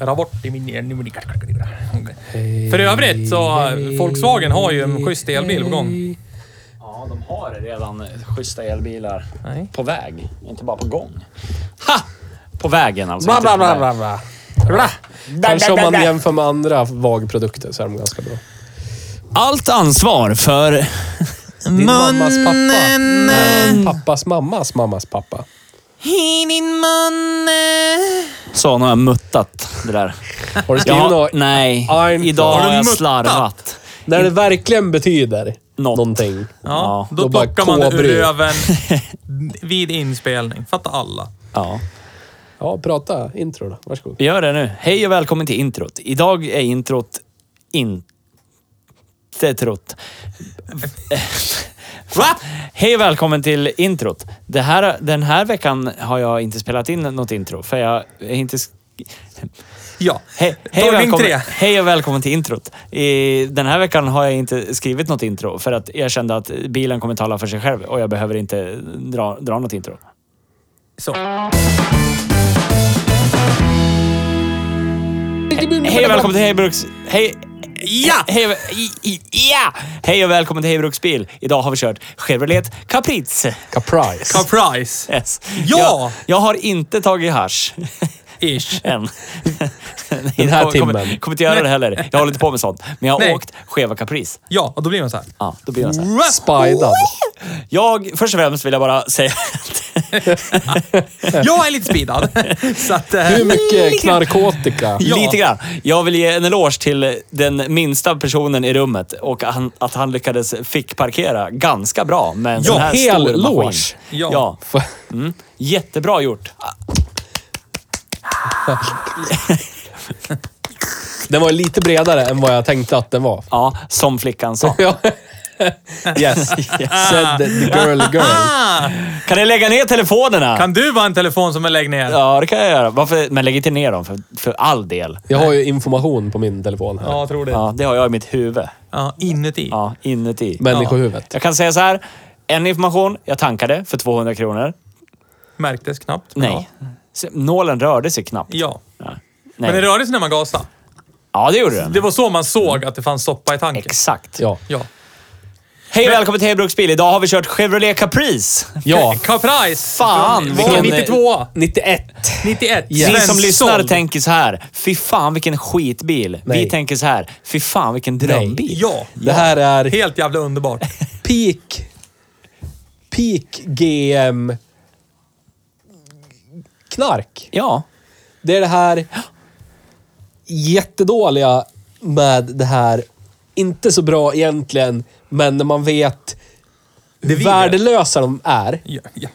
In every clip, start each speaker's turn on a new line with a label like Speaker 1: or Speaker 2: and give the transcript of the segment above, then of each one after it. Speaker 1: Rapport i min... För övrigt så, Volkswagen har ju en schysst elbil på gång.
Speaker 2: Ja, de har redan schyssta elbilar
Speaker 1: Nej.
Speaker 2: på väg, inte bara på gång. Ha! På vägen alltså.
Speaker 3: Bla,
Speaker 2: inte
Speaker 3: bla,
Speaker 2: på
Speaker 3: bla,
Speaker 2: väg.
Speaker 3: bla, bla. Kanske om man jämför med andra VAG-produkter så är de ganska bra.
Speaker 2: Allt ansvar för...
Speaker 3: Din mammas pappa. är Pappas mammas mammas pappa.
Speaker 2: Så, nu har jag muttat det där.
Speaker 3: Har du skrivit
Speaker 2: Ja,
Speaker 3: något?
Speaker 2: nej,
Speaker 3: I'm
Speaker 2: idag
Speaker 3: sorry.
Speaker 2: har
Speaker 1: Har
Speaker 2: jag
Speaker 1: du
Speaker 2: slarvat.
Speaker 3: När det verkligen betyder
Speaker 2: Något.
Speaker 3: någonting.
Speaker 1: Ja,
Speaker 2: Ja,
Speaker 1: då,
Speaker 3: då bara
Speaker 1: plockar man det ur
Speaker 3: kobry.
Speaker 1: röven vid inspelning. Fattar alla.
Speaker 2: Ja.
Speaker 3: Ja, prata intro då. Varsågod.
Speaker 2: Vi gör det nu. Hej och välkommen till introt. Idag är introt inte trott. Va? Hej och välkommen till introt. Det här, den här veckan har jag inte spelat in något intro, för jag är inte... sk-
Speaker 1: Ja.
Speaker 2: Hej, hej, och
Speaker 1: Tagning tre.
Speaker 2: välkommen, hej och välkommen till introt. I, den här veckan har jag inte skrivit något intro, för att jag kände att bilen kommer tala för sig själv och jag behöver inte dra, dra något intro.
Speaker 1: Så.
Speaker 2: Hej och välkommen till Hej Bruks... Hej... Ja! Hej, i- i- ja! Hej och välkommen till Hej Bruks bil. Idag har vi kört Chevrolet Caprice.
Speaker 3: Caprice.
Speaker 1: Caprice.
Speaker 2: Yes.
Speaker 1: Ja!
Speaker 2: Jag, jag har inte tagit hasch.
Speaker 1: Ish.
Speaker 2: Än.
Speaker 3: Den här
Speaker 2: Jag Kommer,
Speaker 3: timmen.
Speaker 2: kommer inte göra det heller. Jag håller inte på med sånt. Men jag har
Speaker 1: Nej.
Speaker 2: åkt Cheva Caprice.
Speaker 1: Ja, och då blir man så här.
Speaker 2: Ja, då blir jag så här.
Speaker 3: Spidad.
Speaker 2: Jag, först och främst vill jag bara säga att
Speaker 1: Jag är lite speedad. Så att, eh,
Speaker 3: Hur mycket knarkotika?
Speaker 1: Ja.
Speaker 2: Lite grann. Jag vill ge en eloge till den minsta personen i rummet och han, att han lyckades fick parkera ganska bra med en sån
Speaker 3: Ja,
Speaker 2: här
Speaker 3: hel
Speaker 2: stor
Speaker 3: eloge.
Speaker 2: maskin.
Speaker 1: Ja.
Speaker 2: Ja. Mm. Jättebra gjort.
Speaker 3: Den var lite bredare än vad jag tänkte att den var.
Speaker 2: Ja, som flickan sa.
Speaker 3: Ja. Yes. Said the girl girl.
Speaker 1: ah,
Speaker 2: Kan ni lägga ner telefonerna?
Speaker 1: kan du vara en telefon som är lägg ner? Ja,
Speaker 2: Ja, det kan jag göra. Varför? Men lägg inte ner dem för, för all del.
Speaker 3: Jag har ju information på min telefon här.
Speaker 1: tror det. Ja.
Speaker 2: Ja, det har jag i mitt huvud.
Speaker 1: inuti.
Speaker 2: Ja, inuti.
Speaker 3: Människohuvudet.
Speaker 2: Ja. Jag kan säga så här. En information. Jag tankade för 200 kronor.
Speaker 1: Märktes knappt. men
Speaker 2: Nej. Se- Nålen rörde sig knappt.
Speaker 1: Ja. ja.
Speaker 2: Nej.
Speaker 1: Men det rörde sig när man gasade.
Speaker 2: Ja, det gjorde den.
Speaker 1: Det var så man såg att det fanns soppa i tanken.
Speaker 2: Exakt.
Speaker 3: Ja.
Speaker 1: Ja.
Speaker 2: Hej och välkommen till Hebruks bil. Idag har vi kört Chevrolet Caprice.
Speaker 3: Ja.
Speaker 1: Caprice!
Speaker 2: Fan,
Speaker 1: Från- Var
Speaker 2: vilken-
Speaker 1: 92
Speaker 3: 91.
Speaker 1: 91.
Speaker 2: Ni som
Speaker 1: Svensson.
Speaker 2: lyssnar tänker så här. Fy fan vilken skitbil. Vi
Speaker 3: Nej.
Speaker 2: tänker så här. Fy fan vilken drömbil.
Speaker 1: Ja.
Speaker 3: Det här är
Speaker 1: Helt jävla underbart.
Speaker 3: peak... Peak GM... Knark.
Speaker 2: Ja.
Speaker 3: Det är det här jättedåliga med det här, inte så bra egentligen, men när man vet hur
Speaker 1: vi vet.
Speaker 3: värdelösa de är,
Speaker 1: Ja, ja.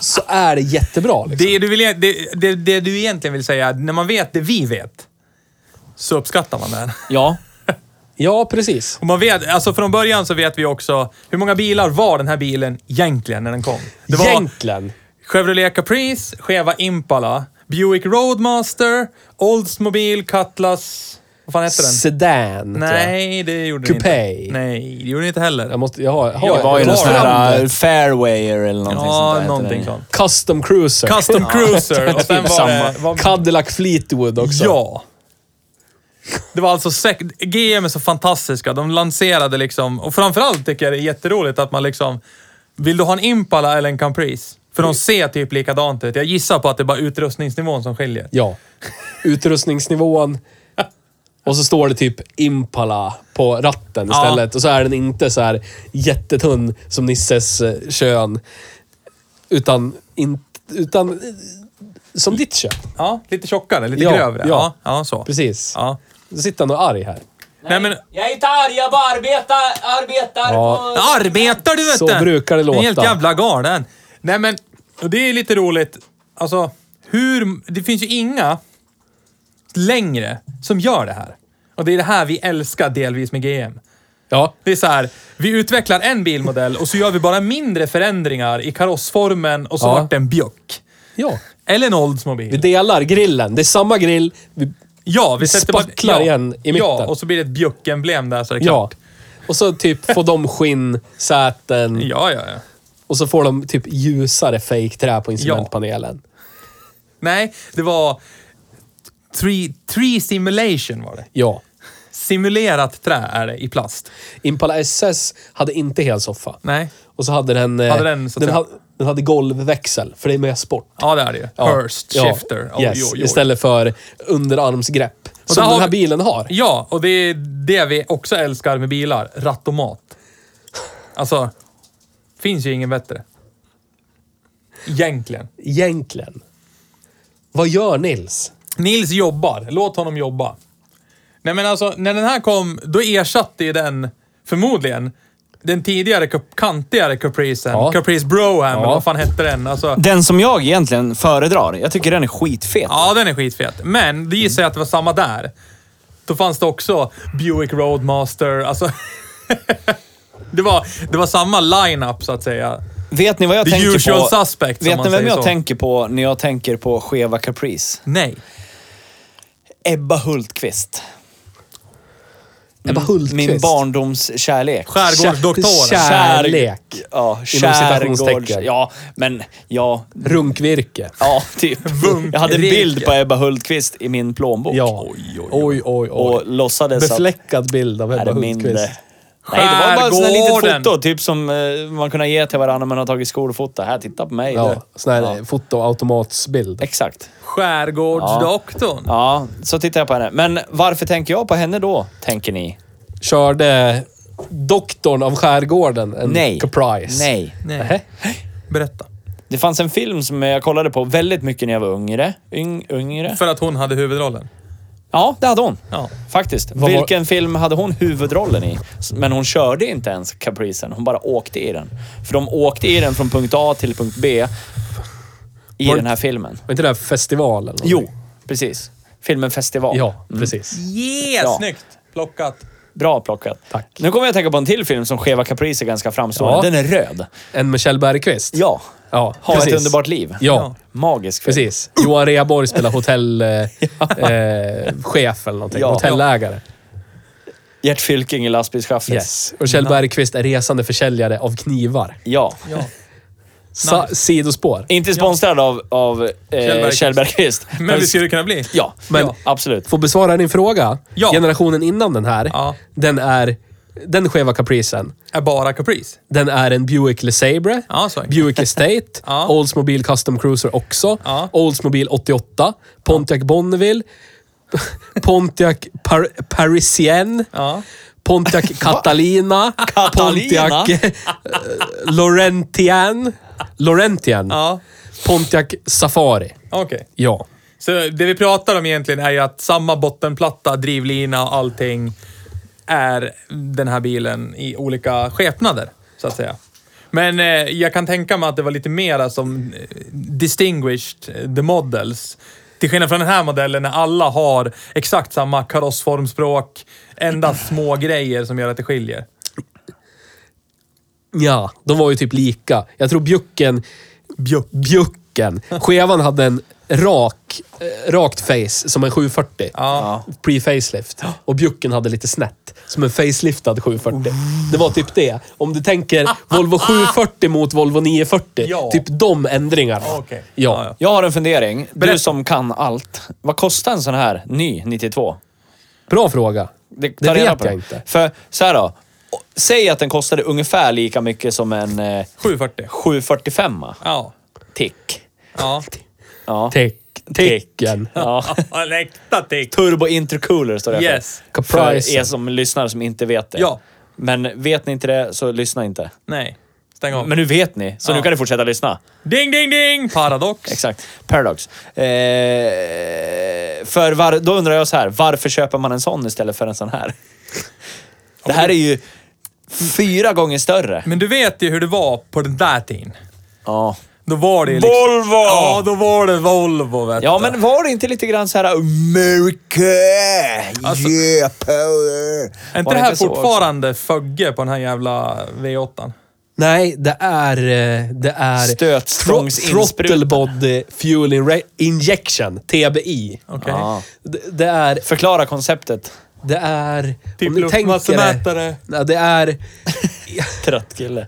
Speaker 3: så är det jättebra. Liksom.
Speaker 1: Det, du vill, det, det, det du egentligen vill säga, när man vet det vi vet, så uppskattar man den.
Speaker 2: Ja.
Speaker 3: Ja, precis.
Speaker 1: Och man vet, alltså från början så vet vi också, hur många bilar var den här bilen egentligen när den kom? Det var
Speaker 3: Egentligen.
Speaker 1: Chevrolet Caprice, Cheva Impala, Buick Roadmaster, Oldsmobile, Cutlass... Vad fan hette den?
Speaker 3: Sedan. tror jag.
Speaker 1: Nej, det gjorde den
Speaker 3: Coupé.
Speaker 1: inte. Nej, det gjorde den inte heller.
Speaker 3: Jag, måste, jag har, har
Speaker 1: Ja,
Speaker 2: Det var ju
Speaker 3: jag
Speaker 2: någon
Speaker 3: har
Speaker 2: sån här
Speaker 3: namnet.
Speaker 2: äh, Fairwayer eller någonting sånt
Speaker 1: Ja,
Speaker 2: där.
Speaker 1: någonting sånt.
Speaker 3: Custom Cruiser.
Speaker 1: Custom Cruiser. Och sen var det...
Speaker 2: samma.
Speaker 1: Vad,
Speaker 3: Cadillac Fleetwood också.
Speaker 1: ja. Det var alltså... Sek- GM är så fantastiska. De lanserade liksom... Och framförallt tycker jag det är jätteroligt att man liksom... Vill du ha en Impala eller en Caprice? För de ser typ likadant ut. Jag gissar på att det är bara utrustningsnivån som skiljer.
Speaker 3: Ja. Utrustningsnivån. Och så står det typ Impala på ratten
Speaker 1: Ja.
Speaker 3: istället. Och så är den inte så här jättetunn som Nisses eh, kön. Utan, in, utan eh, som ditt kön.
Speaker 1: Ja, lite tjockare, lite
Speaker 3: Ja,
Speaker 1: grövre. Ja,
Speaker 3: ja.
Speaker 1: ja så.
Speaker 3: Precis.
Speaker 1: Ja.
Speaker 3: Då sitter han och är arg här.
Speaker 1: Nej, men
Speaker 2: Jag är inte arg, jag bara arbetar, arbetar
Speaker 3: Ja.
Speaker 2: på...
Speaker 1: Arbetar du vet
Speaker 3: Så
Speaker 1: du!
Speaker 3: brukar det
Speaker 1: Du är Helt
Speaker 3: låta.
Speaker 1: jävla galen. Nej men, och det är lite roligt. Alltså, hur... Det finns ju inga längre som gör det här. Och det är det här vi älskar delvis med GM.
Speaker 3: Ja.
Speaker 1: Det är så här, vi utvecklar en bilmodell och så gör vi bara mindre förändringar i karossformen och så
Speaker 3: Ja.
Speaker 1: vart det en Bjuck.
Speaker 3: ja.
Speaker 1: Eller en
Speaker 3: Vi
Speaker 1: Oldsmobile.
Speaker 3: delar grillen. Det är samma grill. Vi,
Speaker 1: Ja, vi
Speaker 3: spacklar igen i
Speaker 1: Ja,
Speaker 3: mitten.
Speaker 1: och så blir det ett Bjuck-emblem där så är det
Speaker 3: ja.
Speaker 1: klart.
Speaker 3: Och så typ får de skinnsäten.
Speaker 1: Ja, ja, ja.
Speaker 3: Och så får de typ ljusare fake-trä på instrumentpanelen.
Speaker 1: Nej, det var... Tree, tree simulation var det.
Speaker 3: Ja.
Speaker 1: Simulerat trä är det i plast.
Speaker 3: Impala SS hade inte hel soffa.
Speaker 1: Nej.
Speaker 3: Och så hade den... eh,
Speaker 1: Hade den, så att
Speaker 3: den,
Speaker 1: säga-
Speaker 3: ha, den hade golvväxel, för det är med sport.
Speaker 1: Ja, det är det ju.
Speaker 3: Ja.
Speaker 1: Hurst,
Speaker 3: Ja.
Speaker 1: shifter. Oj,
Speaker 3: yes.
Speaker 1: oj, oj.
Speaker 3: Istället för underarmsgrepp. som
Speaker 1: där har
Speaker 3: den här
Speaker 1: vi-
Speaker 3: bilen har.
Speaker 1: Ja, och det är det vi också älskar med bilar. Rattomat. Alltså, finns ju ingen bättre. Egentligen.
Speaker 3: Egentligen. Vad gör Nils?
Speaker 1: Nils jobbar. Låt honom jobba. Nej men alltså, när den här kom, då ersatte ju den förmodligen den tidigare cup- kantigare Capricen.
Speaker 3: Ja.
Speaker 1: Caprice Broham, eller
Speaker 3: Ja.
Speaker 1: vad fan hette den? Alltså,
Speaker 2: Den som jag egentligen föredrar. Jag tycker den är skitfet.
Speaker 1: ja, den är skitfet. Men det gissar jag att det var samma där. Då fanns det också Buick Roadmaster, alltså... det, var, det var samma line-up, så att säga.
Speaker 2: Vet ni vad jag
Speaker 1: The
Speaker 2: tänker
Speaker 1: usual
Speaker 2: på?
Speaker 1: suspect, som
Speaker 2: Vet
Speaker 1: man
Speaker 2: ni vem
Speaker 1: säger
Speaker 2: jag
Speaker 1: så.
Speaker 2: tänker på när jag tänker på skeva Caprice?
Speaker 1: Nej.
Speaker 2: Ebba Hultqvist.
Speaker 1: Mm.
Speaker 3: Ebba Hultqvist.
Speaker 2: Min barndomskärlek.
Speaker 1: Skärgårdsdoktorn.
Speaker 3: Kär-
Speaker 2: Kärlek. Ja, skärgårds...
Speaker 3: citationstecken.
Speaker 2: Ja, men ja,
Speaker 3: Runkvirke.
Speaker 2: ja, typ.
Speaker 1: Vunk-
Speaker 2: Jag hade en bild
Speaker 1: Rike.
Speaker 2: på Ebba Hultqvist i min plånbok.
Speaker 3: Ja.
Speaker 1: Oj, oj,
Speaker 3: oj, oj.
Speaker 2: Och låtsades att...
Speaker 3: Befläckad bild av
Speaker 2: Är
Speaker 3: Ebba
Speaker 2: det mindre?
Speaker 3: Hultqvist.
Speaker 2: Nej, det var bara ett sånt här
Speaker 1: Skärgården.
Speaker 2: litet foto. Typ som eh, man kunde ge till varandra man har tagit skolfoto. Här, titta på mig.
Speaker 3: Ja,
Speaker 2: du.
Speaker 3: sån här fotoautomatsbild.
Speaker 2: Exakt.
Speaker 1: Skärgårdsdoktorn.
Speaker 2: Ja, så tittar jag på henne. Men varför tänker jag på henne då, tänker ni?
Speaker 3: Körde doktorn av skärgården en
Speaker 2: Nej.
Speaker 3: Caprice?
Speaker 2: Nej.
Speaker 1: Nej. Berätta.
Speaker 2: Det fanns en film som jag kollade på väldigt mycket när jag var yngre. Yng, yngre.
Speaker 1: För att hon hade huvudrollen.
Speaker 2: Ja, det hade hon.
Speaker 1: Ja.
Speaker 2: Faktiskt.
Speaker 3: Vad var-
Speaker 2: Vilken film hade hon huvudrollen i? Men hon körde inte ens Capricen. Hon bara åkte i den. För de åkte i den från punkt A till punkt B i
Speaker 3: Var det-
Speaker 2: den här filmen.
Speaker 3: Var inte det här festivalen?
Speaker 2: Jo, Mm. precis. Filmen Festival.
Speaker 3: Ja, precis.
Speaker 1: Yeah,
Speaker 2: Ja.
Speaker 1: snyggt plockat.
Speaker 2: Bra plockat.
Speaker 3: Tack.
Speaker 2: Nu kommer jag att tänka på en till film som Skeva Caprice är ganska framstående.
Speaker 3: Ja.
Speaker 2: Den är röd.
Speaker 3: En med Kjell Bergqvist?
Speaker 2: Ja.
Speaker 3: ja
Speaker 2: Ha
Speaker 3: precis.
Speaker 2: ett underbart liv.
Speaker 3: Ja,
Speaker 2: Magisk film.
Speaker 3: precis. Johan Rheborg spelar hotellchef eh, eh, chef eller någonting.
Speaker 2: Ja.
Speaker 3: Hotellägare.
Speaker 2: Gert Fylking i Lastbilschaffis.
Speaker 3: Yes. Och Kjell Bergqvist är resande försäljare av knivar.
Speaker 2: Ja.
Speaker 1: Ja.
Speaker 3: Sa, Sidospår.
Speaker 2: Inte sponsrad av, av eh,
Speaker 1: Bergqvist.
Speaker 2: Kjell Bergqvist.
Speaker 1: Men vi skulle kunna bli.
Speaker 2: Ja,
Speaker 3: Men-
Speaker 2: ja, absolut.
Speaker 3: Får besvara din fråga.
Speaker 1: Ja.
Speaker 3: Generationen innan den här,
Speaker 1: Ja.
Speaker 3: den är... Den skeva capricen,
Speaker 1: Är bara Caprice.
Speaker 3: den är en Buick LeSabre,
Speaker 1: Ja, så är det.
Speaker 3: Buick Estate,
Speaker 1: Ja.
Speaker 3: Oldsmobile Custom Cruiser också,
Speaker 1: Ja.
Speaker 3: Oldsmobile 88, Pontiac Bonneville, Pontiac Par Parisienne,
Speaker 1: Ja.
Speaker 3: Pontiac Catalina,
Speaker 2: Catalina?
Speaker 3: Pontiac eh, Laurentian, Laurentian,
Speaker 1: Ja,
Speaker 3: Pontiac Safari.
Speaker 1: okej.
Speaker 3: Ja.
Speaker 1: Så det vi pratar om egentligen är ju att samma bottenplatta, drivlina och allting är den här bilen i olika skepnader, så att säga. Men eh, jag kan tänka mig att det var lite mera som eh, distinguished eh, the models. Till skillnad från den här modellen när alla har exakt samma karossformspråk, endast små grejer som gör att det skiljer.
Speaker 3: Ja, de var ju typ lika. Jag tror bjucken... Bjuck, bjucken. Skevan hade en rak, eh, rakt face som en 740.
Speaker 1: Ja.
Speaker 3: Pre-facelift. Och bjucken hade lite snett. Som en faceliftad 740. Det var typ det. Om du tänker Volvo 740 mot Volvo 940.
Speaker 1: Ja.
Speaker 3: Typ de ändringarna.
Speaker 1: Okej. Ja, ja.
Speaker 3: Ja.
Speaker 2: Jag har en fundering.
Speaker 1: Berätta.
Speaker 2: Du som kan allt. Vad kostar en sån här ny 92?
Speaker 3: Bra fråga. Det,
Speaker 2: ta reda
Speaker 3: vet
Speaker 2: på
Speaker 3: jag
Speaker 2: det.
Speaker 3: inte.
Speaker 2: För så här då. Säg att den kostade ungefär lika mycket som en eh,
Speaker 1: 740.
Speaker 2: 745
Speaker 1: Ja.
Speaker 2: tick.
Speaker 1: Ja.
Speaker 2: Ja.
Speaker 3: Tick, Ticken.
Speaker 2: Ja.
Speaker 1: Ja, en äkta tick.
Speaker 2: Turbo intercooler står det
Speaker 1: Yes.
Speaker 2: för.
Speaker 3: Caprice.
Speaker 2: För er som lyssnar som inte vet det.
Speaker 1: Ja.
Speaker 2: Men vet ni inte det, så lyssna inte.
Speaker 1: Nej. Stäng av.
Speaker 2: Men nu vet ni, så
Speaker 1: Ja.
Speaker 2: nu kan ni fortsätta lyssna.
Speaker 1: Ding, ding, ding! Paradox.
Speaker 2: Exakt. Paradox. Eh, för var, då undrar jag så här, varför köper man en sån istället för en sån här? Det här är ju fyra gånger större.
Speaker 1: Men du vet ju hur det var på den där tiden.
Speaker 2: Ja.
Speaker 1: Då var det ju liksom...
Speaker 2: Volvo!
Speaker 1: Ja, då var det Volvo vet
Speaker 2: Ja,
Speaker 1: du.
Speaker 2: men var det inte lite grann så här America,
Speaker 1: Alltså-
Speaker 2: yeah power.
Speaker 1: Är inte
Speaker 2: Var
Speaker 1: det här
Speaker 2: så
Speaker 1: fortfarande Fögge på den här jävla V8?
Speaker 3: Nej, det är... eh, Det är...
Speaker 2: Stötstångsinsprut-
Speaker 3: Tro- Throttle Body Fuel Inre- Injection, TBI.
Speaker 1: Okej.
Speaker 2: också? Ja.
Speaker 3: Det, det är...
Speaker 2: Förklara konceptet.
Speaker 3: Det är...
Speaker 1: Typ
Speaker 3: om ni tänker det,
Speaker 1: luftmassemätare.
Speaker 3: Ja, det är...
Speaker 2: Trött kille.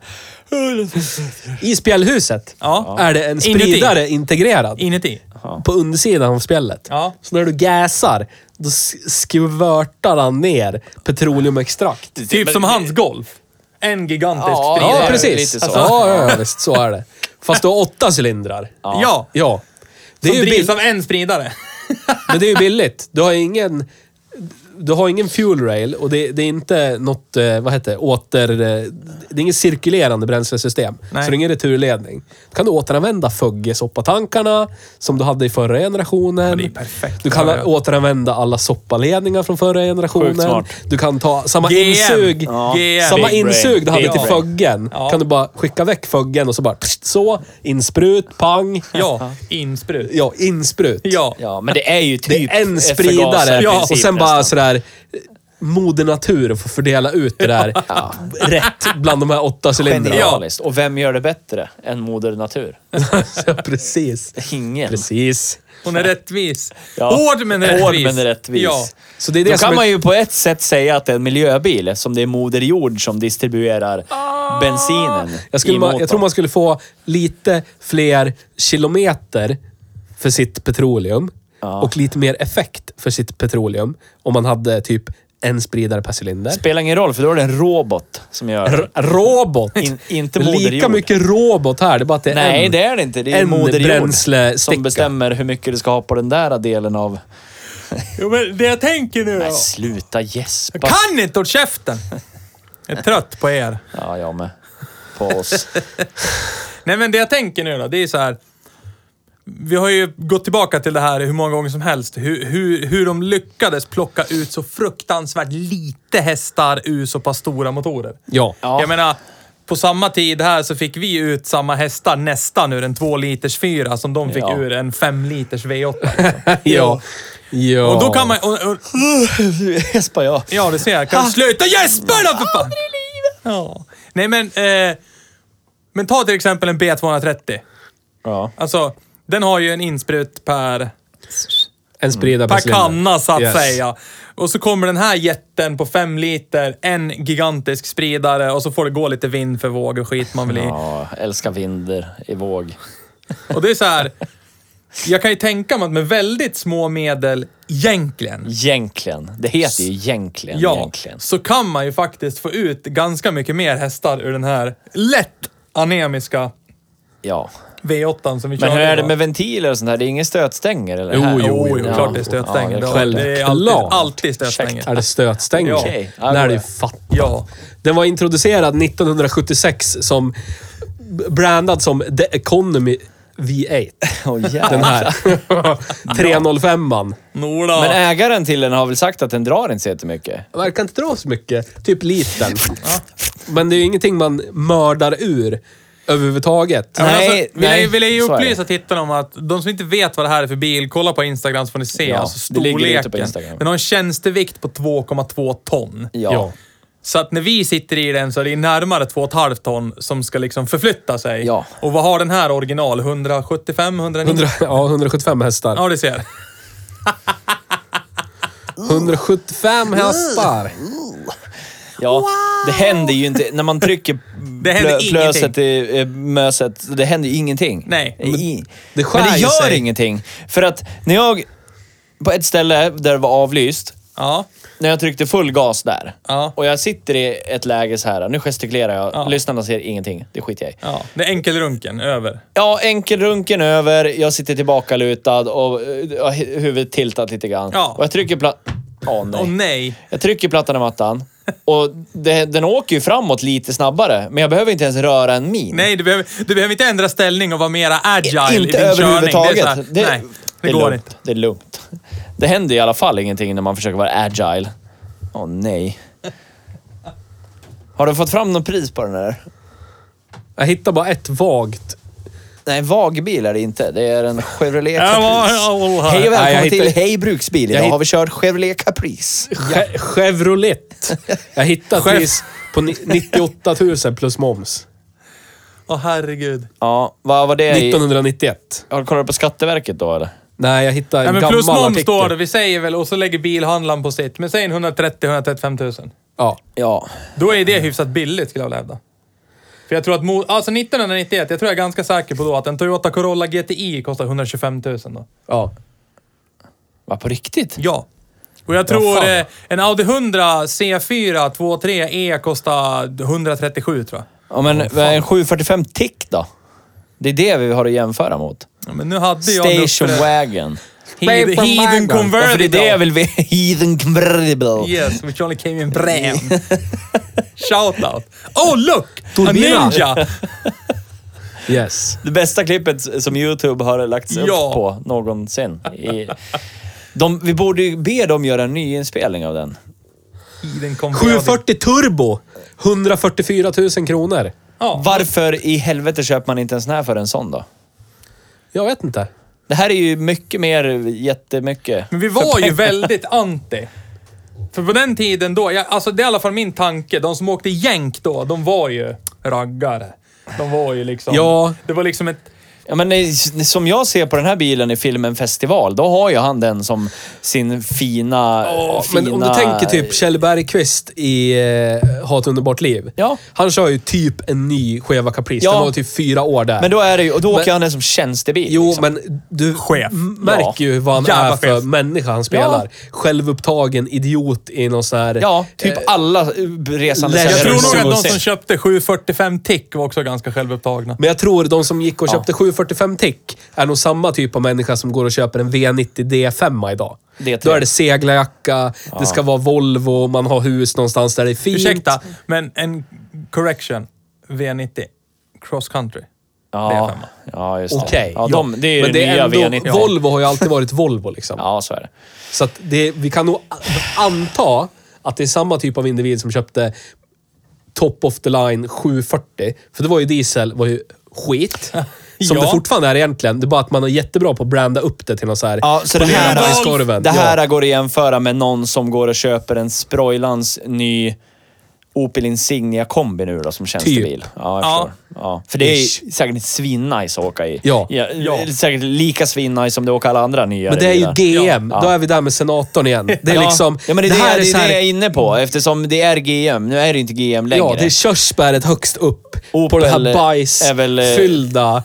Speaker 3: I spjällhuset
Speaker 1: Ja.
Speaker 3: är det en
Speaker 1: Inuti.
Speaker 3: spridare integrerad
Speaker 1: Inuti.
Speaker 3: på undersidan av spjället.
Speaker 1: Ja.
Speaker 3: Så när du gasar, då s- skvörtar han ner petroleumextrakt.
Speaker 1: Typ som hans golf. En gigantisk
Speaker 2: Ja,
Speaker 1: spridare.
Speaker 3: Ja,
Speaker 2: det är
Speaker 3: precis.
Speaker 2: lite så.
Speaker 3: Alltså, ja, ja, ja, visst. Så är det. Fast du har åtta cylindrar.
Speaker 1: Ja.
Speaker 3: Ja. Det är
Speaker 1: Som
Speaker 3: ju
Speaker 1: drivs
Speaker 3: bill-
Speaker 1: av en spridare.
Speaker 3: men det är ju billigt. Du har ingen... Du har ingen fuel rail och det, det är inte något, eh, vad heter det, åter... eh, Det är inget cirkulerande bränslesystem.
Speaker 1: Nej.
Speaker 3: Så det är ingen returledning. Då kan du återanvända fuggesoppattankarna som du hade i förra generationen.
Speaker 1: det är perfekt.
Speaker 3: Du kan
Speaker 1: Ja, ja.
Speaker 3: återanvända alla soppaledningar från förra generationen.
Speaker 2: Sjukt smart.
Speaker 3: Du kan ta samma
Speaker 1: GM.
Speaker 3: insug.
Speaker 1: Ja. GM.
Speaker 3: Samma
Speaker 2: Big brain.
Speaker 3: insug du hade
Speaker 1: Big
Speaker 3: till
Speaker 1: brain.
Speaker 3: fuggen.
Speaker 1: Ja.
Speaker 3: Kan du bara skicka väck fuggen och så bara pst, så, insprut, pang.
Speaker 1: Ja, insprut.
Speaker 3: Ja, insprut.
Speaker 1: Ja.
Speaker 2: Ja, men det är ju
Speaker 3: Det
Speaker 2: typ
Speaker 3: är en
Speaker 2: förgasare
Speaker 3: spridare
Speaker 2: i
Speaker 1: Ja,
Speaker 3: och
Speaker 2: princip
Speaker 3: sen bara
Speaker 2: nästan.
Speaker 3: sådär eh, moder natur får fördela ut det där rätt bland de här åtta cylindrarna.
Speaker 2: Genialiskt. Och vem gör det bättre än moder natur?
Speaker 3: Ja, precis.
Speaker 2: Ingen.
Speaker 3: Precis.
Speaker 1: Hon är rättvis.
Speaker 2: Ja.
Speaker 1: Hård men rättvis.
Speaker 2: Hård men rättvis.
Speaker 1: Ja.
Speaker 3: Så det är det
Speaker 2: Då kan
Speaker 3: som är-
Speaker 2: man ju på ett sätt säga att det är en miljöbil eftersom det är Moder Jord som distribuerar bensinen
Speaker 3: Ah. Jag, skulle
Speaker 2: i
Speaker 3: ma-
Speaker 2: motorn.
Speaker 3: jag tror man skulle få lite fler kilometer för sitt petroleum
Speaker 2: Ja.
Speaker 3: och lite mer effekt för sitt petroleum om man hade typ en spridare per cylinder.
Speaker 2: Spelar ingen roll, för då är det en robot som gör
Speaker 3: R-
Speaker 2: det.
Speaker 3: robot!
Speaker 2: In- inte
Speaker 3: Det är
Speaker 2: Moder
Speaker 3: Lika
Speaker 2: Jord.
Speaker 3: mycket robot här, det är bara att det är
Speaker 2: Nej,
Speaker 3: en.
Speaker 2: det är det inte. Det är
Speaker 3: en
Speaker 2: Moder Jord
Speaker 3: bränslesticka.
Speaker 2: som bestämmer hur mycket du ska ha på den där delen av...
Speaker 1: Jo, men det jag tänker nu...
Speaker 2: Nej,
Speaker 1: då.
Speaker 2: sluta gäspa.
Speaker 1: Jag kan inte åt käften! Jag är trött på er.
Speaker 2: Ja, jag med. På oss.
Speaker 1: Nej, men det jag tänker nu då, det är så här. Vi har ju gått tillbaka till det här hur många gånger som helst. Hur, hur, hur de lyckades plocka ut så fruktansvärt lite hästar ur så pass stora motorer.
Speaker 3: Ja.
Speaker 2: Ja.
Speaker 1: Jag menar, på samma tid här så fick vi ut samma hästar nästan ur en 2 liters fyra som de fick
Speaker 2: Ja.
Speaker 1: ur en 5 liters V8. liksom.
Speaker 3: ja. ja.
Speaker 1: Och då kan man... Och, och,
Speaker 2: Gäspar jag.
Speaker 1: Ja, det ser jag. Kan sluta gäspa då för fan! Aldrig i livet! Ja. Nej, men... Eh, men ta till exempel en B230.
Speaker 2: Ja.
Speaker 1: Alltså, den har ju en insprut per,
Speaker 3: En spridare per
Speaker 1: per
Speaker 3: cylinder.
Speaker 1: kanna, så att
Speaker 3: Yes.
Speaker 1: säga. Och så kommer den här jätten på fem liter, en gigantisk spridare och så får det gå lite vind för våg och skit man vill i.
Speaker 2: ja, älskar vinder i våg.
Speaker 1: Och det är så här... Jag kan ju tänka mig att med väldigt små medel, egentligen,
Speaker 2: Egentligen. Det heter ju egentligen.
Speaker 1: ja,
Speaker 2: egentligen.
Speaker 1: så kan man ju faktiskt få ut ganska mycket mer hästar ur den här lätt anemiska
Speaker 2: Ja.
Speaker 1: V8 som vi
Speaker 2: Men
Speaker 1: körde
Speaker 2: hur är det
Speaker 1: då.
Speaker 2: med ventiler och sånt här? Det är ingen stötstänger eller?
Speaker 3: Jo,
Speaker 2: här?
Speaker 3: jo,
Speaker 1: Jo, jo,
Speaker 3: Ja.
Speaker 1: klart det är stötstänger.
Speaker 2: Ja,
Speaker 1: det,
Speaker 3: klart.
Speaker 1: det är alltid,
Speaker 3: Självklart.
Speaker 1: alltid stötstänger.
Speaker 3: Är det stötstänger?
Speaker 1: Ja.
Speaker 2: Okej. Ja,
Speaker 3: Det är
Speaker 2: det
Speaker 3: det ju
Speaker 2: är.
Speaker 3: fattat.
Speaker 1: Ja.
Speaker 3: Den var introducerad 1976 som b- brandad som The Economy V8.
Speaker 2: Åh, jävlar.
Speaker 3: Den här. 305an.
Speaker 1: Nola.
Speaker 2: Men eh, ägaren till den har väl sagt att den drar inte så jättemycket?
Speaker 3: Verkar inte dra så mycket. Typ liten. Men det är ju ingenting man mördar ur överhuvudtaget.
Speaker 1: Ja, men
Speaker 2: Nej,
Speaker 1: alltså, vill,
Speaker 2: nej,
Speaker 1: jag, vill jag ju
Speaker 2: så är det.
Speaker 1: upplysa tittarna om att de som inte vet vad det här är för bil, kolla på Instagram så får ni se.
Speaker 2: Ja,
Speaker 1: alltså
Speaker 2: det ligger ute på
Speaker 1: storleken.
Speaker 2: Instagram.
Speaker 1: Den har en tjänstevikt på 2,2 ton.
Speaker 2: Ja.
Speaker 3: Ja.
Speaker 2: ja.
Speaker 1: Så att när vi sitter i den så är det närmare 2,5 ton som ska liksom förflytta sig.
Speaker 2: Ja.
Speaker 1: Och vad har den här original? 175? 190?
Speaker 3: 100, ja, 175 hästar.
Speaker 1: Ja, du ser.
Speaker 3: 175 hästar!
Speaker 2: Det händer ju inte. När man trycker
Speaker 1: Det händer ingenting.
Speaker 2: plöset i eh, möset, det händer ju ingenting.
Speaker 1: Nej.
Speaker 2: Men,
Speaker 3: det skär
Speaker 2: Men det
Speaker 3: ju
Speaker 2: gör
Speaker 3: sig.
Speaker 2: ingenting. För att när jag... På ett ställe där det var avlyst,
Speaker 1: Ja.
Speaker 2: när jag tryckte full gas där.
Speaker 1: Ja.
Speaker 2: Och jag sitter i ett läge så här. Nu gestikulerar jag.
Speaker 1: Ja.
Speaker 2: Lyssnarna ser ingenting. Det skiter jag i.
Speaker 1: Ja, det är enkelrunken, över.
Speaker 2: Ja, enkelrunken över. Jag sitter tillbakalutad och eh, ja, hu- huvudet tiltat lite grann.
Speaker 1: Ja.
Speaker 2: Och jag trycker plattan... Åh nej.
Speaker 1: Åh nej!
Speaker 2: Jag trycker plattan i mattan. Och det, den åker ju framåt lite snabbare. Men jag behöver inte ens röra en min.
Speaker 1: Nej, du behöver, du behöver inte ändra ställning och vara mera agile i
Speaker 2: inte
Speaker 1: din körning.
Speaker 2: överhuvudtaget.
Speaker 1: Det är så här, nej, det,
Speaker 2: är
Speaker 1: går
Speaker 2: lugnt.
Speaker 1: inte.
Speaker 2: Det är lugnt. Det händer i alla fall ingenting när man försöker vara agile. Åh nej. Har du fått fram något pris på den här?
Speaker 3: Jag hittar bara ett vagt.
Speaker 2: Nej, vagbil är det inte. Det är en Chevrolet
Speaker 1: Ja, ja,
Speaker 2: Caprice.
Speaker 1: ja, ja.
Speaker 2: Hej och
Speaker 3: Nej, jag
Speaker 2: välkommen till
Speaker 3: hittar-
Speaker 2: Hej Bruksbil. Idag
Speaker 3: Jag hitt-
Speaker 2: har vi kört Chevrolet Caprice.
Speaker 3: Che- Chevrolet. Jag hittar ett
Speaker 1: Chef-
Speaker 3: pris på ni- 98 000 plus moms.
Speaker 1: Åh herregud.
Speaker 2: Ja, vad var det? i-
Speaker 3: 1991.
Speaker 2: Har du kollat på Skatteverket då eller?
Speaker 3: Nej, jag hittar en
Speaker 1: Nej, men
Speaker 3: gammal
Speaker 1: plus moms
Speaker 3: artikel.
Speaker 1: står det, vi säger väl, och så lägger bilhandlaren på sitt. Men säg en 130-135 000.
Speaker 3: Ja.
Speaker 2: Ja.
Speaker 1: Då är det hyfsat billigt skulle jag vilja hävda. För jag tror att, mo- alltså 1991, jag tror jag är ganska säker på då att en Toyota Corolla GTI kostar 125 000 då.
Speaker 3: ja.
Speaker 2: Va, på riktigt?
Speaker 1: Ja. Och jag tror
Speaker 3: fan.
Speaker 1: eh, en Audi 100 C4 23E E kostar 137 tror jag.
Speaker 2: Ja, men en 745 Tick då? Det är det vi har att jämföra mot.
Speaker 1: Ja, men nu hade jag en
Speaker 2: Station
Speaker 1: Uppre-
Speaker 2: Wagon.
Speaker 1: Heathen, heathen
Speaker 2: Ja, för det är det jag
Speaker 1: Convertible.
Speaker 2: vill veta. Heathen convertible.
Speaker 1: Yes, which only came in brand. Shout out. Oh look! A
Speaker 3: Turbina.
Speaker 1: ninja!
Speaker 3: Yes.
Speaker 2: Det bästa klippet som YouTube har lagts upp
Speaker 1: Ja.
Speaker 2: på någonsin. I, de, vi borde ju be dem göra en nyinspelning av den.
Speaker 1: Heathen Convertible.
Speaker 3: 740 turbo. 144 000 kronor.
Speaker 1: Ja.
Speaker 2: Varför i helvete köper man inte en sån här för en sån då?
Speaker 3: Jag vet inte.
Speaker 2: Det här är ju mycket mer, jättemycket.
Speaker 1: Men vi var ju väldigt anti. För på den tiden då, jag, alltså det är i alla fall min tanke, de som åkte jänk då, de var ju raggare. De var ju liksom...
Speaker 3: Ja.
Speaker 1: Det var liksom ett...
Speaker 2: Ja, men nej, s- som jag ser på den här bilen i filmen Festival, då har ju han den som sin fina...
Speaker 3: Ja,
Speaker 2: fina
Speaker 3: men om du tänker typ Kjell Bergqvist i eh, Ha ett underbart liv.
Speaker 2: Ja.
Speaker 3: Han kör ju typ en ny Cheva Caprice.
Speaker 2: Ja.
Speaker 3: Den var typ fyra år där.
Speaker 2: Men då är det ju, och då åker
Speaker 3: Men-
Speaker 2: han den som tjänstebil.
Speaker 3: Jo,
Speaker 2: liksom.
Speaker 3: men du
Speaker 1: Chef.
Speaker 3: m- märker ju vad han
Speaker 1: Jävla
Speaker 3: är för
Speaker 1: chef.
Speaker 3: människa han spelar. Självupptagen idiot i någon sån här...
Speaker 2: Ja, typ alla eh, resande
Speaker 3: Jag
Speaker 1: Jag
Speaker 3: tror
Speaker 1: tror
Speaker 3: nog
Speaker 1: nog
Speaker 3: att
Speaker 1: att de som köpte 745 Tick var också ganska självupptagna.
Speaker 3: Men jag tror de som gick och köpte 745 Tick är nog samma typ av människa som går och köper en V90 D5 idag.
Speaker 2: D3.
Speaker 3: Då är det seglarjacka, det ska vara Volvo, man har hus någonstans där det är fint.
Speaker 1: Ursäkta, men en correction. V90. Cross country.
Speaker 2: Ja,
Speaker 1: femma.
Speaker 2: ja just det.
Speaker 3: Okej.
Speaker 2: Ja, de, det är ju
Speaker 3: Men
Speaker 2: det,
Speaker 3: det
Speaker 2: nya
Speaker 3: är ändå,
Speaker 2: V90.
Speaker 3: Volvo har ju alltid varit Volvo liksom.
Speaker 2: Ja, så är det.
Speaker 3: Så att det, vi kan nog a- anta att det är samma typ av individ som köpte top of the line 740. För det var ju diesel, var ju skit. Som
Speaker 1: Ja.
Speaker 3: det fortfarande är egentligen. Det är bara att man är jättebra på att branda upp det till något så här...
Speaker 2: Ja, så det
Speaker 3: Polera
Speaker 2: här-
Speaker 3: bajskorven.
Speaker 2: Det här
Speaker 3: Ja.
Speaker 2: går att jämföra med någon som går och köper en Sproilans ny Opel Insignia kombi nu då, som tjänstebil.
Speaker 3: Typ.
Speaker 2: Ja, jag
Speaker 1: Ja.
Speaker 2: förstår. Ja. För det är ju
Speaker 3: Ish.
Speaker 2: säkert svinnice att åka i.
Speaker 3: Ja.
Speaker 2: ja. Säkert lika svinnice som det åker alla andra nya
Speaker 3: Men det är ju
Speaker 2: bilar.
Speaker 3: GM.
Speaker 2: Ja.
Speaker 3: Då är vi där med senatorn igen. Det är
Speaker 2: Ja.
Speaker 3: liksom...
Speaker 2: ja, men det, är det,
Speaker 3: här
Speaker 2: det,
Speaker 3: är så
Speaker 2: är det jag
Speaker 3: här,
Speaker 2: är inne på eftersom det är GM. Nu är det inte GM längre.
Speaker 3: Ja, det är körsbäret högst upp på
Speaker 2: Opel
Speaker 3: det
Speaker 2: är
Speaker 3: här
Speaker 2: väl, eh,
Speaker 3: bajsfyllda...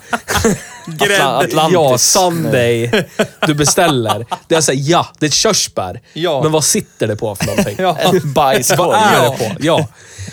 Speaker 2: Atla- Atlantis.
Speaker 3: Ja, Sunday du beställer. Det är såhär, ja, det är ett körsbär.
Speaker 1: Ja.
Speaker 3: Men vad sitter det på för någonting?
Speaker 1: Ja.
Speaker 2: En bajskorv.
Speaker 3: Vad är det på? Ja.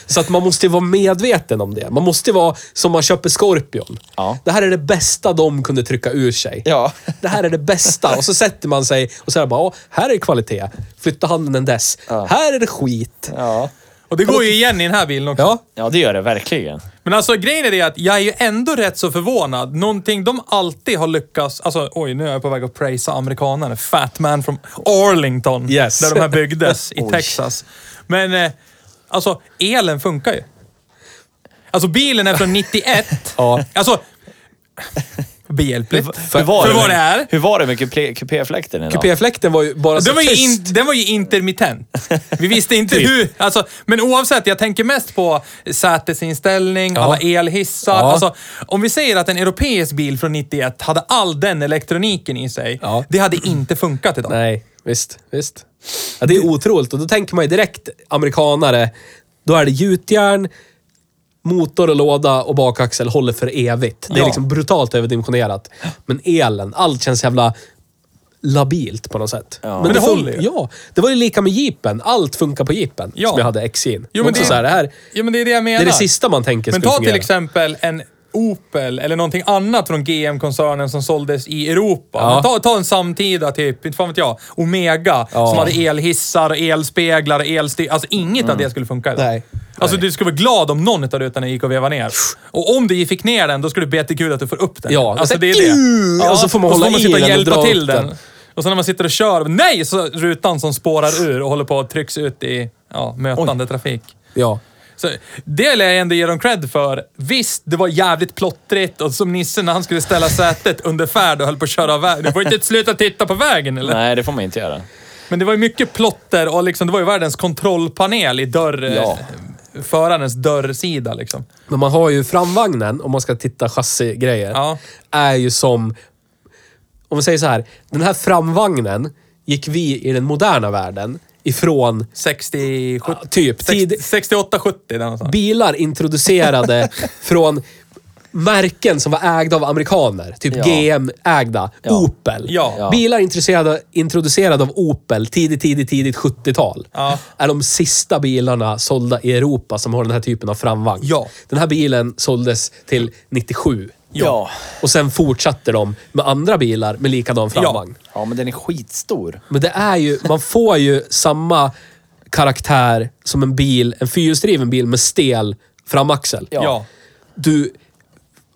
Speaker 3: Så att man måste ju vara medveten om det. Man måste ju vara som man köper Scorpion.
Speaker 2: Ja.
Speaker 3: Det här är det bästa de kunde trycka ur sig.
Speaker 2: Ja.
Speaker 3: Det här är det bästa. Och så sätter man sig och så är det bara, "Åh, här är kvalitet. Flytta handen en dess. Här är det skit.
Speaker 2: Ja.
Speaker 1: Och det går ju igen i den här bilen också.
Speaker 3: Ja.
Speaker 2: ja, det gör det verkligen.
Speaker 1: Men alltså grejen är det att jag är ju ändå rätt så förvånad. Någonting de alltid har lyckats... Alltså oj, nu är jag på väg att praisa amerikanerna. Fat man from Arlington.
Speaker 3: Yes.
Speaker 1: Där de här byggdes i
Speaker 2: Oj.
Speaker 1: Texas. Men eh, alltså, elen funkar ju. Alltså bilen är från 91.
Speaker 3: Ja.
Speaker 1: Alltså... Behjälpligt. För,
Speaker 2: det
Speaker 1: vad
Speaker 2: med-
Speaker 1: det är.
Speaker 2: Hur var det med kupé- kupéfläkten idag?
Speaker 3: P-fläkten var ju bara så
Speaker 1: Den var, ju
Speaker 3: Alltså, tyst. Typ.
Speaker 1: in, den var ju intermittent. Vi visste inte hur... Alltså, men oavsett, jag tänker mest på sätesinställning, alla elhissar.
Speaker 3: Ja.
Speaker 1: Alltså, om vi säger att en europeisk bil från 91 hade all den elektroniken i sig.
Speaker 3: Ja.
Speaker 1: Det hade inte funkat idag.
Speaker 3: Nej, visst. visst. Ja, det är otroligt och då tänker man ju direkt amerikanare. Då är det gjutjärn, motor och låda och bakaxel håller för evigt. Det är
Speaker 1: Ja.
Speaker 3: liksom brutalt överdimensionerat. Men elen, allt känns jävla labilt på något sätt.
Speaker 1: Men det
Speaker 3: fun-
Speaker 1: håller ju.
Speaker 3: Ja, det var ju lika med jeepen. Allt funkar på jeepen
Speaker 1: Ja.
Speaker 3: som jag hade XJ'n.
Speaker 1: Jo, men
Speaker 3: Också
Speaker 1: det-
Speaker 3: så här, det här
Speaker 1: Ja, men det är det jag menar.
Speaker 3: det är det sista man tänker
Speaker 1: Men
Speaker 3: skulle
Speaker 1: ta
Speaker 3: fungera.
Speaker 1: till exempel en Opel eller någonting annat från GM-koncernen som såldes i Europa.
Speaker 3: Ja.
Speaker 1: Men Ta, ta en samtida typ, inte fan vet jag, Omega
Speaker 3: Ja.
Speaker 1: som hade elhissar, elspeglar, elstyr. Alltså inget av det skulle funka idag.
Speaker 3: Mm. Nej.
Speaker 1: Alltså du skulle vara glad om någon av rutorna gick och vevade ner. Och om du fick ner den, då skulle det bli jättekul att du får upp den.
Speaker 3: Ja,
Speaker 1: alltså
Speaker 3: så-
Speaker 1: det är det.
Speaker 3: Iu! Och så får man hålla i
Speaker 1: sitta och
Speaker 3: den och
Speaker 1: hjälpa
Speaker 3: dra
Speaker 1: till
Speaker 3: upp
Speaker 1: den.
Speaker 3: den.
Speaker 1: Och så när man sitter och kör, nej! Så rutan som spårar ur och håller på att trycks ut i ja, mötande trafik.
Speaker 3: Ja.
Speaker 1: Så det vill jag ändå ge dem cred för. Visst, det var jävligt plottrigt och som Nisse när han skulle ställa sätet under färd och höll på att köra av vägen. Du får inte sluta titta på vägen eller?
Speaker 2: Nej, det får man inte göra.
Speaker 1: Men det var ju mycket plotter och liksom, det var ju världens kontrollpanel i dörr...
Speaker 2: Ja.
Speaker 1: Förarens dörrsida liksom.
Speaker 3: Men man har ju framvagnen, om man ska titta chassigrejer,
Speaker 1: Ja.
Speaker 3: är ju som... Om vi säger så här, den här framvagnen gick vi i den moderna världen ifrån
Speaker 1: 60... 70,
Speaker 3: typ tid,
Speaker 1: 68-70 där någonstans.
Speaker 3: bilar introducerade från märken som var ägda av amerikaner. Typ
Speaker 2: Ja.
Speaker 3: GM-ägda. Opel.
Speaker 1: Ja. Ja.
Speaker 3: Bilar introducerade, introducerade av Opel tidigt, tidigt, tidigt 70-tal.
Speaker 1: Ja.
Speaker 3: Är de sista bilarna sålda i Europa som har den här typen av framvagn.
Speaker 1: Ja.
Speaker 3: Den här bilen såldes till 97.
Speaker 2: Ja.
Speaker 3: Och sen fortsatte de med andra bilar med likadan framvagn.
Speaker 2: Ja, men den är skitstor.
Speaker 3: Men det är ju, man får ju samma karaktär som en bil, en fyrhjulsdriven bil med stel framaxel.
Speaker 2: Ja.
Speaker 1: Ja.
Speaker 3: Du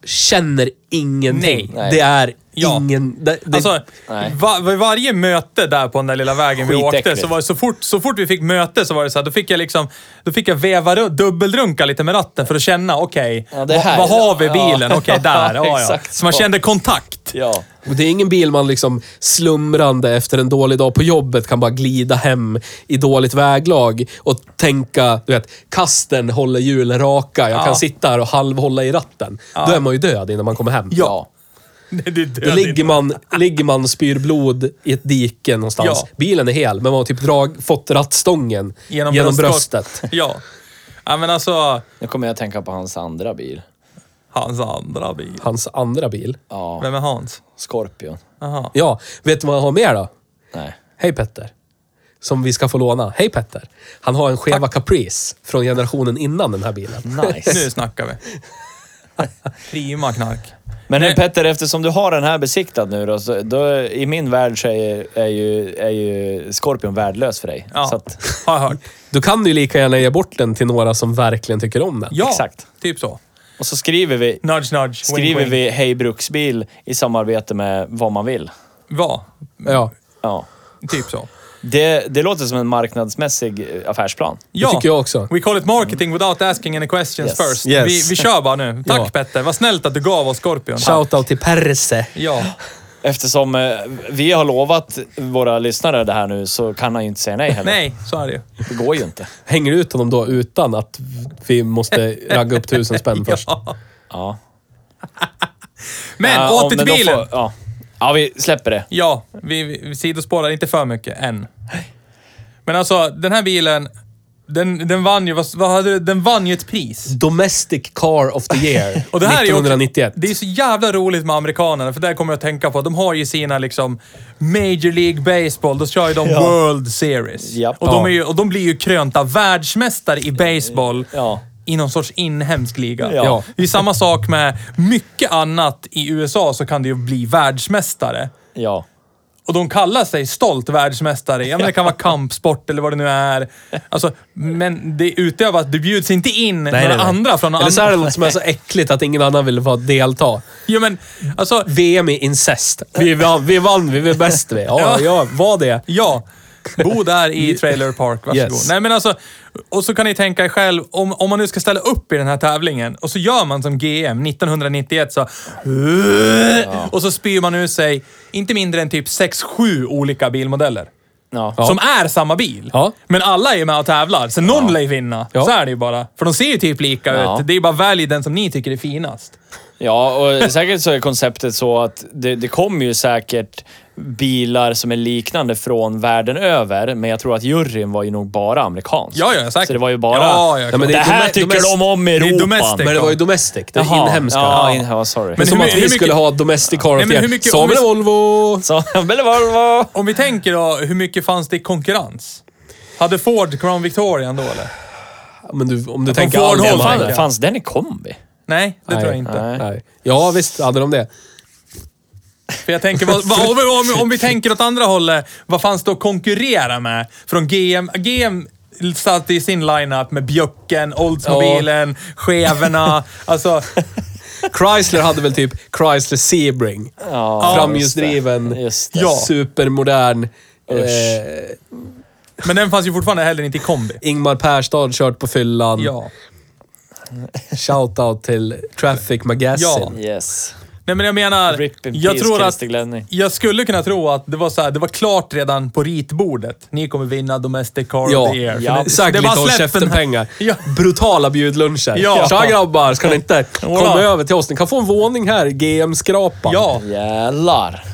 Speaker 3: känner ingenting.
Speaker 2: Nej.
Speaker 3: Det är
Speaker 1: Ja.
Speaker 3: ingen... Det, det,
Speaker 1: Alltså,
Speaker 2: Nej.
Speaker 1: va, vid varje möte där på den där lilla vägen vi åkte,
Speaker 2: Skitäckligt.
Speaker 1: så, var det så, fort, så fort vi fick möte så var det så här, då fick jag liksom, då fick jag veva runt, dubbelrunka lite med ratten för att känna, okej,
Speaker 2: Ja, det
Speaker 1: va-
Speaker 2: här.
Speaker 1: vad har vi i bilen?
Speaker 2: Ja.
Speaker 1: Okej, där. Ja, ja.
Speaker 2: Exakt
Speaker 1: Så man
Speaker 2: så.
Speaker 1: kände kontakt.
Speaker 2: Ja.
Speaker 3: och det är ingen bil man liksom slumrande efter en dålig dag på jobbet kan bara glida hem i dåligt väglag och tänka, du vet, kasten håller hjulen raka. Jag
Speaker 1: Ja.
Speaker 3: kan sitta här och halvhålla i ratten. Då är man ju död innan man kommer hem.
Speaker 2: Ja.
Speaker 1: Det är död
Speaker 3: Då ligger
Speaker 1: in.
Speaker 3: man, ligger man och spyr blod i ett dike någonstans.
Speaker 1: Ja.
Speaker 3: Bilen är hel, men man har typ drag, fått rattstången genom,
Speaker 1: bröstkort.
Speaker 3: bröstet.
Speaker 1: Ja. ja, men alltså,
Speaker 2: Nu kommer jag att tänka på hans andra bil.
Speaker 1: hans andra bil.
Speaker 3: Hans andra bil.
Speaker 2: Ja.
Speaker 1: Vem är Hans?
Speaker 2: Scorpion.
Speaker 1: Aha.
Speaker 3: Ja, vet du vad han har mer då?
Speaker 2: Nej.
Speaker 3: Hej Petter. Som vi ska få låna. Hej Petter. Han har en skeva Caprice från generationen innan den här bilen.
Speaker 2: Nice.
Speaker 1: Nu snackar vi. Prima knark.
Speaker 2: Men
Speaker 1: Nej.
Speaker 2: nu Petter, eftersom du har den här besiktad nu då, så då i min värld så är, är, ju, är ju Scorpion värdelös för dig.
Speaker 1: Ja,
Speaker 2: Så att,
Speaker 1: har jag hört.
Speaker 3: Du kan ju lika gärna ge bort den till några som verkligen tycker om den.
Speaker 1: Ja,
Speaker 2: Exakt.
Speaker 1: typ så.
Speaker 2: och så skriver vi,
Speaker 1: Nudge, nudge.
Speaker 2: skriver
Speaker 1: wink, wink.
Speaker 2: vi Hej Bruksbil i samarbete med vad man vill.
Speaker 1: Ja,
Speaker 3: Ja,
Speaker 2: Ja.
Speaker 1: Typ så.
Speaker 2: Det, det låter som en marknadsmässig eh, affärsplan.
Speaker 3: tycker jag också.
Speaker 1: We call it marketing without asking any questions
Speaker 2: Yes.
Speaker 1: first.
Speaker 3: Yes.
Speaker 1: Vi, vi kör bara nu. Tack
Speaker 3: Ja.
Speaker 1: Petter, vad snällt att du gav oss Scorpion.
Speaker 3: Shoutout till Perse.
Speaker 1: Ja,
Speaker 2: Eftersom eh, vi har lovat våra lyssnare det här nu så kan han ju inte säga nej heller.
Speaker 1: nej, så är det ju.
Speaker 2: Det går ju inte.
Speaker 3: Hänger du ut honom då utan att vi måste ragga upp tusen spänn först?
Speaker 1: Ja.
Speaker 2: Ja.
Speaker 1: Men
Speaker 2: Ja, om-
Speaker 1: åter till
Speaker 2: men de
Speaker 1: bilen.
Speaker 2: får- ja. ja, vi släpper det.
Speaker 1: Ja, vi, vi vi sidospårar inte för mycket än. Men alltså, den här bilen, den, den vann ju, vad, vad hade du, den vann ju ett pris.
Speaker 3: Domestic Car of the Year
Speaker 1: Och det här Är ju
Speaker 3: 1991.
Speaker 1: också, det är så jävla roligt med amerikanerna, för där kommer jag att tänka på att de har ju sina liksom Major League Baseball, då kör ju de World Series.
Speaker 2: Japp.
Speaker 1: Och, de är ju, och de blir ju krönta världsmästare i baseball
Speaker 2: Ja.
Speaker 1: i någon sorts inhemsk liga.
Speaker 2: Ja. Ja.
Speaker 1: Det är ju samma sak med mycket annat i USA, så kan det ju bli världsmästare.
Speaker 2: Ja.
Speaker 1: Och de kallar sig stolt världsmästare. Ja, men det kan vara kampsport eller vad det nu är. Alltså, men det utövas, det bjuds inte in några andra från
Speaker 3: Eller så är det
Speaker 1: andra...
Speaker 3: något som är så äckligt att ingen annan vill vara delta.
Speaker 1: Jo, men alltså...
Speaker 3: VM i incest. Vi vann, vi, vann, vi var bäst vi. Ja, ja, var det.
Speaker 1: Ja. Bo där i Trailer Park, varsågod.
Speaker 3: Yes.
Speaker 1: Nej, men alltså, och så kan ni tänka er själv, om, om man nu ska ställa upp i den här tävlingen och så gör man som GM 1991 så... "Äh?" Och så spyr man ur sig inte mindre än typ 6-7 olika bilmodeller.
Speaker 2: ja.
Speaker 1: Som är samma bil.
Speaker 3: Ja.
Speaker 1: Men alla är med och tävlar, så någon lär ju vinna.
Speaker 3: Ja.
Speaker 1: Så är det ju bara. För de ser ju typ lika
Speaker 2: Ja.
Speaker 1: ut. Det är ju bara välj den som ni tycker är finast.
Speaker 2: Ja, och säkert så är konceptet så att det, det kommer ju säkert bilar som är liknande från världen över, men jag tror att juryn var ju nog bara amerikansk.
Speaker 1: Ja, ja, säkert.
Speaker 2: Så det var ju bara...
Speaker 1: Ja, ja,
Speaker 2: det,
Speaker 1: klart.
Speaker 3: men det är
Speaker 2: här
Speaker 3: dome-
Speaker 2: tycker
Speaker 3: domest-
Speaker 2: de om i
Speaker 1: det är
Speaker 2: Europa.
Speaker 1: domestic.
Speaker 3: Men det var ju domestic, det
Speaker 2: Jaha.
Speaker 3: inhemska.
Speaker 2: Ja, in, ja sorry.
Speaker 3: Men
Speaker 1: Men
Speaker 3: som
Speaker 1: hur
Speaker 3: att
Speaker 1: mycket-
Speaker 3: vi
Speaker 1: hur mycket-
Speaker 3: skulle ha domestic car
Speaker 1: Nej, men hur
Speaker 3: of
Speaker 1: mycket-
Speaker 3: mycket... Samuel
Speaker 1: om-
Speaker 3: Volvo!
Speaker 2: så, men vad, vad?
Speaker 1: Om vi tänker då, hur mycket fanns det i konkurrens? Hade Ford Crown Victoria då eller?
Speaker 3: Men du, om du tänker
Speaker 1: Ford
Speaker 3: all
Speaker 1: Holm-
Speaker 3: hemma-
Speaker 1: Ja.
Speaker 2: Fan, fanns den i kombi?
Speaker 1: Nej, det
Speaker 3: Nej,
Speaker 1: tror jag inte.
Speaker 2: Nej.
Speaker 3: Nej. Ja, visst hade de det.
Speaker 1: För jag tänker, vad, vad, om, vi- om, om vi tänker åt andra hållet, vad fanns det att konkurrera med från GM? GM satt i sin lineup med Bjöcken, Oldsmobilen, Cheverna. Alltså,
Speaker 3: Chrysler hade väl typ Chrysler Sebring.
Speaker 2: Ja,
Speaker 3: Framhjulsdriven,
Speaker 2: just det.
Speaker 1: Ja.
Speaker 3: supermodern.
Speaker 2: Usch.
Speaker 3: Eh,
Speaker 1: men den fanns ju fortfarande heller inte i kombi.
Speaker 3: Ingmar Perstad kört på fyllan.
Speaker 1: Ja.
Speaker 3: Shoutout till Traffic Magazine.
Speaker 2: Yes.
Speaker 1: Nej men jag menar,
Speaker 2: Rip in
Speaker 1: jag
Speaker 2: peace,
Speaker 1: tror att...
Speaker 2: Christer Glenning.
Speaker 1: Jag skulle kunna tro att det var så här, det var klart redan på ritbordet. Ni kommer vinna Domestic Car of
Speaker 3: Ja,
Speaker 1: the Year. För
Speaker 3: ja.
Speaker 1: ni-
Speaker 3: exakt.
Speaker 1: det
Speaker 3: Lite
Speaker 1: var
Speaker 3: håll
Speaker 1: släppen här.
Speaker 3: käften-pengar.
Speaker 1: Ja.
Speaker 3: Brutala bjudluncher.
Speaker 1: Ja.
Speaker 3: Tja grabbar, ska ni inte komma
Speaker 1: Voilà.
Speaker 3: över till oss? Ni kan få en våning här, GM-skrapan.
Speaker 1: Ja,
Speaker 2: Jävlar.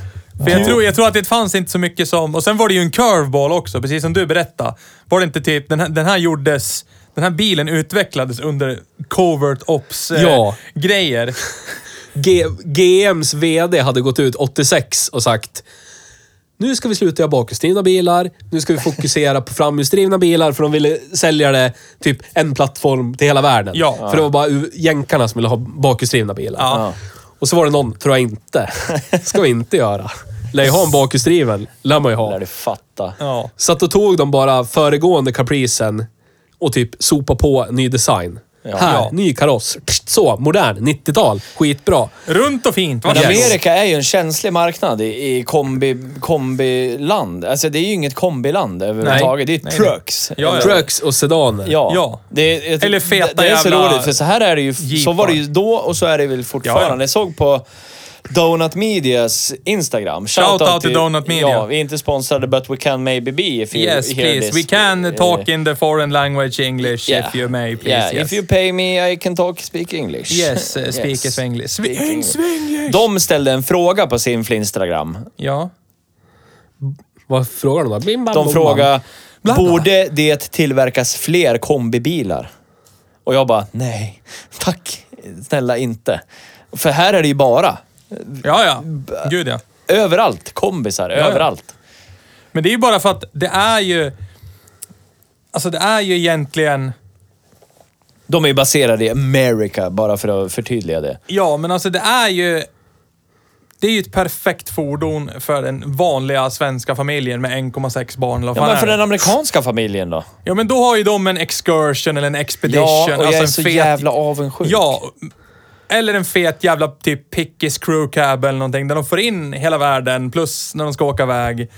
Speaker 1: för jag tror, jag tror att det fanns inte så mycket som... Och sen var det ju en curveball också, precis som du berättade. Var det inte typ, den här, den här gjordes... Den här bilen utvecklades under covert eh,
Speaker 3: Ja.
Speaker 1: ops-grejer.
Speaker 3: G- GMs VD hade gått ut 86 och sagt nu ska vi sluta göra bakhjulsdrivna bilar. Nu ska vi fokusera på framhjulsdrivna bilar för de ville sälja det typ en plattform till hela världen.
Speaker 1: Ja.
Speaker 3: För det var bara u- jänkarna som ville ha bakhjulsdrivna bilar.
Speaker 1: Ja.
Speaker 3: Och så var det någon, tror jag inte, ska vi inte göra. Lär ju ha en bakhjulsdriven, lär man ju ha.
Speaker 2: Lär du fatta.
Speaker 1: Ja.
Speaker 3: Så att då tog de bara föregående capricen och typ sopa på ny design.
Speaker 2: Ja.
Speaker 3: Här,
Speaker 2: Ja.
Speaker 3: ny kaross. Pst, Så, modern, 90-tal. Skitbra.
Speaker 1: Runt och fint.
Speaker 2: Men
Speaker 1: Var det?
Speaker 2: Amerika är ju en känslig marknad i, i kombi, kombiland. Alltså det är ju inget kombiland överhuvudtaget. Det är
Speaker 1: Nej.
Speaker 2: trucks.
Speaker 1: Ja, ja.
Speaker 3: Trucks och sedaner.
Speaker 2: Ja.
Speaker 1: Ja.
Speaker 2: Det, är- jag,
Speaker 1: Eller feta
Speaker 2: Det är så
Speaker 1: jävla
Speaker 2: roligt, för så här är det ju. Så
Speaker 1: jeepar.
Speaker 2: var det ju då och så är det väl fortfarande.
Speaker 1: Ja, ja.
Speaker 2: Jag såg på Donut Medias Instagram.
Speaker 1: Shout out till Donut Media.
Speaker 2: Ja, vi är inte sponsrade, but we can maybe be if you
Speaker 1: Yes,
Speaker 2: hear
Speaker 1: please.
Speaker 2: this.
Speaker 1: We can talk
Speaker 2: Eh,
Speaker 1: in the foreign language English
Speaker 2: yeah.
Speaker 1: if you may, please.
Speaker 2: Yeah,
Speaker 1: yes.
Speaker 2: if you pay me I can talk, speak English.
Speaker 1: Yes, eh, speak
Speaker 2: Yes.
Speaker 1: yes. English.
Speaker 2: Speak English. De ställde en fråga på sin Flinstagram.
Speaker 1: Ja.
Speaker 3: Vad frågar de då? Bim, bam,
Speaker 2: De
Speaker 3: bom,
Speaker 2: frågar,
Speaker 3: bam.
Speaker 2: borde det tillverkas fler kombibilar? Och jag bara, nej, tack, snälla inte. För här är det ju bara,
Speaker 1: Ja, ja. Gud ja.
Speaker 2: överallt, kombisar, överallt.
Speaker 1: Men det är ju bara för att det är ju... Alltså det är ju egentligen...
Speaker 2: De är ju baserade i America, bara för att förtydliga det.
Speaker 1: Ja, men alltså det är ju... Det är ju ett perfekt fordon för den vanliga svenska familjen med 1,6 barn eller vad
Speaker 2: Ja,
Speaker 1: fan
Speaker 2: men
Speaker 1: är
Speaker 2: för
Speaker 1: det?
Speaker 2: den amerikanska familjen då?
Speaker 1: Ja, men då har ju de en excursion eller en expedition.
Speaker 2: Ja, och jag
Speaker 1: alltså
Speaker 2: är
Speaker 1: en
Speaker 2: så
Speaker 1: fet-
Speaker 2: jävla avundsjuk.
Speaker 1: Ja. Eller en fet jävla typ Pickis crew cab eller någonting där de får in hela världen plus när de ska åka iväg.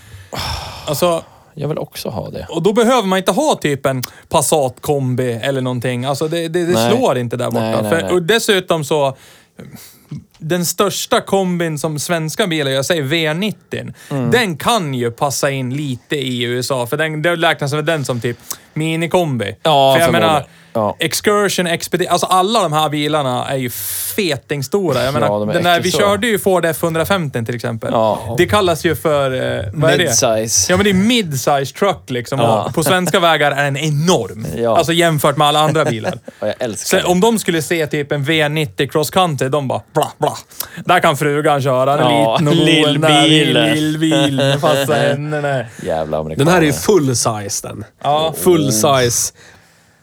Speaker 1: Alltså,
Speaker 2: Jag vill också ha det.
Speaker 1: och då behöver man inte ha typ en Passat kombi eller någonting. Alltså det, det, det
Speaker 2: Nej.
Speaker 1: slår inte där borta.
Speaker 2: Nej, nej,
Speaker 1: För,
Speaker 2: nej.
Speaker 1: Och dessutom så... Den största kombin som svenska bilar jag säger V90.
Speaker 2: Mm.
Speaker 1: Den kan ju passa in lite i USA, för den, det räknas väl den som typ minikombi.
Speaker 2: Ja,
Speaker 1: för jag
Speaker 2: förmodligen.
Speaker 1: menar,
Speaker 2: Ja.
Speaker 1: Excursion, Expedition, alltså alla de här bilarna är ju fetingstora. Jag menar,
Speaker 2: Ja, de är
Speaker 1: den där, vi
Speaker 2: äckelstora.
Speaker 1: körde ju Ford F150 till exempel.
Speaker 2: Ja.
Speaker 1: Det kallas ju för, eh, vad är det?
Speaker 2: Midsize.
Speaker 1: Ja, men det är mid-size truck liksom.
Speaker 2: Ja.
Speaker 1: Och på svenska vägar är den enorm.
Speaker 2: Ja.
Speaker 1: Alltså jämfört med alla andra bilar.
Speaker 2: Och jag älskar
Speaker 1: Så
Speaker 2: det.
Speaker 1: om de skulle se typ en V90 cross country, de bara bla bla. Där kan frugan köra. Den är
Speaker 2: Ja,
Speaker 1: liten och mogen där.
Speaker 2: lillbil.
Speaker 1: Lillbil. Den passar henne. nej.
Speaker 2: Jävla
Speaker 3: Den
Speaker 2: amerikaner.
Speaker 3: här är ju full size den.
Speaker 1: Ja.
Speaker 3: Full size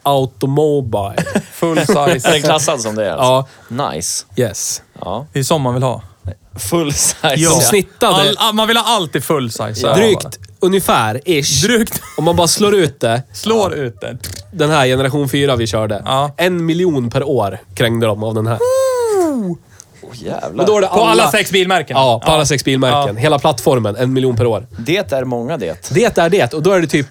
Speaker 3: automobile.
Speaker 1: Full
Speaker 2: Är den
Speaker 1: size.
Speaker 2: klassad som det är alltså? Ja. Nice.
Speaker 3: Yes.
Speaker 2: Ja.
Speaker 1: Det är som man vill ha.
Speaker 2: Full size.
Speaker 3: De snittade
Speaker 1: All, man vill ha allt i full size. så här bara.
Speaker 3: drygt, ungefär, ish.
Speaker 1: Drygt.
Speaker 3: Om man bara slår ut det,
Speaker 1: Slår ut det.
Speaker 3: den här generation 4 vi körde.
Speaker 1: Ja.
Speaker 3: En miljon per år krängde de av den här.
Speaker 2: Åh, jävlar.
Speaker 3: Men då är det
Speaker 1: På alla sex bilmärken.
Speaker 3: Ja, på alla sex bilmärken. Hela plattformen, en miljon per år.
Speaker 2: Det är många det.
Speaker 3: Det är det och då är det typ...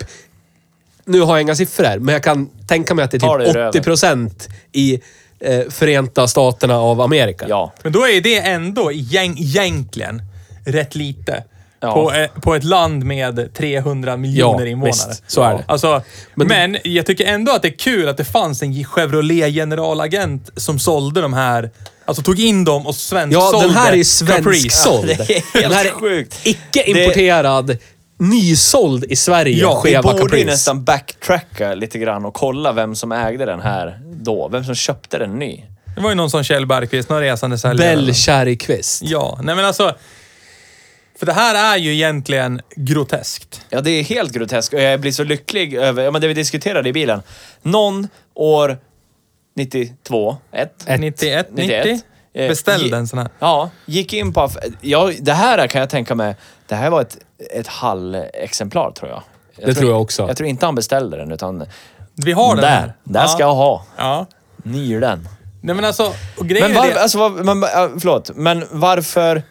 Speaker 3: Nu har jag inga siffror, men jag kan tänka mig att det
Speaker 2: Ta
Speaker 3: är
Speaker 2: det ur
Speaker 3: typ 80 procent i eh, Förenta Staterna av Amerika.
Speaker 2: Ja.
Speaker 1: Men då är det ändå egent- egentligen rätt lite.
Speaker 2: Ja.
Speaker 1: på, eh, på ett land med 300 miljoner
Speaker 3: Ja,
Speaker 1: invånare.
Speaker 3: visst. Så är det.
Speaker 1: Alltså,
Speaker 3: Men
Speaker 1: men,
Speaker 3: det-
Speaker 1: jag tycker ändå att det är kul att det fanns en Chevrolet generalagent som sålde de här. Alltså tog in dem och svensk
Speaker 3: Ja,
Speaker 1: sålde
Speaker 3: den här är
Speaker 1: Caprice.
Speaker 3: svensksåld.
Speaker 2: Det är helt
Speaker 3: den här är
Speaker 2: sjukt.
Speaker 3: icke importerad, nysåld i Sverige,
Speaker 1: Ja,
Speaker 2: Vi
Speaker 3: skeva
Speaker 2: borde ju
Speaker 3: Caprice.
Speaker 2: nästan backtracka lite grann och kolla vem som ägde den här då. Vem som köpte den ny.
Speaker 1: Det var ju någon som Kjell Bergqvist, någon resande säljare.
Speaker 3: Bell Kärrqvist.
Speaker 1: Ja, nej men alltså. För det här är ju egentligen groteskt.
Speaker 2: Ja, det är helt groteskt och jag blir så lycklig över ja, men det vi diskuterade i bilen. Någon år 92, 1.
Speaker 1: 91, 90.
Speaker 2: 91. Eh,
Speaker 1: Beställde
Speaker 2: ge-
Speaker 1: en sån här.
Speaker 2: Ja, gick in på aff- ja, Det här kan jag tänka mig, det här var ett, ett hallexemplar tror jag. jag
Speaker 3: Det tror jag också.
Speaker 2: Jag tror inte han beställde den utan
Speaker 1: Vi har den
Speaker 2: där,
Speaker 1: här.
Speaker 2: där
Speaker 1: ja.
Speaker 2: ska jag ha.
Speaker 1: Ja.
Speaker 2: Nyr den.
Speaker 1: Nej men alltså, och grejen
Speaker 2: Men
Speaker 1: är
Speaker 2: varför,
Speaker 1: det.
Speaker 2: alltså, var, men, ja, förlåt, men varför...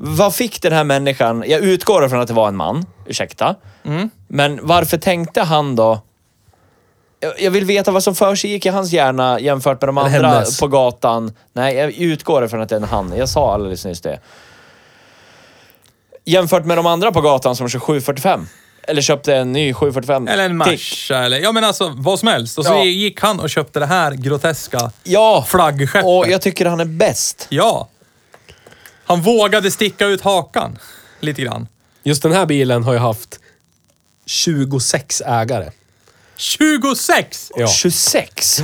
Speaker 2: Vad fick den här människan... Jag utgår ifrån att det var en man, ursäkta.
Speaker 1: Mm.
Speaker 2: Men varför tänkte han då... Jag- Jag vill veta vad som försiggick i hans hjärna jämfört med de
Speaker 3: Eller
Speaker 2: andra
Speaker 3: hennes.
Speaker 2: på gatan. Nej, jag utgår ifrån att det är en han. Jag sa alldeles nyss det. Jämfört med de andra på gatan som kör 745. Eller köpte en ny 745.
Speaker 1: Eller en
Speaker 2: Tick.
Speaker 1: Merca eller, ja men alltså vad som helst. Och så
Speaker 2: Ja.
Speaker 1: gick han och köpte det här groteska
Speaker 2: Ja,
Speaker 1: flaggskeppet.
Speaker 2: och jag tycker han är bäst.
Speaker 1: Ja. Han vågade sticka ut hakan. Lite grann.
Speaker 3: Just den här bilen har jag haft 26 ägare.
Speaker 1: 26!
Speaker 3: Ja.
Speaker 2: 26!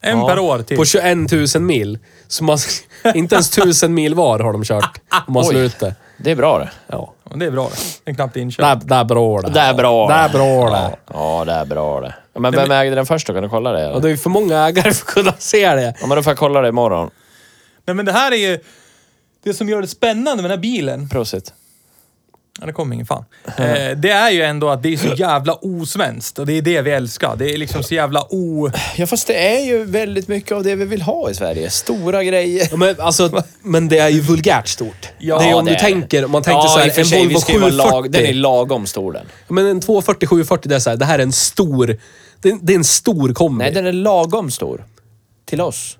Speaker 1: En per år till.
Speaker 3: På
Speaker 2: Typ.
Speaker 3: 21 000 mil. Så man, inte ens 1000 mil var har de kört. Om man
Speaker 2: Oj.
Speaker 3: slår ut det.
Speaker 2: Det är bra det.
Speaker 3: Ja.
Speaker 1: Det är bra det. Den är knappt inköpt.
Speaker 3: Där, där bra det.
Speaker 2: Det är bra.
Speaker 3: Det är bra det.
Speaker 2: Ja, ja det är bra det. Ja, Men vem ägde den först då? Kan du kolla det?
Speaker 3: Ja,
Speaker 2: eller?
Speaker 3: det är ju för många ägare för att kunna se det.
Speaker 2: Ja, men då får jag kolla det imorgon.
Speaker 1: Nej men det här är ju... Det som gör det spännande med den här bilen.
Speaker 2: Prosit.
Speaker 1: Ja, det kommer ingen fan. Eh, det är ju ändå att det är så jävla osvenskt och det är det vi älskar. Det är liksom så jävla o...
Speaker 2: Ja, fast det är ju väldigt mycket av det vi vill ha i Sverige. Stora grejer.
Speaker 3: Ja, men, alltså, men det är ju vulgärt stort.
Speaker 2: Ja,
Speaker 3: det är om
Speaker 2: det
Speaker 3: du
Speaker 2: är
Speaker 3: tänker, om man tänker så
Speaker 2: i
Speaker 3: här,
Speaker 2: och för
Speaker 3: en
Speaker 2: sig, vi
Speaker 3: Volvo
Speaker 2: ska ju vara lag- Den är
Speaker 3: 740.
Speaker 2: lagom stor den.
Speaker 3: Men en 240 740, det är så här, det här är en stor... Det är, det är en stor kombi.
Speaker 2: Nej, den är lagom stor. Till oss.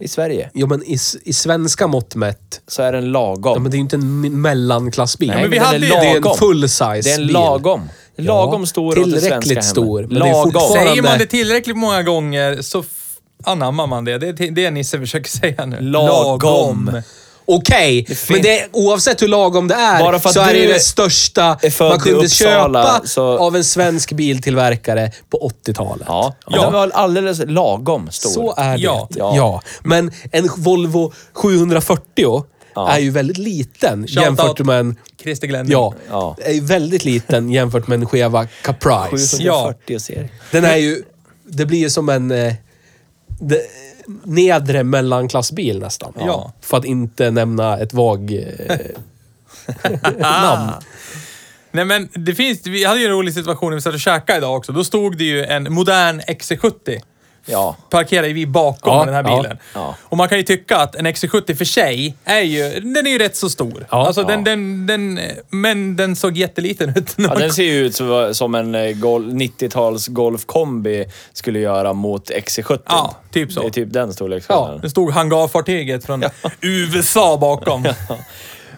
Speaker 2: I Sverige.
Speaker 3: Jo, men i, s- i svenska mått mätt.
Speaker 2: Så är den
Speaker 3: Ja,
Speaker 2: lagom.
Speaker 3: men det är ju inte en mi- mellanklassbil.
Speaker 2: Nej,
Speaker 1: men vi
Speaker 2: den
Speaker 1: hade
Speaker 2: är
Speaker 1: ju-
Speaker 3: det är en
Speaker 2: lagom.
Speaker 3: full-size
Speaker 2: Det är en
Speaker 3: bil.
Speaker 2: lagom. Lagom
Speaker 3: Ja,
Speaker 2: stor åt det
Speaker 3: tillräckligt
Speaker 2: svenska
Speaker 3: stor,
Speaker 2: hemmet.
Speaker 3: men det är fortfarande-
Speaker 1: Säger man det tillräckligt många gånger så f- anammar man det. Det är ti- det Nisse försöker säga nu.
Speaker 2: Lagom.
Speaker 3: Okej,
Speaker 2: finns-
Speaker 3: men det, är- oavsett hur lagom det är
Speaker 2: Bara för att
Speaker 3: så är det ju
Speaker 2: du
Speaker 3: det största
Speaker 2: är född
Speaker 3: man
Speaker 2: i
Speaker 3: kunde
Speaker 2: Uppsala,
Speaker 3: köpa
Speaker 2: så-
Speaker 3: av en svensk biltillverkare på 80-talet.
Speaker 2: Ja, ja.
Speaker 1: Ja.
Speaker 2: Den var alldeles lagom stor.
Speaker 3: Så är det.
Speaker 1: Ja.
Speaker 3: Ja.
Speaker 2: Ja.
Speaker 3: Men en Volvo 740
Speaker 2: Ja.
Speaker 3: är ju väldigt liten
Speaker 1: Shout
Speaker 3: jämfört
Speaker 1: out.
Speaker 3: med en...
Speaker 1: Christer Glenning.
Speaker 3: Ja,
Speaker 2: Ja.
Speaker 3: är ju väldigt liten jämfört med en skeva Caprice.
Speaker 2: 740 serie.
Speaker 3: Den är ju... Det blir ju som en... eh, de- nedre mellanklassbil nästan.
Speaker 1: Ja.
Speaker 3: För att inte nämna ett vag... eh, namn.
Speaker 1: Ah. Nej men det finns, vi hade ju en rolig situation när vi satt och käkade idag också. Då stod det ju en modern XC70.
Speaker 2: Ja.
Speaker 1: Parkerade vi bakom
Speaker 3: Ja,
Speaker 1: den här
Speaker 3: ja,
Speaker 1: bilen.
Speaker 2: ja.
Speaker 1: Och man kan ju tycka att en XC70 för sig är ju, den är ju rätt så stor.
Speaker 3: Ja,
Speaker 1: alltså Den,
Speaker 2: ja.
Speaker 1: den, den, men den såg jätteliten ut.
Speaker 2: Ja, den ser ju ut som- som en eh, gol- 90-tals golfkombi skulle göra mot XC70.
Speaker 1: Ja, typ så.
Speaker 2: Det är typ den storleksskillnaden.
Speaker 1: Det stod hangarfartyget från USA bakom.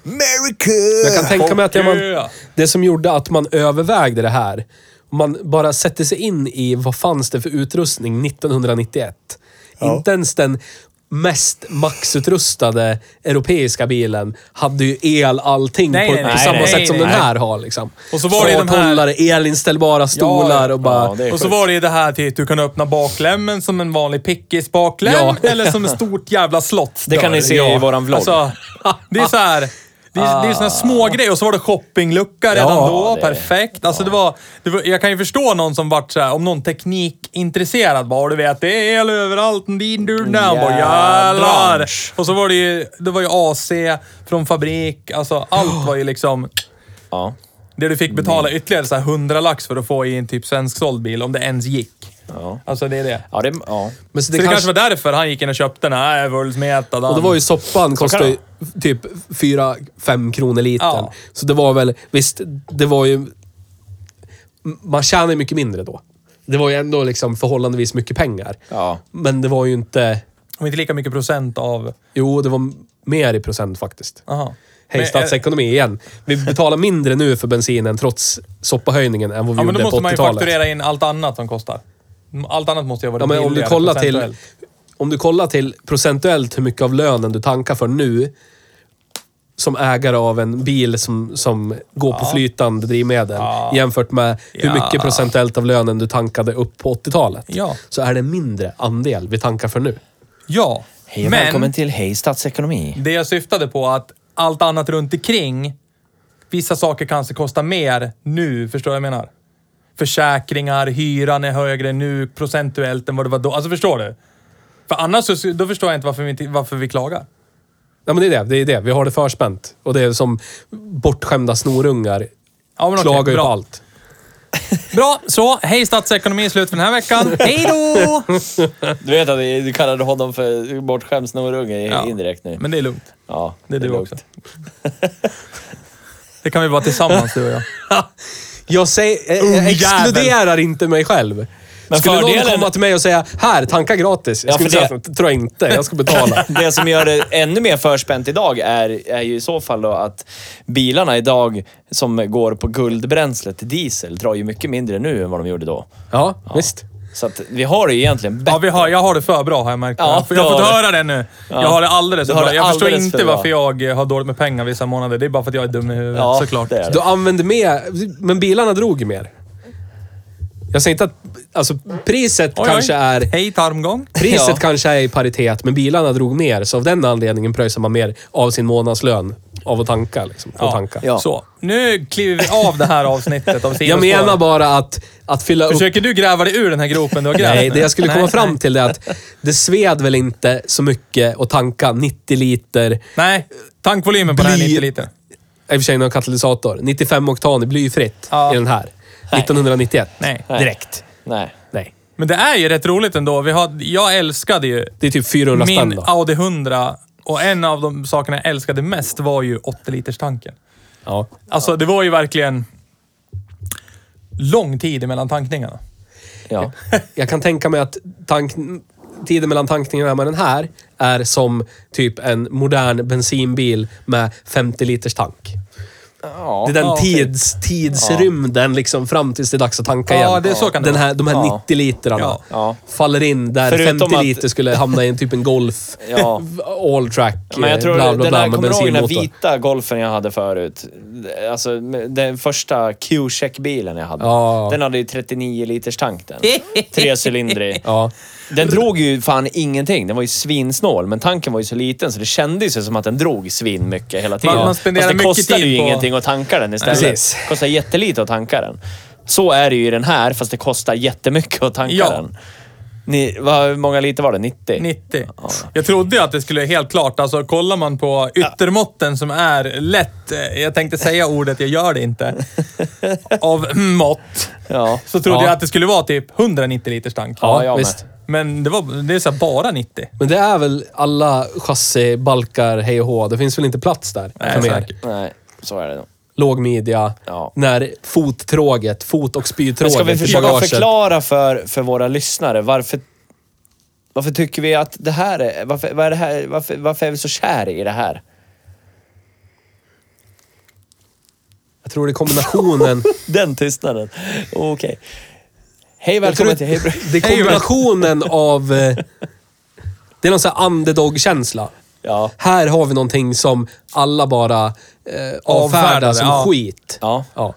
Speaker 2: America!
Speaker 3: Jag
Speaker 1: Eh,
Speaker 3: kan tänka mig att det, man,
Speaker 1: Okej.
Speaker 3: det som gjorde att man övervägde det här, om man bara sätter sig in i vad fanns det för utrustning 1991. Inte ens den mest maxutrustade europeiska bilen hade ju el allting
Speaker 1: Nej,
Speaker 3: på,
Speaker 1: nej,
Speaker 3: på
Speaker 1: nej,
Speaker 3: samma
Speaker 1: nej,
Speaker 3: sätt som
Speaker 1: nej.
Speaker 3: den här har. Liksom.
Speaker 1: Och så var det ju de här-
Speaker 3: Farthållare, elinställbara stolar och bara...
Speaker 2: Ja, det är
Speaker 1: Och så
Speaker 2: sjukt.
Speaker 1: var det ju det här till att du kan öppna baklämmen som en vanlig pickis baklem
Speaker 3: Ja.
Speaker 1: eller som ett stort jävla slott.
Speaker 2: Det kan ni se i våran vlogg. Ah.
Speaker 1: Alltså, det är så här. Det är, det är såna små grejer och så var det shoppinglucka redan
Speaker 2: Ja,
Speaker 1: då.
Speaker 2: det-
Speaker 1: Perfekt. Alltså det, var, det var, jag kan ju förstå någon som vart så här, om någon teknikintresserad bara, "Och du vet, det är el överallt, din du där. Bara,
Speaker 2: Jädrar.
Speaker 1: Jävlar! Och så var det ju, det var ju AC från fabrik, alltså allt var ju liksom...
Speaker 2: Ja.
Speaker 1: Det du
Speaker 3: Mm.
Speaker 1: fick betala ytterligare så här 100 lax för att få i en typ svensksåld bil, om det ens gick.
Speaker 2: Ja.
Speaker 1: Alltså det är det.
Speaker 2: Ja, det, ja.
Speaker 3: Men så
Speaker 1: Det,
Speaker 3: det
Speaker 1: så det
Speaker 3: kanske,
Speaker 1: kanske var därför han gick in och köpte den här vulsmetad.
Speaker 3: och det var ju soppan kostade ju typ 4-5 kronor liten.
Speaker 1: Ja.
Speaker 3: Så det var väl, visst, det var ju... Man tjänade ju mycket mindre då. Det var ju ändå liksom förhållandevis mycket pengar.
Speaker 2: Ja.
Speaker 3: Men det var ju inte...
Speaker 1: Om inte lika mycket procent av...
Speaker 3: Jo, det var mer i procent faktiskt.
Speaker 1: Aha.
Speaker 3: Hej
Speaker 1: Men, eh,
Speaker 3: statsekonomi igen. Vi betalar mindre nu för bensinen trots soppahöjningen än vad vi
Speaker 1: Ja, men då
Speaker 3: gjorde på
Speaker 1: måste man ju
Speaker 3: 80-talet.
Speaker 1: fakturera in allt annat som kostar. Allt annat måste ju vara
Speaker 3: Ja, men om du
Speaker 1: billigare
Speaker 3: kollar till...
Speaker 1: procentuellt.
Speaker 3: Om du kollar till procentuellt hur mycket av lönen du tankar för nu som ägare av en bil som, som går på flytande drivmedel jämfört med hur
Speaker 1: Ja.
Speaker 3: mycket procentuellt av lönen du tankade upp på 80-talet.
Speaker 1: Ja.
Speaker 3: Så är det en mindre andel vi tankar för nu.
Speaker 1: Ja,
Speaker 2: Hej och välkommen
Speaker 1: men
Speaker 2: till Hej Statsekonomi.
Speaker 1: det jag syftade på att allt annat runt omkring, vissa saker kanske kostar mer nu, förstår jag vad jag menar? Försäkringar, hyran är högre nu procentuellt än vad det var då. Alltså förstår du? För annars så, då förstår jag inte varför vi, inte- varför vi klagar.
Speaker 3: Ja, men det är det. Det är det. Vi har det förspänt. Och det är som bortskämda snorungar.
Speaker 1: Ja, men okej,
Speaker 3: Klagar ju på
Speaker 1: bra.
Speaker 3: allt.
Speaker 1: Bra, så hej statsekonomi är slut för den här veckan. Hej då!
Speaker 2: Du vet att du kallade honom för bortskämd snorunge
Speaker 1: Ja.
Speaker 2: indirekt nu.
Speaker 1: Men det är lugnt.
Speaker 2: Ja,
Speaker 1: Det är du
Speaker 2: lugnt.
Speaker 1: också. Det kan vi vara tillsammans du och jag.
Speaker 3: Jag säger, eh,
Speaker 1: Ungjävel.
Speaker 3: exkluderar inte mig själv.
Speaker 2: Men
Speaker 3: skulle någon
Speaker 2: fördelen-
Speaker 3: komma till mig och säga “Här, tanka gratis”. Jag
Speaker 2: Ja,
Speaker 3: skulle
Speaker 2: för
Speaker 3: säga
Speaker 2: det-
Speaker 3: “Det tror jag inte. Jag ska betala”.
Speaker 2: Det som gör det ännu mer förspänt idag är, är ju i så fall då att bilarna idag som går på guldbränslet diesel drar ju mycket mindre nu än vad de gjorde då.
Speaker 3: Ja, visst.
Speaker 2: Så att vi har det ju egentligen bättre.
Speaker 1: Ja, vi har, jag har det för bra har jag märkt.
Speaker 2: Ja,
Speaker 1: Ja, för jag har
Speaker 2: det
Speaker 1: fått
Speaker 2: har du.
Speaker 1: höra det nu. Jag har det alldeles för
Speaker 2: Du har
Speaker 1: bra.
Speaker 2: det
Speaker 1: Jag förstår
Speaker 2: alldeles
Speaker 1: inte
Speaker 2: för bra.
Speaker 1: varför jag eh, har dåligt med pengar vissa månader. Det är bara för att jag är dum i huvudet
Speaker 2: Ja,
Speaker 1: såklart.
Speaker 2: det är
Speaker 3: Du använde mer, men bilarna drog ju mer. Jag säger inte att... Alltså, priset
Speaker 1: Oj,
Speaker 3: kanske
Speaker 1: oj.
Speaker 3: är...
Speaker 1: Hej tarmgång.
Speaker 3: Priset
Speaker 2: Ja.
Speaker 3: kanske är i paritet, men bilarna drog mer. Så av den anledningen pröjsar man mer av sin månadslön av att tanka. Liksom, för att tanka.
Speaker 2: Ja.
Speaker 1: Så, nu kliver vi av det här avsnittet av
Speaker 3: Jag
Speaker 1: Sidospåren.
Speaker 3: menar bara att, att fylla upp
Speaker 1: Försöker du gräva dig ur den här gropen du har grävt?
Speaker 3: Nej, det jag skulle komma
Speaker 1: Nej,
Speaker 3: fram
Speaker 1: nej.
Speaker 3: till är att det sved väl inte så mycket att tanka 90 liter, i
Speaker 1: Nej, tankvolymen på den här
Speaker 3: Bli-
Speaker 1: 90 liter.
Speaker 3: och för sig någon katalysator, 95 oktan i blyfritt
Speaker 1: Ja.
Speaker 3: i den här. 1991.
Speaker 1: Nej.
Speaker 3: Direkt.
Speaker 2: Nej.
Speaker 3: Nej.
Speaker 1: Men det är ju rätt roligt ändå. Vi har, jag älskade ju
Speaker 3: Det är typ 400 spänn
Speaker 1: min
Speaker 3: då.
Speaker 1: Audi 100 och en av de sakerna jag älskade mest var ju 80 liters tanken.
Speaker 3: Ja.
Speaker 1: Alltså det var ju verkligen lång tid mellan tankningarna.
Speaker 2: Ja.
Speaker 3: Jag kan tänka mig att tank, tiden mellan tankningarna med den här är som typ en modern bensinbil med 50 liters tank.
Speaker 2: Ja.
Speaker 3: Det är den
Speaker 1: Ja, okej.
Speaker 3: tids, tidsrymden liksom fram tills det är dags att tanka
Speaker 1: Ja,
Speaker 3: igen.
Speaker 1: det- så kan det
Speaker 3: den
Speaker 1: vara.
Speaker 3: här, de här
Speaker 2: Ja.
Speaker 3: 90 litrarna
Speaker 1: Ja.
Speaker 2: Ja.
Speaker 3: faller in där
Speaker 2: Förutom
Speaker 3: 50
Speaker 2: att-
Speaker 3: liter skulle hamna i en typ en golf
Speaker 2: Ja.
Speaker 3: all track
Speaker 2: Men jag tror,
Speaker 3: bla
Speaker 2: den
Speaker 3: bla
Speaker 2: här,
Speaker 3: bla med
Speaker 2: kommer du ihåg den här
Speaker 3: bensinmotor.
Speaker 2: vita golfen jag hade förut? Alltså den första Q-check-bilen jag hade.
Speaker 3: Ja.
Speaker 2: Den hade ju 39 liters tank den. Trecylindrig.
Speaker 3: Ja.
Speaker 2: Den drog ju fan ingenting. Den var ju svinsnål, men tanken var ju så liten så det kändes ju som att den drog svin mycket hela tiden.
Speaker 1: Man- man spenderar
Speaker 2: Fast det
Speaker 1: mycket
Speaker 2: kostade
Speaker 1: tid
Speaker 2: ju
Speaker 1: på-
Speaker 2: ingenting att tanka den istället.
Speaker 3: Precis.
Speaker 2: Det kostar jättelite att tanka den. Så är det ju i den här, fast det kostar jättemycket att tanka
Speaker 1: Ja.
Speaker 2: den. Ni, vad, hur många liter var det? 90?
Speaker 1: 90. Jag trodde ju att det skulle helt klart, alltså kollar man på yttermåtten som är lätt, eh, jag tänkte säga ordet, jag gör det inte, av mått,
Speaker 2: Ja.
Speaker 1: så trodde
Speaker 3: Ja.
Speaker 1: jag att det skulle vara typ 190 liters tank.
Speaker 2: Ja,
Speaker 3: Ja,
Speaker 2: jag med.
Speaker 3: visst.
Speaker 1: Men det, var, det är så här bara 90.
Speaker 3: Men det är väl alla chassibalkar hej och hå. Det finns väl inte plats där
Speaker 1: Nej,
Speaker 3: för mer.
Speaker 1: säkert.
Speaker 2: Nej, så är det nog.
Speaker 3: Låg midja,
Speaker 2: Ja.
Speaker 3: när fottråget, fot och
Speaker 2: Men ska vi
Speaker 3: spytråget i
Speaker 2: försöka
Speaker 3: bagaget.
Speaker 2: förklara för, för våra lyssnare varför, varför tycker vi att det här är... Varför, vad är det här varför, varför är vi så kär i det här?
Speaker 3: Jag tror det är kombinationen...
Speaker 2: Den tystnaden. Okej. Hej välkommen till Hej Bro-
Speaker 3: Det är kombinationen av... eh, Det är någon sån här underdog-känsla.
Speaker 2: Ja.
Speaker 3: Här har vi någonting som alla bara eh, avfärdar
Speaker 1: Avfärdade,
Speaker 3: som
Speaker 1: ja.
Speaker 3: skit.
Speaker 2: Ja.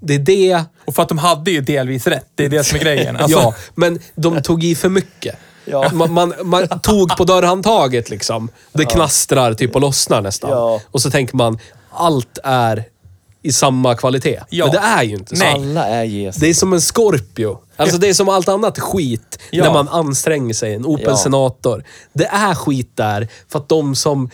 Speaker 3: Det är det.
Speaker 1: Och för att de hade ju delvis rätt, det är det som är grejen. Alltså,
Speaker 3: Ja, men de tog i för mycket.
Speaker 2: Ja.
Speaker 3: Man, man, man tog på dörrhandtaget liksom. Det knastrar typ och lossnar nästan.
Speaker 2: Ja.
Speaker 3: Och så tänker man, allt är i samma kvalitet.
Speaker 1: Ja.
Speaker 3: Men det är ju inte så.
Speaker 1: Nej.
Speaker 2: Alla är Jesus.
Speaker 3: Det är som en Scorpio. Alltså det är som allt annat skit
Speaker 1: Ja.
Speaker 3: när man anstränger sig. En Opel
Speaker 2: Ja.
Speaker 3: Senator. Det är skit där för att de som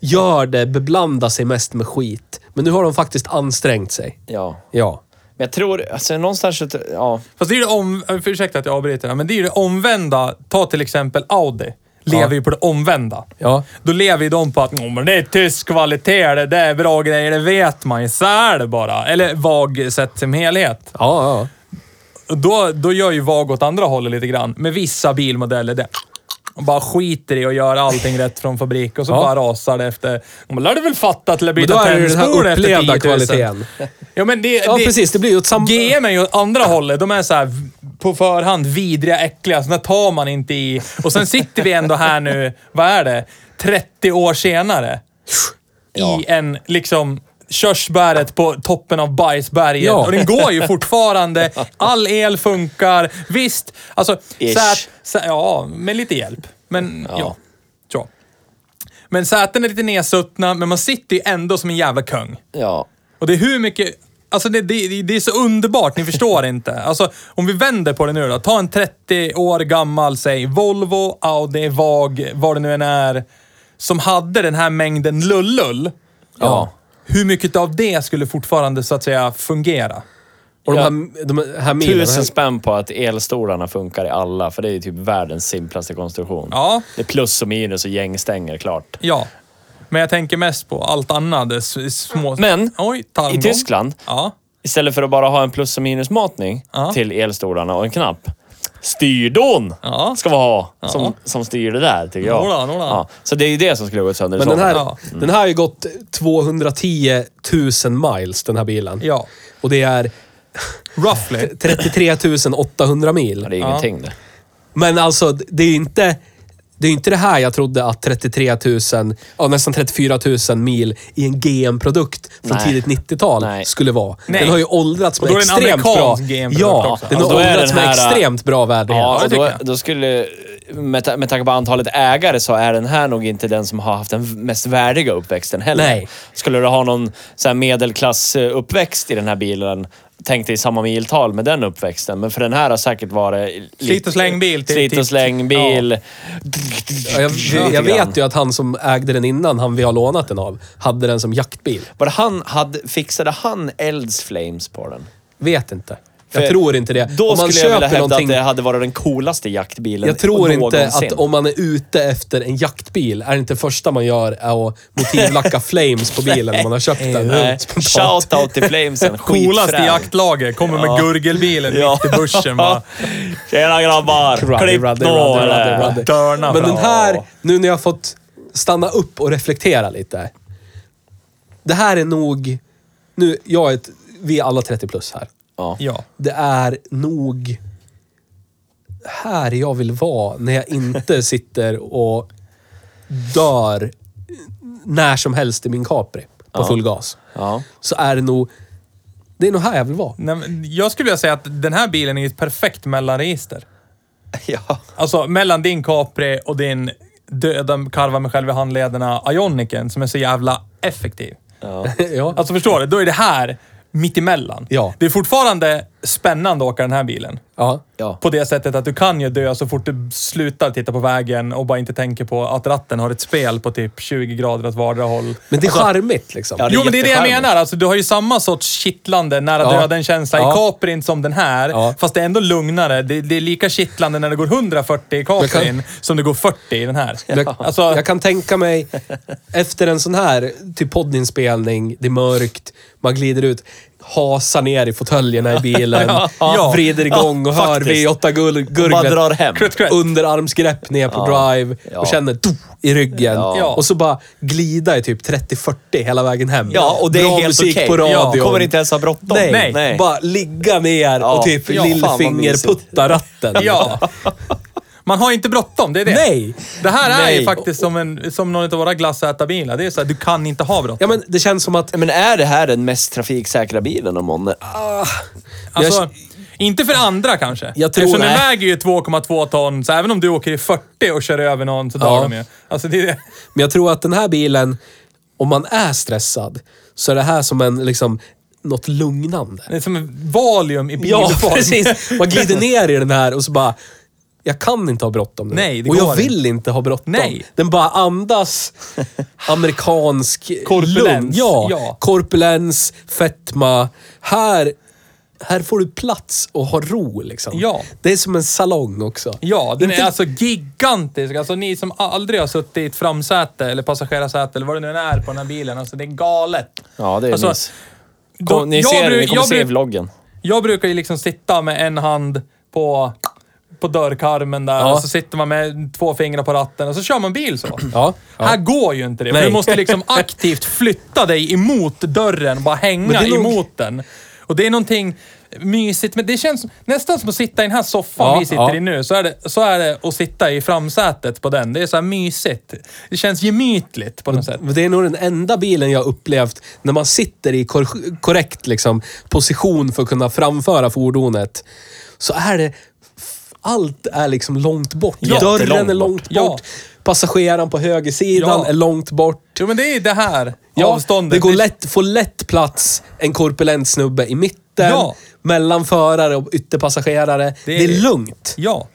Speaker 3: gör det beblandar sig mest med skit. Men nu har de faktiskt ansträngt sig.
Speaker 2: Ja.
Speaker 3: Ja.
Speaker 2: Men jag tror, alltså någonstans... så- Ja.
Speaker 1: Fast det är ju det om... eh, för- Ursäkta att jag avbryter, här, men det är ju det omvända. Ta till exempel Audi. Lever ju på det omvända.
Speaker 3: Ja.
Speaker 1: Då lever ju de på att "Nå, men det är tysk kvalitet, det där är bra grejer, det vet man ju. Så är det bara. Eller VAG sett som helhet.
Speaker 3: Ja, ja.
Speaker 1: Och Då, då gör ju VAG åt andra hållet lite grann. Med vissa bilmodeller det. och bara skiter i och gör allting rätt från fabrik och så
Speaker 4: Ja.
Speaker 1: bara rasar det efter... De lär du väl fatta att det lär
Speaker 3: Men då
Speaker 1: byta
Speaker 3: är det den här
Speaker 1: tändspår efter 10
Speaker 3: upplevda
Speaker 1: 000.
Speaker 3: kvaliteten.
Speaker 1: Ja, men det,
Speaker 3: Ja,
Speaker 1: det,
Speaker 3: precis. Det blir ju ett sam...
Speaker 1: GM är ju åt andra hållet. De är så här v- på förhand vidriga, äckliga. Sådana tar man inte i. Och sen sitter vi ändå här nu, vad är det, 30 år senare. I en, liksom, körsbäret på toppen av bajsberget.
Speaker 3: Ja.
Speaker 1: Och den går ju fortfarande. All el funkar. Visst, alltså...
Speaker 2: Ish.
Speaker 1: Sät, sä, ja, med lite hjälp. Men ja, så. Men säten är lite nedsuttna, men man sitter ju ändå som en jävla kung.
Speaker 2: Ja.
Speaker 1: Och det är hur mycket... Alltså det, det, det är så underbart, ni förstår inte. Alltså om vi vänder på det nu då. Ta en 30 år gammal, säg Volvo, Audi, VAG, vad det nu än är. Som hade den här mängden lullull.
Speaker 3: Ja.
Speaker 1: Hur mycket av det skulle fortfarande så att säga fungera?
Speaker 3: Och de här, de här milen.
Speaker 2: Tusen spänn på att elstolarna funkar i alla, för det är ju typ världens simplaste konstruktion.
Speaker 1: Ja.
Speaker 2: Det är plus och minus och gängstänger, klart.
Speaker 1: Ja. Men jag tänker mest på allt annat. det s- Små...
Speaker 2: Men,
Speaker 1: Oj, tarmgång.
Speaker 2: I Tyskland,
Speaker 1: Ja.
Speaker 2: istället för att bara ha en plus och minusmatning
Speaker 1: Ja.
Speaker 2: till elstolarna och en knapp. Styrdon
Speaker 1: Ja.
Speaker 2: ska vi ha som, som styr det där, tycker jag.
Speaker 1: Några, några.
Speaker 2: Ja, så det är ju det som skulle ha gått sönder i
Speaker 3: Men den
Speaker 2: sommar.
Speaker 3: här,
Speaker 1: Ja.
Speaker 2: Mm.
Speaker 3: den här har ju gått 210 000 miles, den här bilen.
Speaker 1: Ja.
Speaker 3: Och det är
Speaker 1: Roughly.
Speaker 3: 33 800 mil.
Speaker 2: Ja, Det är ingenting det.
Speaker 3: Men alltså, det är ju inte... Det är ju inte det här jag trodde att 33 000, ja, nästan 34 000 mil i en GM-produkt från
Speaker 2: Nej.
Speaker 3: tidigt 90-tal
Speaker 2: Nej.
Speaker 3: skulle vara.
Speaker 1: Nej.
Speaker 3: Den har ju åldrats
Speaker 1: Och
Speaker 3: med
Speaker 1: då är det en
Speaker 3: extremt bra...
Speaker 1: amerikansk GM-produkt
Speaker 3: Ja,
Speaker 1: också.
Speaker 3: den
Speaker 2: Och
Speaker 3: har
Speaker 2: då är den
Speaker 3: åldrats med
Speaker 2: här, äh,
Speaker 3: extremt bra värdighet.
Speaker 2: Ja, och
Speaker 1: det
Speaker 2: då,
Speaker 1: tycker jag.
Speaker 2: då skulle, med, ta- med tanke på antalet ägare så är den här nog inte den som har haft den mest värdiga uppväxten heller.
Speaker 3: Nej.
Speaker 2: Skulle du ha någon så här medelklassuppväxt i den här bilen, tänk dig samma miltal med den uppväxten. Men för den här har säkert varit... lite-
Speaker 1: Slit och slängbil till-
Speaker 2: Slit och slängbil.
Speaker 3: Ja, jag, jag vet ju att han som ägde den innan, han vi har lånat den av, hade den som jaktbil.
Speaker 2: Var det han, hade, fixade han eldsflames på den?
Speaker 3: Vet inte. Jag
Speaker 2: För
Speaker 3: tror inte det.
Speaker 2: Då
Speaker 3: om man
Speaker 2: skulle jag vilja
Speaker 3: köper
Speaker 2: hävda
Speaker 3: någonting...
Speaker 2: att det hade varit den coolaste jaktbilen
Speaker 3: jag tror inte
Speaker 2: någonsin.
Speaker 3: att om man är ute efter en jaktbil, är det inte första man gör är att motivlacka flames på bilen när man har köpt den.
Speaker 2: Nej,
Speaker 3: Spontant.
Speaker 2: Shout-out till Flamesen.
Speaker 1: Coolaste
Speaker 2: skitfrän.
Speaker 1: jaktlaget. Kommer med gurgelbilen
Speaker 2: Ja.
Speaker 1: mitt i buschen va?
Speaker 2: Tjena grabbar!
Speaker 3: Ruddy,
Speaker 2: Klipp
Speaker 3: ruddy,
Speaker 2: då!
Speaker 3: ruddy,
Speaker 2: eller?
Speaker 3: ruddy, ruddy.
Speaker 1: Dörna
Speaker 3: Men den
Speaker 1: bra.
Speaker 3: här, nu när jag har fått stanna upp och reflektera lite. Det här är nog... Nu, jag är ett, vi är alla 30 plus här.
Speaker 2: Ja.
Speaker 1: Ja.
Speaker 3: det är nog här jag vill vara när jag inte sitter och dör när som helst i min Capri på full gas.
Speaker 2: Ja.
Speaker 3: Så är det nog... Det är nog här jag vill vara.
Speaker 1: Nej, men jag skulle vilja säga att den här bilen är ju ett perfekt mellanregister.
Speaker 2: ja.
Speaker 1: Alltså mellan din Capri och din döda karva med själva handlederna Ioniken som är så jävla effektiv.
Speaker 3: ja.
Speaker 1: Alltså förstår du? Då är det här mitt emellan.
Speaker 3: Ja.
Speaker 1: Det är fortfarande spännande att åka den här bilen.
Speaker 3: ja.
Speaker 2: Ja.
Speaker 1: På det sättet att du kan ju dö så fort du slutar titta på vägen och bara inte tänker på att ratten har ett spel på typ 20 grader åt vardera håll.
Speaker 3: Men det är charmigt liksom.
Speaker 2: Ja, det-
Speaker 1: Jo, men det är det jag
Speaker 2: jättecharmigt.
Speaker 1: menar. Alltså, du har ju samma sorts kittlande nära
Speaker 3: Ja.
Speaker 1: döden-känsla
Speaker 3: Ja.
Speaker 1: i Caprin som den här.
Speaker 3: Ja.
Speaker 1: Fast det är ändå lugnare. Det, det är lika kittlande när det går 140 i Caprin
Speaker 3: Men kan-
Speaker 1: som det går 40 i den här.
Speaker 3: Jag,
Speaker 1: Alltså,
Speaker 3: jag kan tänka mig, efter en sån här typ poddinspelning, det är mörkt, man glider ut, hasar ner i fåtöljerna i bilen,
Speaker 1: Ja.
Speaker 3: vrider igång och hör
Speaker 2: faktiskt.
Speaker 3: V8-gurglet.
Speaker 2: Bara drar hem.
Speaker 1: Krutt, krutt.
Speaker 3: underarmsgrepp ner på drive
Speaker 2: Ja.
Speaker 3: och känner do, i ryggen.
Speaker 2: Ja.
Speaker 3: Och så bara glida i typ 30-40 hela vägen hem.
Speaker 2: Ja, och det är
Speaker 3: Bra
Speaker 2: helt
Speaker 3: musik
Speaker 2: okej.
Speaker 3: på
Speaker 2: Ja,
Speaker 3: radion.
Speaker 2: kommer inte ens ha bråttom.
Speaker 3: Nej.
Speaker 1: Nej.
Speaker 3: Bara ligga ner
Speaker 2: Ja.
Speaker 3: och typ
Speaker 2: Ja, fan vad
Speaker 3: lillfingerputta ratten.
Speaker 1: ja. Man har inte bråttom, det är det.
Speaker 3: Nej!
Speaker 1: Det här är
Speaker 2: Nej.
Speaker 1: ju faktiskt som, en, som någon av våra glassätarbilar. Det är så här, du kan inte ha bråttom.
Speaker 3: Ja, men det känns som att...
Speaker 2: Men är det här den mest trafiksäkra bilen om månne?
Speaker 1: Alltså, inte för andra kanske.
Speaker 3: Jag tror-
Speaker 1: Eftersom den
Speaker 3: nej.
Speaker 1: väger ju 2,2 ton, så även om du åker i 40 och kör över någon så dör
Speaker 3: Ja.
Speaker 1: de ju. Alltså, det är det.
Speaker 3: Men jag tror att den här bilen, om man är stressad, så är det här som en, liksom, något lugnande.
Speaker 1: Det är som en valium i bilform.
Speaker 3: Ja, precis. Man glider ner i den här och så bara, jag kan inte ha bråttom nu.
Speaker 1: Nej, det
Speaker 3: Och
Speaker 1: går
Speaker 3: jag vill inte, ha bråttom.
Speaker 1: Nej.
Speaker 3: Den bara andas amerikansk
Speaker 1: Korpulens.
Speaker 3: lugn. Ja,
Speaker 1: Ja.
Speaker 3: korpulens, fetma. Här, här får du plats och ha ro liksom.
Speaker 1: Ja.
Speaker 3: Det är som en salong också.
Speaker 1: Ja, den är
Speaker 3: Inte-
Speaker 1: alltså gigantisk. Alltså ni som aldrig har suttit i ett framsäte eller passagerarsäte eller vad det nu än är på den här bilen. Alltså det är galet.
Speaker 2: Ja, det är
Speaker 1: Alltså,
Speaker 2: nice.
Speaker 1: Då-
Speaker 2: Kom, ni
Speaker 1: jag
Speaker 2: ser det,
Speaker 1: bru-
Speaker 2: ni kommer
Speaker 1: jag
Speaker 2: se i
Speaker 1: bru-
Speaker 2: vloggen.
Speaker 1: Jag brukar ju liksom sitta med en hand på på dörrkarmen där
Speaker 3: Ja.
Speaker 1: och så sitter man med två fingrar på ratten och så kör man bil så.
Speaker 3: Ja, ja.
Speaker 1: Här går ju inte det. För
Speaker 3: Nej.
Speaker 1: du måste liksom aktivt flytta dig emot dörren, bara hänga
Speaker 3: Men det är nog-
Speaker 1: emot den. Och det är någonting mysigt, men det känns som- nästan som att sitta i den här soffan
Speaker 3: Ja,
Speaker 1: vi sitter
Speaker 3: ja.
Speaker 1: i nu. Så är, det, så är det att sitta i framsätet på den. Det är så här mysigt. Det känns gemytligt på något sätt.
Speaker 3: Men Det är nog den enda bilen jag upplevt när man sitter i kor- korrekt liksom, position för att kunna framföra fordonet. Så är det... f- Allt är liksom långt bort.
Speaker 2: Jättelångt
Speaker 3: Dörren är
Speaker 2: bort.
Speaker 3: långt bort.
Speaker 1: Ja.
Speaker 3: Passageraren på högersidan
Speaker 1: Ja.
Speaker 3: är långt bort.
Speaker 1: Jo, men det är det här
Speaker 3: Ja,
Speaker 1: avståndet.
Speaker 3: det går lätt, får lätt plats en korpulent snubbe i mitten.
Speaker 1: Ja.
Speaker 3: Mellan förare och ytterpassagerare. Det är,
Speaker 1: är-
Speaker 3: lugnt.
Speaker 1: Ja.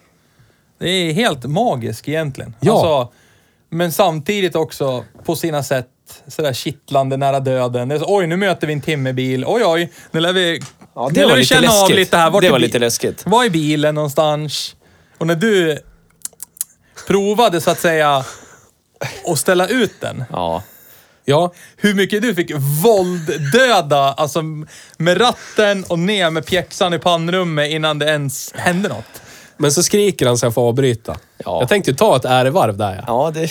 Speaker 1: Det är helt magiskt egentligen.
Speaker 3: Ja.
Speaker 1: Alltså, men samtidigt också på sina sätt sådär kittlande nära döden. Det är så, oj, nu möter vi en timmerbil. Oj, oj. Nu lär vi,
Speaker 2: Ja, det
Speaker 1: nu lär
Speaker 2: var
Speaker 1: vi
Speaker 2: lite
Speaker 1: känna av
Speaker 2: läskigt.
Speaker 1: lite här. Vart
Speaker 2: Det
Speaker 1: är
Speaker 2: var
Speaker 1: bi-
Speaker 2: lite läskigt.
Speaker 1: Var är bilen någonstans? Och när du provade så att säga att ställa ut den.
Speaker 2: Ja.
Speaker 3: Ja.
Speaker 1: Hur mycket du fick vålddöda, alltså med ratten och ner med pjäxan i pannrummet innan det ens hände något.
Speaker 3: Men så skriker han så jag får avbryta.
Speaker 2: Ja.
Speaker 3: Jag tänkte ju ta ett ärevarv där. Ja.
Speaker 2: Ja, det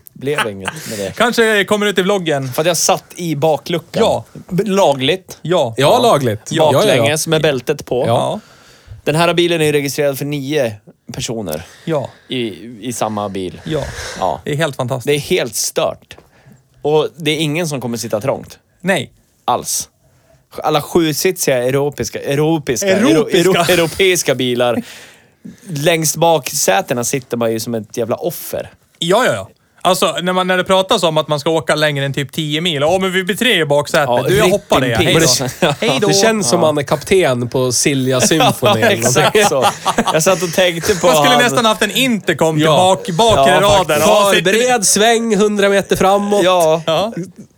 Speaker 2: blev inget med det.
Speaker 1: Kanske kommer ut i vloggen.
Speaker 2: För att jag satt i bakluckan.
Speaker 1: Ja.
Speaker 2: B- Lagligt.
Speaker 1: Ja.
Speaker 3: Ja, lagligt. Ja, ja, ja.
Speaker 2: Baklänges med bältet på.
Speaker 1: Ja.
Speaker 2: Den här bilen är ju registrerad för nio personer
Speaker 1: Ja.
Speaker 2: i, i samma bil.
Speaker 1: Ja.
Speaker 2: Ja.
Speaker 1: Det är helt
Speaker 2: Det
Speaker 1: fantastiskt.
Speaker 2: är helt stört. Och det är ingen som kommer sitta trångt.
Speaker 1: Nej.
Speaker 2: alls. Alla sjusitsiga europeiska, europeiska,
Speaker 1: Europiska.
Speaker 2: euro, euro, europeiska bilar. Längst bak i sätena sitter man ju som ett jävla offer.
Speaker 1: Ja, ja, ja. Alltså, när, man, när det pratas om att man ska åka längre än typ 10 mil. Åh, men vi blir tre i baksätet.
Speaker 2: Ja,
Speaker 1: du, jag
Speaker 2: rip
Speaker 1: hoppar
Speaker 2: in
Speaker 1: det.
Speaker 2: peace.
Speaker 1: Hej då.
Speaker 2: Men det-
Speaker 1: Hej då.
Speaker 3: Det känns som han är kapten på Silja Symphony. eller någonting.
Speaker 2: Exakt så. Jag satt och tänkte på...
Speaker 1: Man skulle
Speaker 2: han-
Speaker 1: nästan haft en intercom till
Speaker 3: Ja.
Speaker 1: bak, bakre
Speaker 2: Ja,
Speaker 1: raden.
Speaker 2: faktiskt.
Speaker 1: Ja, sitter ni-
Speaker 3: Förbered sväng 100 meter framåt.
Speaker 2: Ja.
Speaker 1: Ja.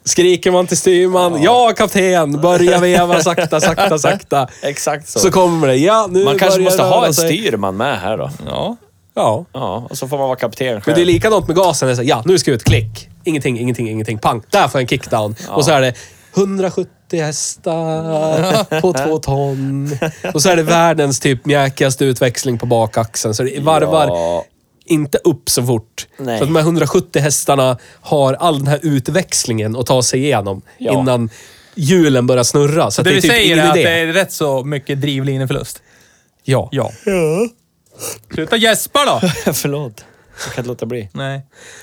Speaker 3: Skriker man till styrman. Ja, kapten! Börja veva sakta, sakta, sakta.
Speaker 2: Exakt så.
Speaker 3: Så kommer det. Ja, nu
Speaker 2: man kanske
Speaker 3: börjar
Speaker 2: måste
Speaker 3: det
Speaker 2: ha
Speaker 3: röra
Speaker 2: en
Speaker 3: sig.
Speaker 2: styrman med här då.
Speaker 1: ja.
Speaker 3: Ja.
Speaker 2: Ja, och så får man vara kapten själv.
Speaker 3: Men det är likadant med gasen. Det är så här, ja, nu ska jag ut. Klick. Ingenting, ingenting, ingenting. Pang. Där får jag en kickdown. Och så är det 170 hästar på två ton. Och så är det världens typ mjäkigaste utväxling på bakaxeln. Så det varvar
Speaker 2: Ja.
Speaker 3: inte upp så fort.
Speaker 2: Nej.
Speaker 3: Så att de här 170 hästarna har all den här utväxlingen att ta sig igenom
Speaker 2: Ja.
Speaker 3: innan hjulen börjar snurra. Så att
Speaker 1: Det,
Speaker 3: det, är
Speaker 1: vi
Speaker 3: typ
Speaker 1: säger
Speaker 3: ingen
Speaker 1: är att
Speaker 3: idé.
Speaker 1: det är rätt så mycket drivlineförlust.
Speaker 3: Ja.
Speaker 1: Ja. Sluta gäspa då.
Speaker 2: Förlåt. Jag kan inte låta bli.
Speaker 1: Nej.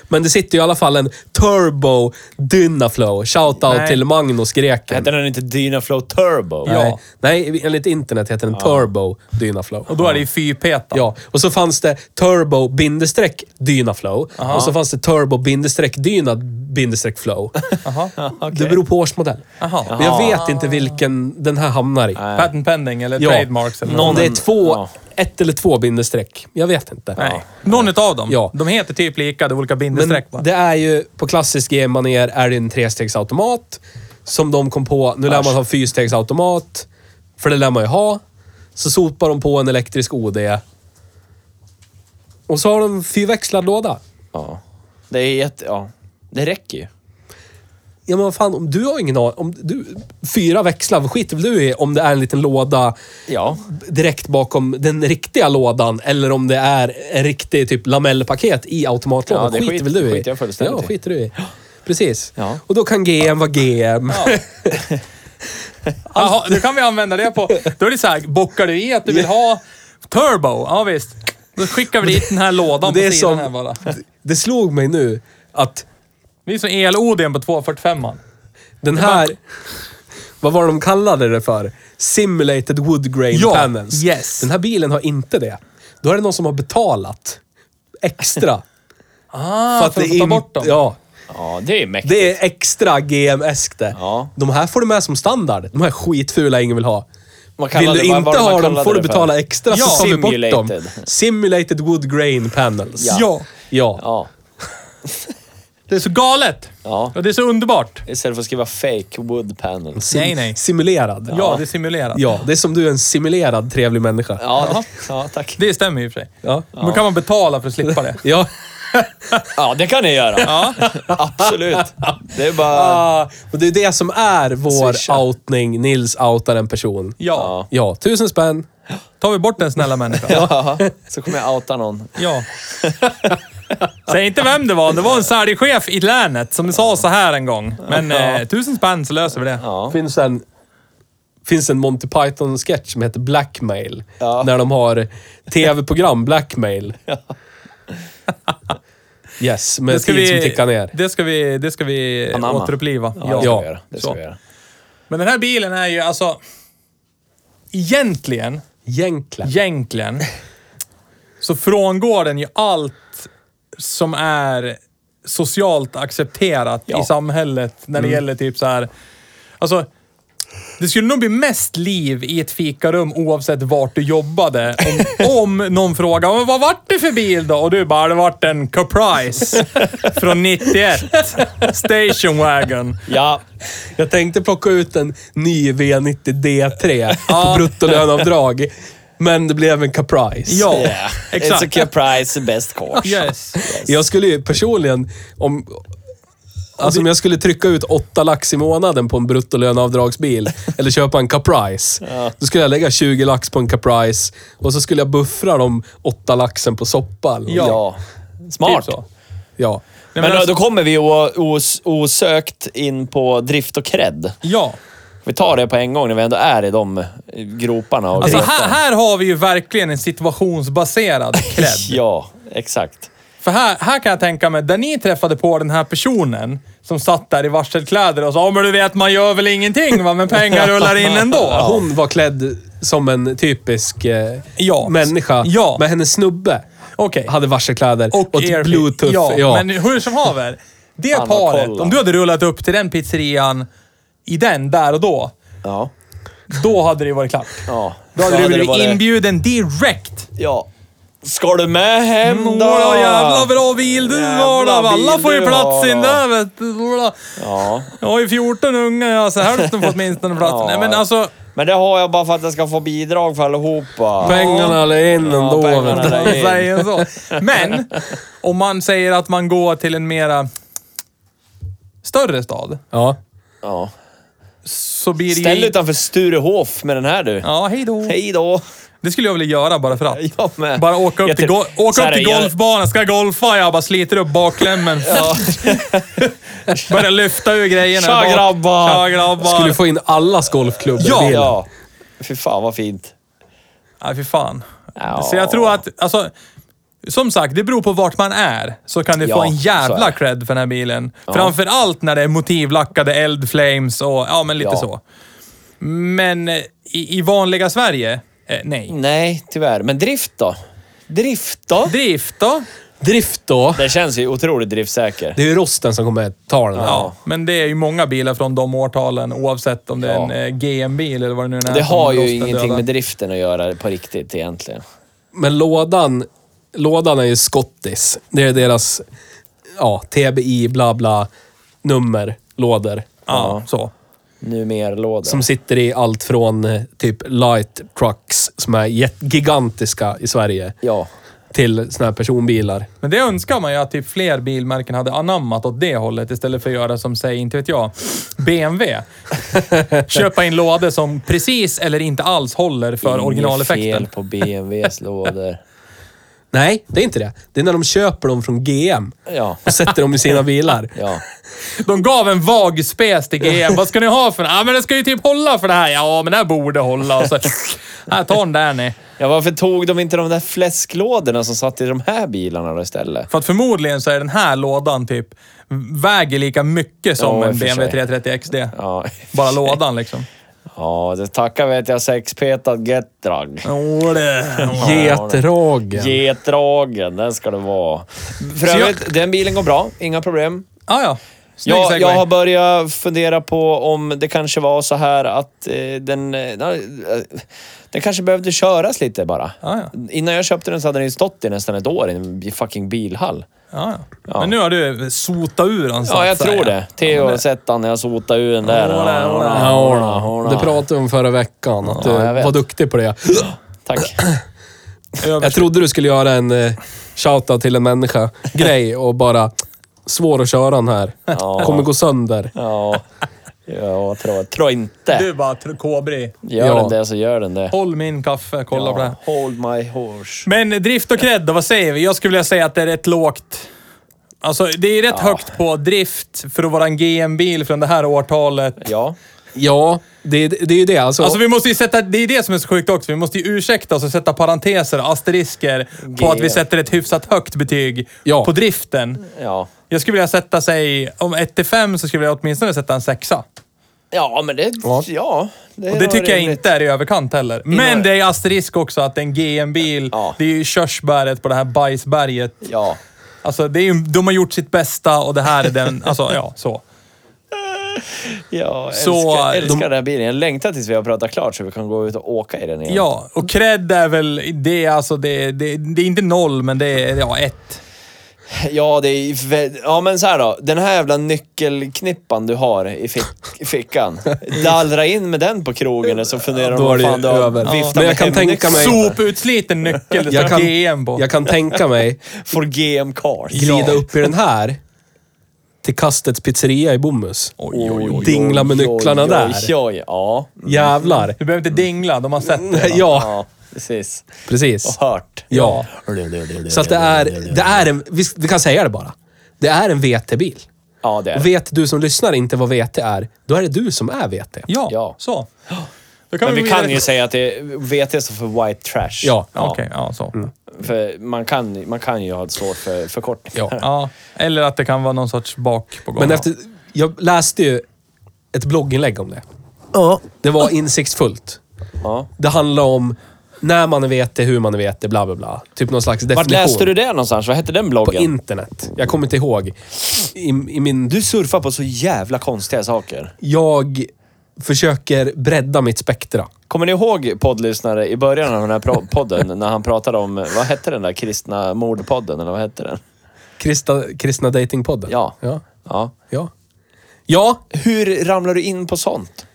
Speaker 3: Men det sitter ju i alla fall en Turbo Dynaflow. Shoutout
Speaker 1: Nej.
Speaker 3: till Magnus greken.
Speaker 2: Hette den inte Dynaflow Turbo?
Speaker 3: Nej. Nej, enligt internet heter den Turbo Dynaflow.
Speaker 1: Och då är det ju fyrpeta.
Speaker 3: Ja, och så fanns det Turbo bindestreck Dynaflow. Och så fanns det Turbo bindestreck Dyna bindestreck Flow.
Speaker 1: Aha.
Speaker 3: Det beror på årsmodell.
Speaker 1: Aha.
Speaker 3: Men jag vet inte vilken den här hamnar i.
Speaker 1: Patent pending eller
Speaker 3: Ja.
Speaker 1: trademarks eller
Speaker 3: Om
Speaker 1: något.
Speaker 3: det är två,
Speaker 2: Ja.
Speaker 3: ett eller två bindestreck. Jag vet inte.
Speaker 1: Nej. Någon utav dem.
Speaker 3: Ja.
Speaker 1: De heter typ lika, det är olika
Speaker 3: Men
Speaker 1: bindestreck bara.
Speaker 3: det är ju, på klassisk G-manér är det en trestegsautomat. Som de kom på, nu lär man ha fyrstegsautomat. För det lär man ju ha. Så sopar de på en elektrisk OD. Och så har de fyrväxlad låda.
Speaker 2: Ja. Det är jätte... Ja. Det räcker ju.
Speaker 3: Ja men vad fan, om du har ingen aning. Om du, fyra växlar, vad skiter väl du i om det är en liten låda
Speaker 2: Ja.
Speaker 3: direkt bakom den riktiga lådan eller om det är en riktig typ lamellpaket i automatlådan.
Speaker 2: Ja, det
Speaker 3: skiter
Speaker 2: skit-
Speaker 3: väl du i?
Speaker 2: skiter jag fullständigt
Speaker 3: Ja,
Speaker 2: i.
Speaker 3: skiter du i. Precis.
Speaker 2: Ja.
Speaker 3: Och då kan GM vara GM.
Speaker 1: Jaha, då kan vi använda det på... Då är det så här, bockar du i att du vill ha turbo? Ja, visst. Då skickar vi dit den här lådan
Speaker 3: det
Speaker 1: på
Speaker 3: är
Speaker 1: sidan
Speaker 3: som-
Speaker 1: här bara.
Speaker 3: Det slog mig nu att
Speaker 1: Vi är som el-ODn på 245an.
Speaker 3: den här... Vad var de kallade det för? Simulated wood grain
Speaker 1: Ja,
Speaker 3: panels.
Speaker 1: yes.
Speaker 3: Den här bilen har inte det. Då är det någon som har betalat extra.
Speaker 1: Ah, för att, få ta
Speaker 3: in-
Speaker 1: bort dem.
Speaker 3: Ja,
Speaker 2: Ja, det är mäktigt.
Speaker 3: Det är extra GM-eskt det.
Speaker 2: Ja.
Speaker 3: De här får du med som standard. De här skitfula ingen vill ha.
Speaker 2: Vad
Speaker 3: Vill
Speaker 2: kallade-
Speaker 3: du
Speaker 2: vad-
Speaker 3: inte
Speaker 2: vad- vad
Speaker 3: ha dem
Speaker 2: kallade
Speaker 3: får du
Speaker 2: det för?
Speaker 3: betala extra
Speaker 2: Ja.
Speaker 3: så tar vi bort dem.
Speaker 2: Simulated.
Speaker 3: Simulated wood grain panels.
Speaker 2: Ja.
Speaker 3: Ja.
Speaker 2: Ja.
Speaker 1: Det är så galet.
Speaker 2: Ja.
Speaker 1: Och det är så underbart.
Speaker 2: Istället för att skriva fake wood panels.
Speaker 3: Sim-
Speaker 1: Nej, nej.
Speaker 3: Simulerad.
Speaker 1: Ja, det är simulerat.
Speaker 3: Ja, det är som du är en simulerad trevlig människa.
Speaker 2: Ja, ja tack.
Speaker 1: Det stämmer ju i och för sig.
Speaker 3: Ja.
Speaker 1: Men då kan man betala för att slippa det.
Speaker 3: Ja.
Speaker 2: Ja, det kan ni göra. Absolut. Det är bara...
Speaker 3: Ah, och det är det som är vår
Speaker 2: Swisha.
Speaker 3: outning. Nils outar en person.
Speaker 1: Ja.
Speaker 2: Ja.
Speaker 3: Ja, tusen spänn.
Speaker 1: Tar vi bort den snälla människan?
Speaker 2: Ja, så kommer jag outa någon.
Speaker 1: Ja. Säg inte vem det var. Det var en säljchef i länet som sa så här en gång. Men eh, tusen spänn så löser vi det.
Speaker 2: Ja.
Speaker 3: Finns en, finns en Monty Python-sketch som heter Blackmail.
Speaker 2: Ja.
Speaker 3: När de har tv-program Blackmail. Yes, med tid som tickar ner.
Speaker 1: det ska vi, det ska vi
Speaker 2: Anamma.
Speaker 1: återuppliva.
Speaker 2: det
Speaker 1: Ja.
Speaker 2: ska
Speaker 3: Ja.
Speaker 2: vi göra. Det ska
Speaker 1: Så.
Speaker 2: vi göra.
Speaker 1: Men den här bilen är ju alltså... Egentligen,
Speaker 3: Jänkla.
Speaker 1: egentligen, så frångår den ju allt som är socialt accepterat i samhället när
Speaker 2: Mm.
Speaker 1: det gäller typ så här... Alltså, det skulle nog bli mest liv i ett fikarum oavsett vart du jobbade. Om, om någon frågar "Men vad vart det för bil då? Och du bara, det vart en Caprice från 91. Station wagon.
Speaker 2: Ja,
Speaker 3: Jag tänkte plocka ut en ny V90 D3 på bruttolöneavdrag. Men det blev en caprice.
Speaker 1: Ja,
Speaker 2: yeah.
Speaker 1: exakt.
Speaker 2: It's a caprice, best course.
Speaker 1: Yes.
Speaker 3: Jag skulle ju personligen, om, alltså om jag skulle trycka ut åtta lax i månaden på en bruttolöneavdragsbil eller köpa en Caprice. Då skulle jag lägga 20 lax på en Caprice och så skulle jag buffra de åtta laxen på soppa. eller något.
Speaker 2: Ja. Smart.
Speaker 1: Typ så.
Speaker 3: ja.
Speaker 1: Nej,
Speaker 2: Men
Speaker 1: men
Speaker 2: då,
Speaker 1: alltså,
Speaker 2: då kommer vi o- os- osökt in på drift och cred.
Speaker 1: ja.
Speaker 2: Vi tar det på en gång när vi ändå är i de groparna. Och
Speaker 1: Alltså
Speaker 2: gretarna.
Speaker 1: här, här har vi ju verkligen en situationsbaserad cred.
Speaker 2: Ja, exakt.
Speaker 1: För här, här kan jag tänka mig, där ni träffade på den här personen som satt där i varselkläder och sa "Ja, men du vet, man gör väl ingenting va, men pengar rullar in ändå.
Speaker 3: Hon var klädd som en typisk eh,
Speaker 1: Ja.
Speaker 3: människa.
Speaker 1: Ja.
Speaker 3: Men hennes snubbe
Speaker 1: Okej.
Speaker 3: hade varselkläder och,
Speaker 1: er-
Speaker 3: ett bluetooth.
Speaker 1: Ja,
Speaker 3: Ja,
Speaker 1: men hur som haver. Det
Speaker 2: Fan, vad
Speaker 1: paret,
Speaker 2: kolla.
Speaker 1: om du hade rullat upp till den pizzerian i den där och då,
Speaker 2: Ja.
Speaker 1: då hade det varit klart.
Speaker 2: ja.
Speaker 1: Då hade du
Speaker 2: det
Speaker 1: blivit
Speaker 2: varit-
Speaker 1: inbjuden direkt.
Speaker 2: Ja. Ska du med hem då?
Speaker 1: Några jävla bra bil du
Speaker 2: Jävla
Speaker 1: har då. Alla
Speaker 2: bil
Speaker 1: får ju
Speaker 2: du
Speaker 1: plats
Speaker 2: har
Speaker 1: in
Speaker 2: då.
Speaker 1: där vet du.
Speaker 2: Ja.
Speaker 1: Jag har ju 14 unga, jag har så hälften fått minst en plats.
Speaker 2: Ja.
Speaker 1: Nej, men alltså,
Speaker 2: Men det har jag bara för att jag ska få bidrag för allihopa.
Speaker 3: pengarna la in
Speaker 2: Ja,
Speaker 3: ändå.
Speaker 2: pengarna
Speaker 3: vet du.
Speaker 2: la in.
Speaker 1: om man säger så. Men, om man säger att man går till en mera större stad,
Speaker 3: Ja.
Speaker 2: Ja.
Speaker 1: så blir det
Speaker 2: Ställ
Speaker 1: ju...
Speaker 2: utanför Sturehof med den här du.
Speaker 1: Ja, hej då.
Speaker 2: Hej då.
Speaker 1: Det skulle jag vilja göra bara för att.
Speaker 2: Jag med.
Speaker 1: Bara åka upp
Speaker 2: Jag
Speaker 1: till,
Speaker 2: tror-
Speaker 1: go-
Speaker 2: så
Speaker 1: åka
Speaker 2: här,
Speaker 1: upp till
Speaker 2: jag-
Speaker 1: golfbanan, ska golfa, jag bara sliter upp bakklämmen. Börjar lyfta ur grejerna.
Speaker 2: Tja,
Speaker 1: bak.
Speaker 2: grabbar.
Speaker 1: Tja grabbar!
Speaker 3: Skulle få in allas golfklubbor i
Speaker 1: Ja.
Speaker 3: bilen.
Speaker 2: Ja. Fy fan vad fint.
Speaker 1: Nej, fy fan.
Speaker 2: Ja.
Speaker 1: Så jag tror att, alltså, som sagt, det beror på vart man är. Så kan du
Speaker 2: Ja,
Speaker 1: få en
Speaker 2: så är
Speaker 1: jävla
Speaker 2: det.
Speaker 1: cred för den här bilen. Framförallt när det är motivlackade eldflames och ja, men lite
Speaker 2: Ja.
Speaker 1: så. Men eh, i, i vanliga Sverige, eh, nej.
Speaker 2: Nej, tyvärr. Men drift då? Drift då?
Speaker 1: Drift då?
Speaker 3: Drift då.
Speaker 2: Den känns ju otroligt driftsäker.
Speaker 3: Det är ju rosten som kommer ta den här.
Speaker 1: Ja, men det är ju många bilar från de årtalen oavsett om det är
Speaker 2: Ja.
Speaker 1: en eh, GM-bil eller vad det nu är.
Speaker 2: Det
Speaker 1: som
Speaker 2: har ju
Speaker 1: rosten
Speaker 2: ingenting
Speaker 1: dödar.
Speaker 2: med driften att göra på riktigt egentligen.
Speaker 3: Men lådan, lådan är ju skottis. Det är deras ja, TBI bla bla nummer, lådor.
Speaker 1: Ja, så.
Speaker 2: Numer-lådor.
Speaker 3: Som sitter i allt från eh, typ light trucks, som är jätt- gigantiska i Sverige,
Speaker 2: Ja.
Speaker 3: till såna här personbilar.
Speaker 1: Men det önskar man ju att typ fler bilmärken hade anammat åt det hållet istället för att göra som, säg, inte vet jag, BMW. Köpa in lådor som precis eller inte alls håller för
Speaker 2: Inget
Speaker 1: originaleffekten.
Speaker 2: fel på BMWs lådor.
Speaker 3: Nej, det är inte det. Det är när de köper dem från GM
Speaker 2: Ja.
Speaker 3: och sätter dem i sina bilar.
Speaker 2: Ja.
Speaker 1: De gav en vag spes till GM. Vad ska ni ha för Ja, men det ska ju typ hålla för det här. Ja, men det här borde hålla. Och så, här, ta den där ni.
Speaker 2: ja, varför tog de inte de där fläsklådorna som satt i de här bilarna då istället?
Speaker 1: För att förmodligen så är den här lådan typ, väger lika mycket som
Speaker 2: Ja, i och
Speaker 1: en
Speaker 2: för
Speaker 1: BMW
Speaker 2: sig.
Speaker 1: 330 XD.
Speaker 2: Ja.
Speaker 1: Bara lådan liksom.
Speaker 2: Ja, det tackar vet jag sexpetad getdrag.
Speaker 1: Åh, det.
Speaker 3: Getragen.
Speaker 2: Getdragen, den ska det vara. För
Speaker 1: Så jag-
Speaker 2: övrigt, den bilen går bra. Inga problem.
Speaker 1: Ah, ja. Snygg
Speaker 2: Jag,
Speaker 1: segway.
Speaker 2: jag har börjat fundera på om det kanske var så här att eh, den, eh, na- eh, den kanske behövde köras lite bara.
Speaker 1: Ah, ja.
Speaker 2: Innan jag köpte den så hade den ju stått i nästan ett år i en bi- fucking bilhall.
Speaker 1: Ja, ja. Men nu har du sotat ur han så
Speaker 2: Ja,
Speaker 1: att
Speaker 2: jag
Speaker 1: säga.
Speaker 2: tror det. Theo har sett han när jag sotade ur den där.
Speaker 1: Ora, ora,
Speaker 3: Ja,
Speaker 2: ora,
Speaker 3: då.
Speaker 2: ora.
Speaker 3: det pratade vi om förra veckan, att eh,
Speaker 2: Ja,
Speaker 3: du
Speaker 2: jag vet.
Speaker 3: var duktig på det.
Speaker 2: Tack.
Speaker 3: Jag trodde du skulle göra en eh, shouta till en människa grej och bara svår att köra den här.
Speaker 2: Ja.
Speaker 3: Kommer gå sönder.
Speaker 2: Ja, ja tror, tror
Speaker 1: Du
Speaker 2: inte.
Speaker 1: bara, tr- kobri.
Speaker 2: Gör
Speaker 3: Ja.
Speaker 2: den det så gör den det.
Speaker 1: Håll min kaffe, kolla på det. här.
Speaker 2: Ja, Hold my horse.
Speaker 1: Men drift och cred då, vad säger vi? Jag skulle vilja säga att det är rätt lågt. Alltså, det är rätt högt på drift för att vara en GM-bil från det här årtalet.
Speaker 2: Ja.
Speaker 3: Ja, det, det är ju det. Alltså,
Speaker 1: Alltså vi måste ju sätta, det är det som är så sjukt också, vi måste ju ursäkta oss och sätta parenteser och asterisker på att vi
Speaker 2: GM.
Speaker 1: sätter ett hyfsat högt betyg
Speaker 3: Ja.
Speaker 1: på driften.
Speaker 2: Ja.
Speaker 1: Jag skulle vilja sätta sig, om 1 till 5 så skulle jag åtminstone sätta en sexa.
Speaker 2: ja, men det... Ja. det,
Speaker 1: Och
Speaker 2: är
Speaker 1: det
Speaker 2: nog
Speaker 1: tycker jag
Speaker 2: rimligt.
Speaker 1: inte är i överkant heller. Men det är asterisk också att det är en GM-bil,
Speaker 2: Ja.
Speaker 1: det är ju körsbäret på det här bajsberget.
Speaker 2: Ja.
Speaker 1: Alltså, det är ju, de har gjort sitt bästa och det här är den... Alltså, ja, så.
Speaker 2: Ja,
Speaker 1: Så,
Speaker 2: älskar, älskar
Speaker 1: de-
Speaker 2: den här bilen. Jag längtar tills vi har pratat klart så vi kan gå ut och åka i den igen.
Speaker 1: Ja, och cred är väl... Det är alltså... Det, det, det är inte noll, men det är ja, ett.
Speaker 2: Ja, det är, vä- ja, men så här då. Den här jävla nyckelknippan du har i fick, fickan. Dallra in med den på krogen så funderar de
Speaker 3: Då är
Speaker 2: vad
Speaker 3: det
Speaker 2: fan du har
Speaker 3: över.
Speaker 2: viftat
Speaker 3: Ja.
Speaker 2: med
Speaker 3: Men jag kan
Speaker 2: hemnyckeln.
Speaker 3: tänka mig-
Speaker 1: Soputsliten nyckel, det
Speaker 3: jag,
Speaker 1: står
Speaker 3: kan,
Speaker 1: GM på.
Speaker 3: jag kan tänka mig
Speaker 2: For GM Cars.
Speaker 3: glida upp i den här till Kastets pizzeria i Bomhus.
Speaker 1: Oj, oj, oj.
Speaker 3: Dingla med
Speaker 2: Oj,
Speaker 3: nycklarna
Speaker 2: oj,
Speaker 3: där.
Speaker 2: Oj, oj, ja.
Speaker 3: Jävlar.
Speaker 1: Du behöver inte dingla, de har sett det. va?
Speaker 3: Ja,
Speaker 2: Ja, precis.
Speaker 3: precis.
Speaker 2: Och hört.
Speaker 3: Ja. Så att det är, det är en, vi, vi kan säga det bara. Det är en VT-bil.
Speaker 2: Ja, det är
Speaker 3: Och
Speaker 2: det.
Speaker 3: vet du som lyssnar inte vad VT är, då är det du som är VT.
Speaker 1: Ja,
Speaker 2: Ja.
Speaker 1: så. Då kan
Speaker 2: Men vi kan
Speaker 1: vidare-
Speaker 2: ju säga att det är VT står för White Trash.
Speaker 3: Ja.
Speaker 1: Ja, Okej, ja, så.
Speaker 2: För man kan, man kan ju ha ett svårt för förkortningar.
Speaker 3: Ja.
Speaker 1: Ja, eller att det kan vara någon sorts bak på gång.
Speaker 3: Men efter, jag läste ju ett blogginlägg om det. Det var insiktsfullt.
Speaker 2: Ja.
Speaker 3: Det handlar om när man är VT, hur man är VT, bla bla bla. Typ någon slags definition.
Speaker 2: Vart läste du det någonstans? Vad hette den
Speaker 3: På
Speaker 2: bloggen?
Speaker 3: internet. Jag kommer inte ihåg. I, i min,
Speaker 2: Du surfar på så jävla konstiga saker.
Speaker 3: jag försöker bredda mitt spektra.
Speaker 2: Kommer ni ihåg poddlyssnare i början av den här pro- podden när han pratade om, vad hette den där kristna mordpodden eller vad hette den?
Speaker 3: Krista, kristna Datingpodden.
Speaker 2: Ja.
Speaker 3: ja.
Speaker 2: Ja.
Speaker 3: Ja. Ja,
Speaker 2: Hur ramlar du in på sånt?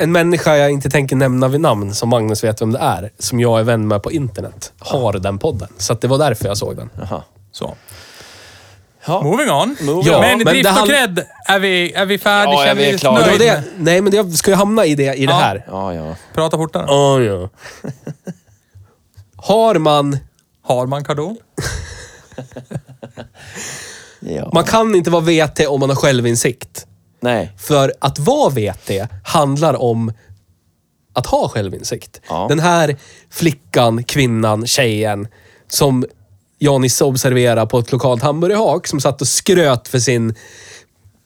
Speaker 3: en människa jag inte tänker nämna vid namn, som Magnus vet vem det är, som jag är vän med på internet, har den podden. Så att det var därför jag såg den.
Speaker 2: Jaha.
Speaker 1: Så.
Speaker 2: Ja.
Speaker 1: Moving on.
Speaker 2: Moving
Speaker 1: men
Speaker 3: on. Men
Speaker 1: drift
Speaker 3: det han-
Speaker 1: och cred, är vi, är vi färdiga?
Speaker 2: Ja, är
Speaker 1: Känner
Speaker 2: vi
Speaker 1: oss
Speaker 2: klara?
Speaker 3: Men
Speaker 1: nöjda
Speaker 3: det var
Speaker 1: med-
Speaker 3: det, nej, men jag ska ju hamna i det i det
Speaker 1: Ja.
Speaker 3: här.
Speaker 2: Ja, ja.
Speaker 1: Prata fortare.
Speaker 3: Ja, ja. Har man...
Speaker 1: Har man kardon?
Speaker 2: ja.
Speaker 3: Man kan inte vara VT om man har självinsikt.
Speaker 2: Nej.
Speaker 3: För att vara VT handlar om att ha självinsikt.
Speaker 2: Ja.
Speaker 3: Den här flickan, kvinnan, tjejen som jag och Nisse observerade på ett lokalt hamburgerhak som satt och skröt för sin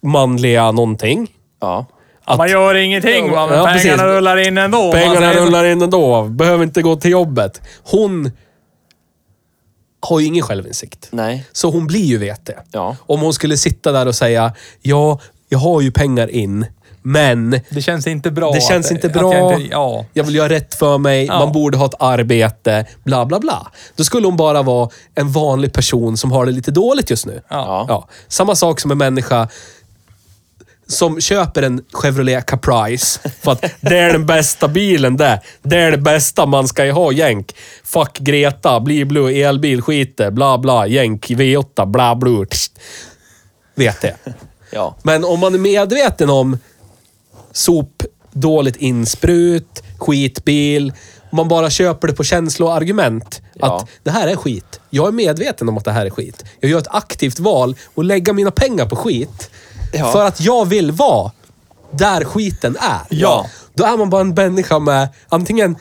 Speaker 3: manliga någonting.
Speaker 2: Ja.
Speaker 3: Att
Speaker 1: Man gör ingenting va, men
Speaker 3: Ja,
Speaker 1: pengarna
Speaker 3: precis.
Speaker 1: rullar in ändå. om man
Speaker 3: pengarna
Speaker 1: säger så.
Speaker 3: rullar in ändå, behöver inte gå till jobbet. Hon har ju ingen självinsikt.
Speaker 2: Nej.
Speaker 3: Så hon blir ju VT.
Speaker 2: Ja.
Speaker 3: Om hon skulle sitta där och säga, ja, jag har ju pengar in, men
Speaker 1: Det känns inte bra.
Speaker 3: det
Speaker 1: att-
Speaker 3: känns inte
Speaker 1: att
Speaker 3: bra.
Speaker 1: jag inte- ja.
Speaker 3: Jag vill göra rätt för mig.
Speaker 1: Ja.
Speaker 3: Man borde ha ett arbete. Bla, bla, bla. Då skulle hon bara vara en vanlig person som har det lite dåligt just nu.
Speaker 2: Ja.
Speaker 3: Samma sak som en människa som köper en Chevrolet Caprice för att det är den bästa bilen det. Det är det bästa man ska ju ha, jänk. Fuck Greta, bli blue, elbil, skiter, bla bla, jänk, V8, bla bla. tsch. Vet det.
Speaker 2: Ja.
Speaker 3: Men om man är medveten om sop, dåligt insprut, skitbil. om Man bara köper det på känsla och argument.
Speaker 2: Ja.
Speaker 3: Att det här är skit. Jag är medveten om att det här är skit. Jag gör ett aktivt val och lägger mina pengar på skit.
Speaker 2: Ja.
Speaker 3: För att jag vill vara där skiten är.
Speaker 1: Ja.
Speaker 3: Då är man bara en människa med antingen,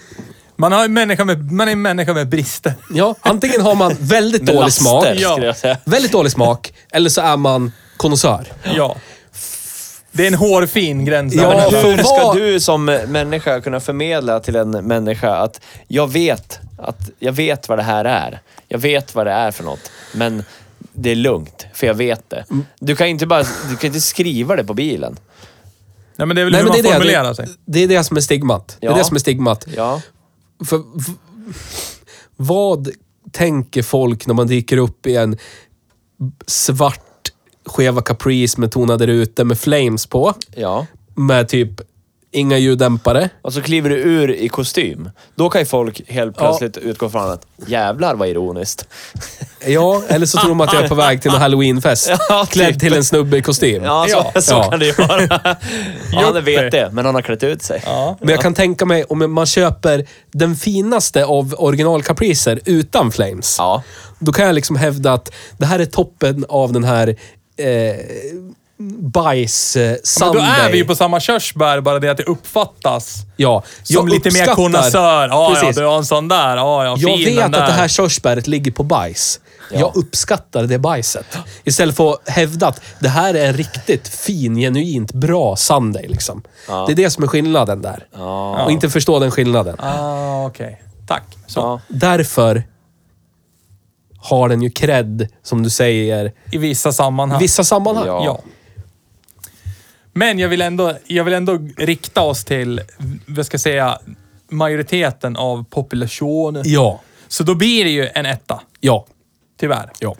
Speaker 1: Man, har en människa med, man är en människa med brister.
Speaker 3: ja, antingen har man väldigt
Speaker 2: Med
Speaker 3: dålig
Speaker 2: laster,
Speaker 3: smak.
Speaker 2: skulle jag säga.
Speaker 3: Väldigt dålig smak. Eller så är man konnässör.
Speaker 1: Ja. Det är en hårfin gräns. där.
Speaker 3: Ja,
Speaker 1: Men
Speaker 3: för
Speaker 2: Hur
Speaker 1: hur-
Speaker 2: ska
Speaker 3: vad-
Speaker 2: du som människa kunna förmedla till en människa att jag vet, att jag vet vad det här är. Jag vet vad det är för något, men det är lugnt, för jag vet det. Du kan inte bara du kan inte skriva det på bilen.
Speaker 1: Nej, men det är väl
Speaker 3: Nej,
Speaker 1: hur
Speaker 3: men
Speaker 1: man
Speaker 3: det, är
Speaker 1: formulerar
Speaker 3: det,
Speaker 1: sig.
Speaker 3: det, det är det som är stigmat. Det
Speaker 2: Ja.
Speaker 3: är det som är stigmat.
Speaker 2: Ja,
Speaker 3: För, v- vad tänker folk när man dyker upp i en svart Cheva Caprice med tonade rutor med flames på?
Speaker 2: ja,
Speaker 3: Med typ inga ljuddämpare.
Speaker 2: Och så kliver du ur i kostym. Då kan ju folk helt plötsligt utgå från att jävlar vad ironiskt.
Speaker 3: Ja, eller så tror de att jag är på väg till en halloweenfest.
Speaker 2: Ja,
Speaker 3: Klädd
Speaker 2: typ.
Speaker 3: till en snubbe i kostym.
Speaker 2: Ja, så, så
Speaker 3: Ja.
Speaker 2: kan det ju vara. ja, han är VT, men han har klätt ut sig. Ja.
Speaker 3: Men jag kan tänka mig om man köper den finaste av originalkapriser utan Flames.
Speaker 2: Ja.
Speaker 3: Då kan jag liksom hävda att det här är toppen av den här eh, bajs eh,
Speaker 1: Men
Speaker 3: Sunday.
Speaker 1: då är vi ju på samma körsbär, bara det att det uppfattas.
Speaker 3: Ja,
Speaker 1: Som
Speaker 3: jag
Speaker 1: lite mer
Speaker 3: uppskattar-
Speaker 1: konnässör. Ja, ja,
Speaker 3: Precis.
Speaker 1: du har en sån där. Ja, ja,
Speaker 3: Jag
Speaker 1: fin
Speaker 3: vet
Speaker 1: den
Speaker 3: att
Speaker 1: där.
Speaker 3: det här körsbäret ligger på bajs. Jag uppskattar det bajset. Istället för att hävda att det här är en riktigt fin, genuint bra Sunday. Liksom. Det är det som är skillnaden där. Och inte förstå den skillnaden.
Speaker 1: Ah, okej. Tack. Så.
Speaker 3: Därför har den ju cred, som du säger,
Speaker 1: I vissa sammanhang.
Speaker 3: vissa sammanhang.
Speaker 2: Ja.
Speaker 1: Ja. Men jag vill, ändå, jag vill ändå rikta oss till, vad ska jag säga, majoriteten av populationen.
Speaker 3: Ja.
Speaker 1: Så då blir det ju en etta,
Speaker 3: Ja.
Speaker 1: tyvärr.
Speaker 3: Ja.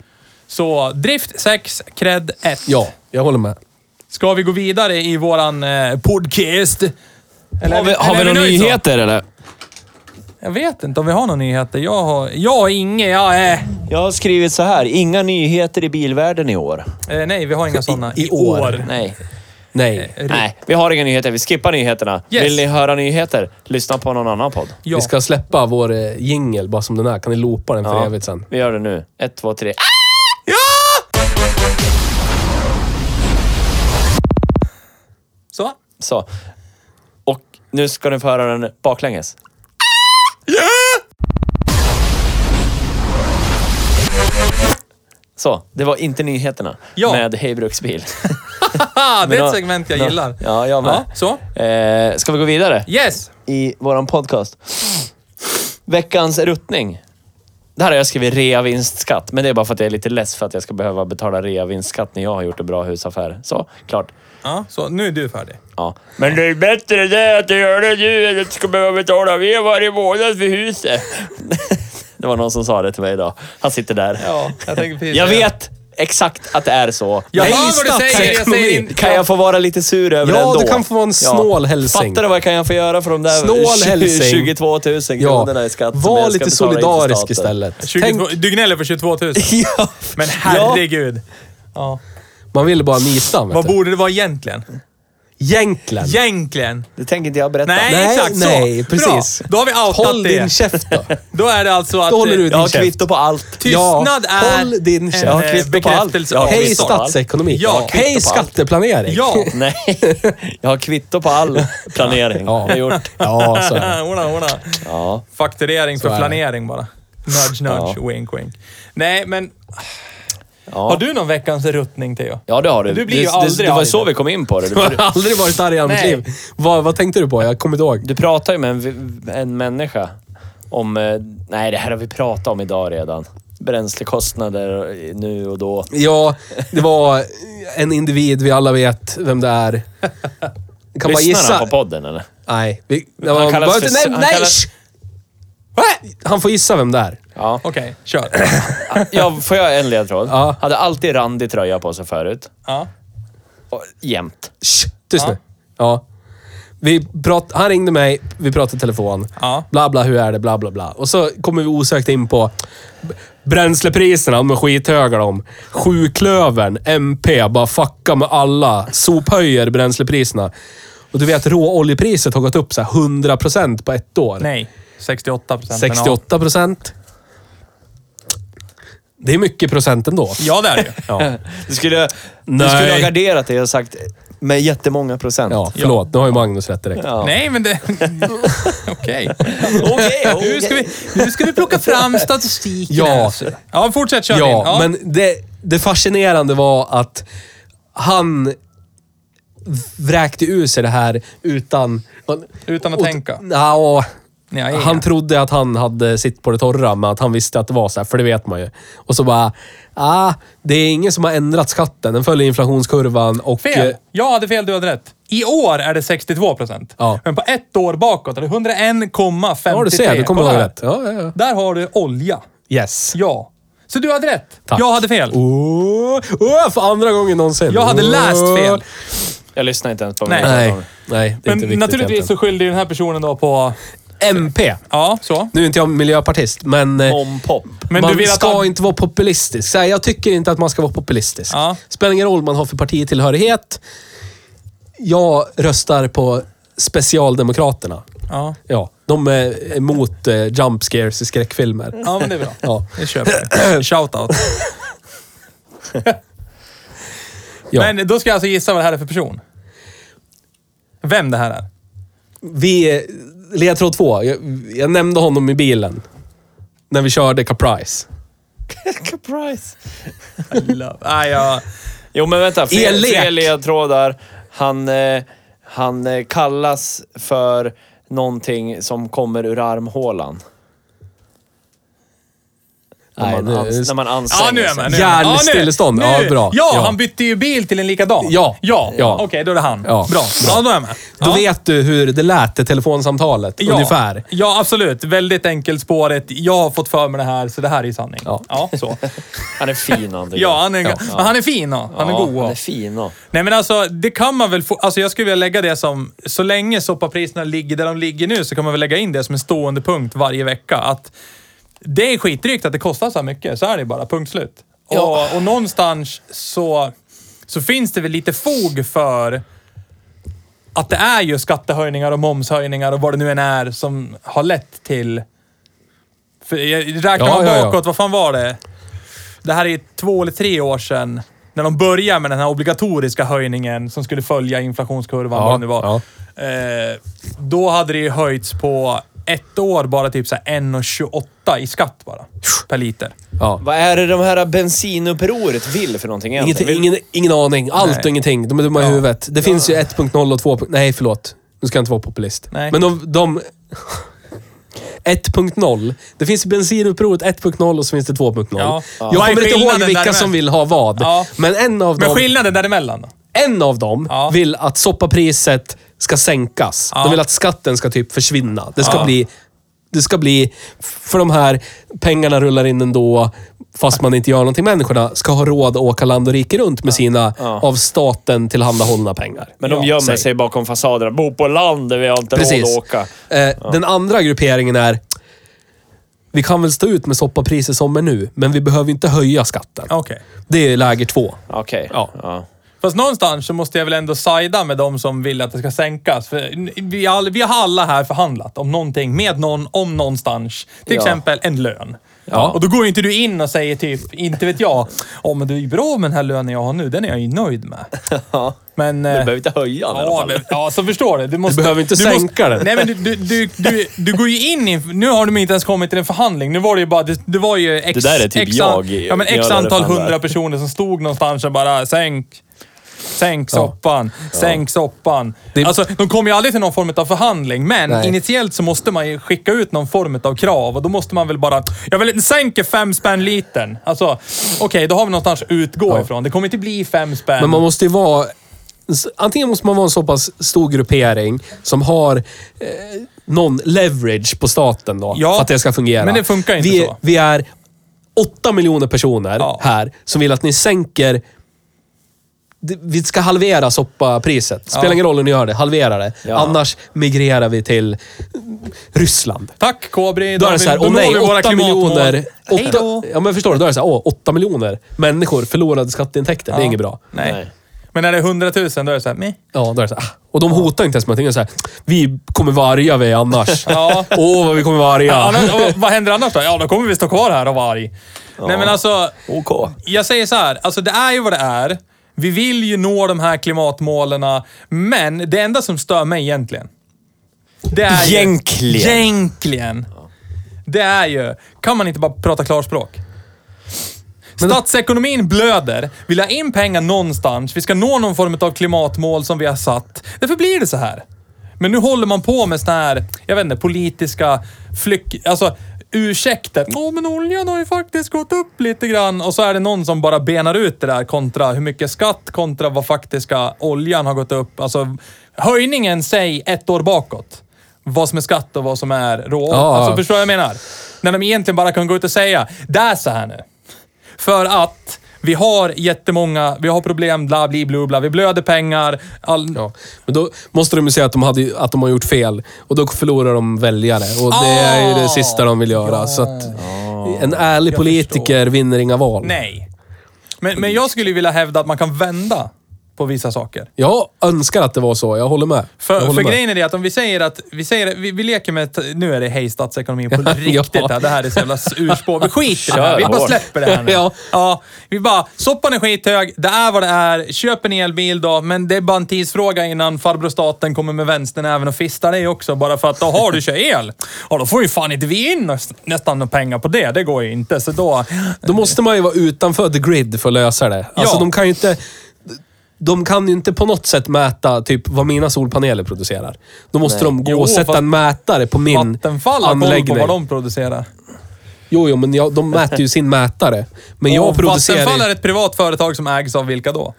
Speaker 1: Så drift 6, cred 1.
Speaker 3: Ja, jag håller med.
Speaker 1: Ska vi gå vidare i våran eh, podcast? Eller
Speaker 5: Har vi, har vi
Speaker 1: eller är
Speaker 5: några
Speaker 1: nöjd så?
Speaker 5: nyheter eller?
Speaker 1: Jag vet inte om vi har några nyheter. Jag har, jag har eh. inga. Jag är,
Speaker 2: Jag har skrivit så här, inga nyheter i bilvärlden i år.
Speaker 1: eh, nej, vi har inga sådana.
Speaker 3: i år.
Speaker 2: Nej.
Speaker 3: Nej.
Speaker 2: Nej, vi har inga nyheter. Vi skippar nyheterna.
Speaker 1: Yes.
Speaker 2: Vill ni höra nyheter? Lyssna på någon annan podd.
Speaker 1: Ja.
Speaker 3: Vi ska släppa vår eh, jingle bara som den är. Kan ni loopa den för
Speaker 2: Ja.
Speaker 3: evigt sen?
Speaker 2: Vi gör det nu. Ett, två, tre.
Speaker 1: Så.
Speaker 2: Så. Och nu ska ni få höra den baklänges. Så, det var inte nyheterna
Speaker 1: Ja.
Speaker 2: med Hej Bruksbil.
Speaker 1: Ah, det
Speaker 2: Men
Speaker 1: är
Speaker 2: då-
Speaker 1: ett segment jag
Speaker 2: då-
Speaker 1: gillar.
Speaker 2: Ja, jag med.
Speaker 1: Ja, så.
Speaker 2: Eh, ska vi gå vidare
Speaker 1: Yes!
Speaker 2: i våran podcast? Veckans ruttning. Det här har jag skrivit reavinstskatt, men det är bara för att jag är lite less för att jag ska behöva betala reavinstskatt när jag har gjort en bra husaffär. Så, klart.
Speaker 1: Ja, så. Nu är du färdig.
Speaker 2: Ja. Men det är bättre det att du gör det nu än att du ska behöva betala mer varje månad för huset. det var någon som sa det till mig idag. Han sitter där.
Speaker 1: Ja, jag tänker precis
Speaker 2: Jag
Speaker 1: säga.
Speaker 2: vet exakt att det är så.
Speaker 1: Jag
Speaker 2: Men
Speaker 1: hör vad du säger. Jag säger in,
Speaker 2: Kan jag få vara lite sur över
Speaker 3: Ja,
Speaker 2: det ändå?
Speaker 3: du kan få vara en snål hälsing.
Speaker 2: Fattar du vad jag kan jag få göra för de där
Speaker 3: Snål
Speaker 2: 20
Speaker 3: hälsing.
Speaker 2: 22 000 kronorna i skatt? som
Speaker 3: var
Speaker 2: jag ska
Speaker 3: lite
Speaker 2: betala in till
Speaker 3: solidarisk
Speaker 2: staten?
Speaker 3: istället.
Speaker 1: 22, du gnäller för 22 000.
Speaker 2: ja.
Speaker 1: Men herregud. Ja.
Speaker 3: Man ville bara nita, vet
Speaker 1: Vad
Speaker 3: du.
Speaker 1: borde det vara egentligen?
Speaker 3: Egentligen.
Speaker 1: Egentligen.
Speaker 2: Det tänker inte jag berätta.
Speaker 1: Nej,
Speaker 3: Nej,
Speaker 1: exakt så.
Speaker 3: nej, precis.
Speaker 1: Bra. Då har vi outat
Speaker 3: Håll
Speaker 1: det.
Speaker 3: din käft då.
Speaker 1: Då är det alltså att...
Speaker 3: Då håller du
Speaker 2: Jag har
Speaker 3: din käft.
Speaker 2: kvitto på allt.
Speaker 1: Tystnad
Speaker 3: Ja,
Speaker 1: är
Speaker 3: håll din käft.
Speaker 1: en
Speaker 3: Ja,
Speaker 1: eh,
Speaker 2: kvitto på
Speaker 1: bekräftelse
Speaker 2: allt. Ja,
Speaker 3: Hej
Speaker 2: visst, Arvald.
Speaker 3: statsekonomi.
Speaker 1: Ja,
Speaker 3: Hej
Speaker 2: kvitto på allt.
Speaker 3: skatteplanering.
Speaker 1: Ja.
Speaker 2: Nej, jag har kvitto på all planering.
Speaker 3: Ja.
Speaker 2: Jag har gjort.
Speaker 3: Ja, så är det.
Speaker 1: ordna, ordna.
Speaker 2: Ja.
Speaker 1: Fakturering
Speaker 3: är
Speaker 1: för
Speaker 3: det.
Speaker 1: planering bara. Nudge, nudge,
Speaker 2: Ja.
Speaker 1: wink, wink. Nej, men
Speaker 2: Ja.
Speaker 1: har du någon veckans ruttning, Teo?
Speaker 2: Ja, det har du.
Speaker 1: Du blir ju
Speaker 2: det,
Speaker 1: aldrig
Speaker 2: det, det var
Speaker 1: arg.
Speaker 2: så vi kom in på det.
Speaker 3: Jag
Speaker 2: Du,
Speaker 3: har aldrig varit arg i hela mitt
Speaker 1: Nej.
Speaker 3: liv. Vad, vad tänkte du på? Jag kommer inte ihåg.
Speaker 2: du pratar ju med en, vi- en människa om... eh, Nej, det här har vi pratat om idag redan. Bränslekostnader eh, nu och då.
Speaker 3: Ja, det var en individ, vi alla vet vem det är. Vi Kan bara
Speaker 2: Lyssnar
Speaker 3: gissa.
Speaker 2: han på podden eller?
Speaker 3: Nej. Vi, han
Speaker 2: kallas
Speaker 3: bara,
Speaker 2: för-
Speaker 3: nej,
Speaker 2: han
Speaker 3: nej!
Speaker 2: kallas-
Speaker 3: sh- Va? Han får gissa vem det är.
Speaker 2: Ja.
Speaker 1: Okej, kör.
Speaker 2: ja får jag en ledtråd?
Speaker 3: Ja.
Speaker 2: Hade alltid randig tröja på sig förut.
Speaker 1: Ja.
Speaker 2: Och, jämt.
Speaker 3: Shh, tyst
Speaker 1: Ja.
Speaker 3: nu. Ja. Vi prat, han ringde mig, vi pratade i telefon.
Speaker 1: Ja.
Speaker 3: Bla, bla, hur är det? Bla, bla, bla. Och så kommer vi osökt in på b- bränslepriserna. De är skithöga de. Sjuklövern, MP, bara fucka med alla. Sophöjer bränslepriserna. Och du vet, råoljepriset har gått upp så här 100% på ett år.
Speaker 1: Nej, 68 procent.
Speaker 3: 68%. Det är mycket procent ändå.
Speaker 1: Ja, det är det ju.
Speaker 2: Du skulle, du
Speaker 3: Nej.
Speaker 2: skulle ha garderat dig och sagt med jättemånga procent.
Speaker 3: Ja, förlåt. Nu har ju Magnus rätt direkt.
Speaker 2: Ja.
Speaker 1: Nej, men det... Okej.
Speaker 2: Okej,
Speaker 1: Nu, ska vi, nu ska vi plocka fram statistiken.
Speaker 3: Ja.
Speaker 1: här. Ja, fortsätt köra in.
Speaker 3: Ja, men det, det fascinerande var att han vräkte ur sig det här utan...
Speaker 1: Utan att
Speaker 3: och-
Speaker 1: tänka.
Speaker 3: Ja,
Speaker 1: Nej,
Speaker 3: han trodde att han hade sitt på det torra, men att han visste att det var så här, för det vet man ju. Och så bara, ah, det är ingen som har ändrat skatten. Den följer inflationskurvan och...
Speaker 1: Fel.
Speaker 3: eh,
Speaker 1: Jag hade fel, du hade rätt. I år är det 62 procent.
Speaker 3: Ja.
Speaker 1: Men på ett år bakåt är det 101,53.
Speaker 3: Ja, du ser. Du kommer
Speaker 1: Kolla
Speaker 3: ihåg
Speaker 1: här.
Speaker 3: rätt. Ja, ja, ja.
Speaker 1: Där har du olja.
Speaker 3: Yes.
Speaker 1: Ja. Så du hade rätt.
Speaker 3: Tack. Oh,
Speaker 1: Jag hade fel.
Speaker 3: Åh, åh, för andra gången någonsin.
Speaker 1: Jag hade läst
Speaker 3: Åh.
Speaker 1: fel.
Speaker 2: Jag lyssnar inte ens på
Speaker 1: Nej.
Speaker 2: mina
Speaker 3: Nej,
Speaker 2: dagar.
Speaker 3: nej, det är
Speaker 1: Men
Speaker 3: inte viktigt
Speaker 1: naturligtvis så
Speaker 3: egentligen.
Speaker 1: skyllde ju den här personen då på...
Speaker 3: MP.
Speaker 1: Ja, så.
Speaker 3: Nu är inte jag miljöpartist, men... eh,
Speaker 2: Om pop.
Speaker 1: Men
Speaker 3: man
Speaker 1: du vill att
Speaker 3: ska
Speaker 1: han-
Speaker 3: inte vara populistisk. Så här, jag tycker inte att man ska vara populistisk.
Speaker 1: Ja.
Speaker 3: Spelar ingen roll vad man har för partitillhörighet. Jag röstar på Specialdemokraterna.
Speaker 1: Ja.
Speaker 3: Ja, de är emot eh, jump scares i skräckfilmer.
Speaker 1: ja, men det är bra.
Speaker 3: Ja.
Speaker 1: Det köper jag. Shoutout.
Speaker 3: Ja.
Speaker 1: Men då ska jag alltså gissa vad det här är för person. Vem det här är.
Speaker 3: Vi, eh, ledtråd två. Jag, jag nämnde honom i bilen. När vi körde Caprice.
Speaker 2: Surprise.
Speaker 1: Nej, jag...
Speaker 2: Jo, men vänta. Fel,
Speaker 3: Elek.
Speaker 2: fel ledtrådar. Han, eh, han eh, kallas för någonting som kommer ur armhålan. när,
Speaker 3: Nej,
Speaker 2: man
Speaker 3: nu-
Speaker 2: ans- när man anstränger
Speaker 1: Ja, nu är jag med. nu är jag med.
Speaker 3: Hjärnstillestånd.
Speaker 1: Ja, nu-
Speaker 3: Ja, bra.
Speaker 1: nu- Ja,
Speaker 3: Ja.
Speaker 1: han bytte ju bil till en likadan.
Speaker 3: Ja.
Speaker 1: Ja.
Speaker 3: Ja.
Speaker 1: Okej, då är det han.
Speaker 3: Ja.
Speaker 1: Bra. Ja, då är jag med.
Speaker 3: Då
Speaker 1: ja.
Speaker 3: vet du hur det lät i telefonsamtalet,
Speaker 1: Ja.
Speaker 3: ungefär.
Speaker 1: Ja, absolut. Väldigt enkelspåret. Jag har fått för mig det här, så det här är ju sanning.
Speaker 3: Ja.
Speaker 1: så.
Speaker 2: Han är fin, André.
Speaker 1: Ja, han är, Men han är fin. Ja. Han är
Speaker 2: Ja,
Speaker 1: god.
Speaker 2: Han är
Speaker 1: Ja.
Speaker 2: fin. ja.
Speaker 1: Nej, men alltså, det kan man väl få... Alltså, jag skulle vilja lägga det som... Så länge soppapriserna ligger där de ligger nu så kan man väl lägga in det som en stående punkt varje vecka. Att det är skitdrygt att det kostar så här mycket. Så är det bara. Punkt slut. Och, och någonstans så, så finns det väl lite fog för att det är ju skattehöjningar och momshöjningar och vad det nu än är som har lett till... För jag- räknar
Speaker 3: Ja,
Speaker 1: man
Speaker 3: ja, ja.
Speaker 1: bakåt, vad fan var det? Det här är två eller tre år sedan när de började med den här obligatoriska höjningen som skulle följa inflationskurvan,
Speaker 3: Ja,
Speaker 1: vad det nu var. Eh, då hade det ju höjts på ett år bara typ så här 1,28 i skatt bara. Per liter.
Speaker 3: Ja.
Speaker 2: Vad är det de här bensinupproret vill för någonting egentligen?
Speaker 3: Ingenting,
Speaker 2: Vill-
Speaker 3: ingen, ingen aning. Allt
Speaker 1: Nej.
Speaker 3: och ingenting. De är dumma i huvudet. Det finns ju 1.0 och 2. Nej, förlåt. Nu ska jag inte vara populist.
Speaker 1: Nej.
Speaker 3: Men de... de 1.0. Det finns ju bensinupproret 1.0 och så finns det 2.0.
Speaker 1: Ja.
Speaker 3: Jag
Speaker 1: Vad är
Speaker 3: kommer inte
Speaker 1: skillnaden
Speaker 3: ihåg vilka
Speaker 1: däremellan?
Speaker 3: som vill ha vad.
Speaker 1: Ja.
Speaker 3: Men en av
Speaker 1: Men
Speaker 3: dem,
Speaker 1: skillnaden däremellan då?
Speaker 3: en av dem
Speaker 1: Ja.
Speaker 3: vill att soppapriset ska sänkas.
Speaker 1: Ja.
Speaker 3: De vill att skatten ska typ försvinna. Det ska
Speaker 1: Ja.
Speaker 3: bli... Det ska bli... För de här pengarna rullar in ändå, fast man inte gör någonting. Människorna ska ha råd att åka land och rike runt med sina av staten tillhandahållna pengar.
Speaker 2: Men de gömmer
Speaker 3: säg.
Speaker 2: sig bakom fasaderna. Bor på landet, vi har inte råd
Speaker 3: Precis.
Speaker 2: att åka.
Speaker 3: Eh, Den andra grupperingen är... Vi kan väl stå ut med soppapriser som är nu, men vi behöver inte höja skatten.
Speaker 1: Okej.
Speaker 3: Det är läger två.
Speaker 2: Okej.
Speaker 3: Ja.
Speaker 2: Ja.
Speaker 1: Fast någonstans så måste jag väl ändå sida med de som vill att det ska sänkas. För vi, all, vi har alla här förhandlat om någonting med någon, om någonstans. Till
Speaker 2: Ja.
Speaker 1: exempel en lön. Och då går ju inte du in och säger typ, inte vet jag, åh men du är ju bra med den här lönen jag har nu, den är jag ju nöjd med. Men...
Speaker 2: Du
Speaker 1: eh,
Speaker 2: behöver inte höja den i alla
Speaker 1: Ja,
Speaker 2: fall.
Speaker 1: men, ja, så förstår du. Du, måste,
Speaker 3: behöver inte
Speaker 1: måste-
Speaker 3: sänka den.
Speaker 1: Nej, men du, du, du, du, du går ju in i... Nu har de inte ens kommit till en förhandling. Nu var det ju bara... Det, det var ju x,
Speaker 2: Det där är typ
Speaker 1: x,
Speaker 2: jag i-
Speaker 1: Ja, men
Speaker 2: jag
Speaker 1: x
Speaker 2: lärde
Speaker 1: antal
Speaker 2: fan där.
Speaker 1: hundra personer som stod någonstans och bara sänk. Sänk soppan, sänk soppan.
Speaker 3: Det-
Speaker 1: Alltså, de kommer ju aldrig till någon form av förhandling, men
Speaker 3: Nej.
Speaker 1: initiellt så måste man ju skicka ut någon form av krav och då måste man väl bara... Jag vill sänka fem spänn litern. Alltså, okej, då har vi någonstans att utgå ifrån. Det kommer inte bli fem spänn.
Speaker 3: Men man måste ju vara... Antingen måste man vara en så pass stor gruppering som har eh, någon leverage på staten då,
Speaker 1: Ja,
Speaker 3: för att det ska fungera.
Speaker 1: men det funkar inte
Speaker 3: vi,
Speaker 1: så.
Speaker 3: Vi är åtta miljoner personer
Speaker 1: Ja.
Speaker 3: här som vill att ni sänker... det- Vi ska halvera soppapriset. Spelar
Speaker 1: Ja.
Speaker 3: ingen roll hur ni gör det. Halvera det.
Speaker 2: Ja.
Speaker 3: Annars migrerar vi till Ryssland.
Speaker 1: Tack Kobri,
Speaker 3: Då är det såhär, åh nej, åtta miljoner.
Speaker 1: Hej
Speaker 3: Åtta,
Speaker 1: då.
Speaker 3: ja men förstår du, då är det såhär, åh, åtta miljoner människor förlorade skatteintäkter. Det är inget bra.
Speaker 1: Nej.
Speaker 2: Nej.
Speaker 1: Men när det är hundratusen, då är det såhär, meh.
Speaker 3: Ja, då är det så här. ah. Och de hotar inte ens med någonting. De är så här, vi kommer vara arga vi annars.
Speaker 1: Ja.
Speaker 3: Åh, vad vi kommer vara arga.
Speaker 1: Annars, och vad händer annars då? Ja, då kommer vi stå kvar här och vara arg. Nej men alltså,
Speaker 2: OK.
Speaker 1: jag säger så här. Alltså det är ju vad det är. Vi vill ju nå de här klimatmålen, men det enda som stör mig egentligen. Det är ju-
Speaker 2: Egentligen.
Speaker 1: Egentligen. Det är ju, kan man inte bara prata klarspråk? Statsekonomin blöder. Vill ha in pengar någonstans. Vi ska nå någon form av klimatmål som vi har satt. Därför blir det så här. Men nu håller man på med såna här, jag vet inte, politiska flyk... Alltså, ursäkter. Åh, men oljan har ju faktiskt gått upp lite grann. Och så är det någon som bara benar ut det där kontra hur mycket skatt kontra vad faktiska oljan har gått upp. Alltså, höjningen, säg ett år bakåt. Vad som är skatt och vad som är råvaror.
Speaker 3: Ja.
Speaker 1: Alltså, förstår du vad jag menar? När de egentligen bara kan gå ut och säga, det är så här nu. För att vi har jättemånga, vi har problem, bla bli bla, bla, vi blöder pengar. All...
Speaker 3: Ja. Men då måste de ju säga att de, hade, att de har gjort fel och då förlorar de väljare. Och det är
Speaker 1: Ah!
Speaker 3: ju det sista de vill göra. Så att en ärlig politiker vinner inga val.
Speaker 1: Nej. Men, men jag skulle ju vilja hävda att man kan vända på vissa saker.
Speaker 3: Jag önskar att det var så. Jag håller med.
Speaker 1: För,
Speaker 3: jag
Speaker 1: för
Speaker 3: håller med.
Speaker 1: grejen är det att om vi säger att, vi, säger, vi, vi leker med, ett- nu är det hej statsekonomin på
Speaker 3: Ja.
Speaker 1: riktigt här. Det här är så jävla urspår. Vi skiter i det här.
Speaker 2: Kör
Speaker 1: Vi bara
Speaker 2: hårt.
Speaker 1: släpper det här nu.
Speaker 3: Ja.
Speaker 1: Ja, vi bara, soppan är skithög, det är vad det är, köp en elbil då, men det är bara en tidsfråga innan farbror staten kommer med vänstern även och fistar dig också, bara för att då har du kör el. Ja, då får ju fan inte vi in näst- nästan några pengar på det, det går ju inte. Så då...
Speaker 3: Då måste man ju vara utanför the grid för att lösa det. Alltså
Speaker 1: Ja.
Speaker 3: de kan ju inte... De kan ju inte på något sätt mäta typ vad mina solpaneler producerar. Då måste de gå
Speaker 1: Jo,
Speaker 3: och sätta
Speaker 1: fast-
Speaker 3: en mätare på min
Speaker 1: Vattenfall har koll på
Speaker 3: anläggning.
Speaker 1: vad de producerar.
Speaker 3: Jo, jo, men jag, de mäter ju sin mätare. Men jag
Speaker 1: Och Vattenfall är
Speaker 3: producerar ju
Speaker 1: ett privat företag som ägs av vilka då?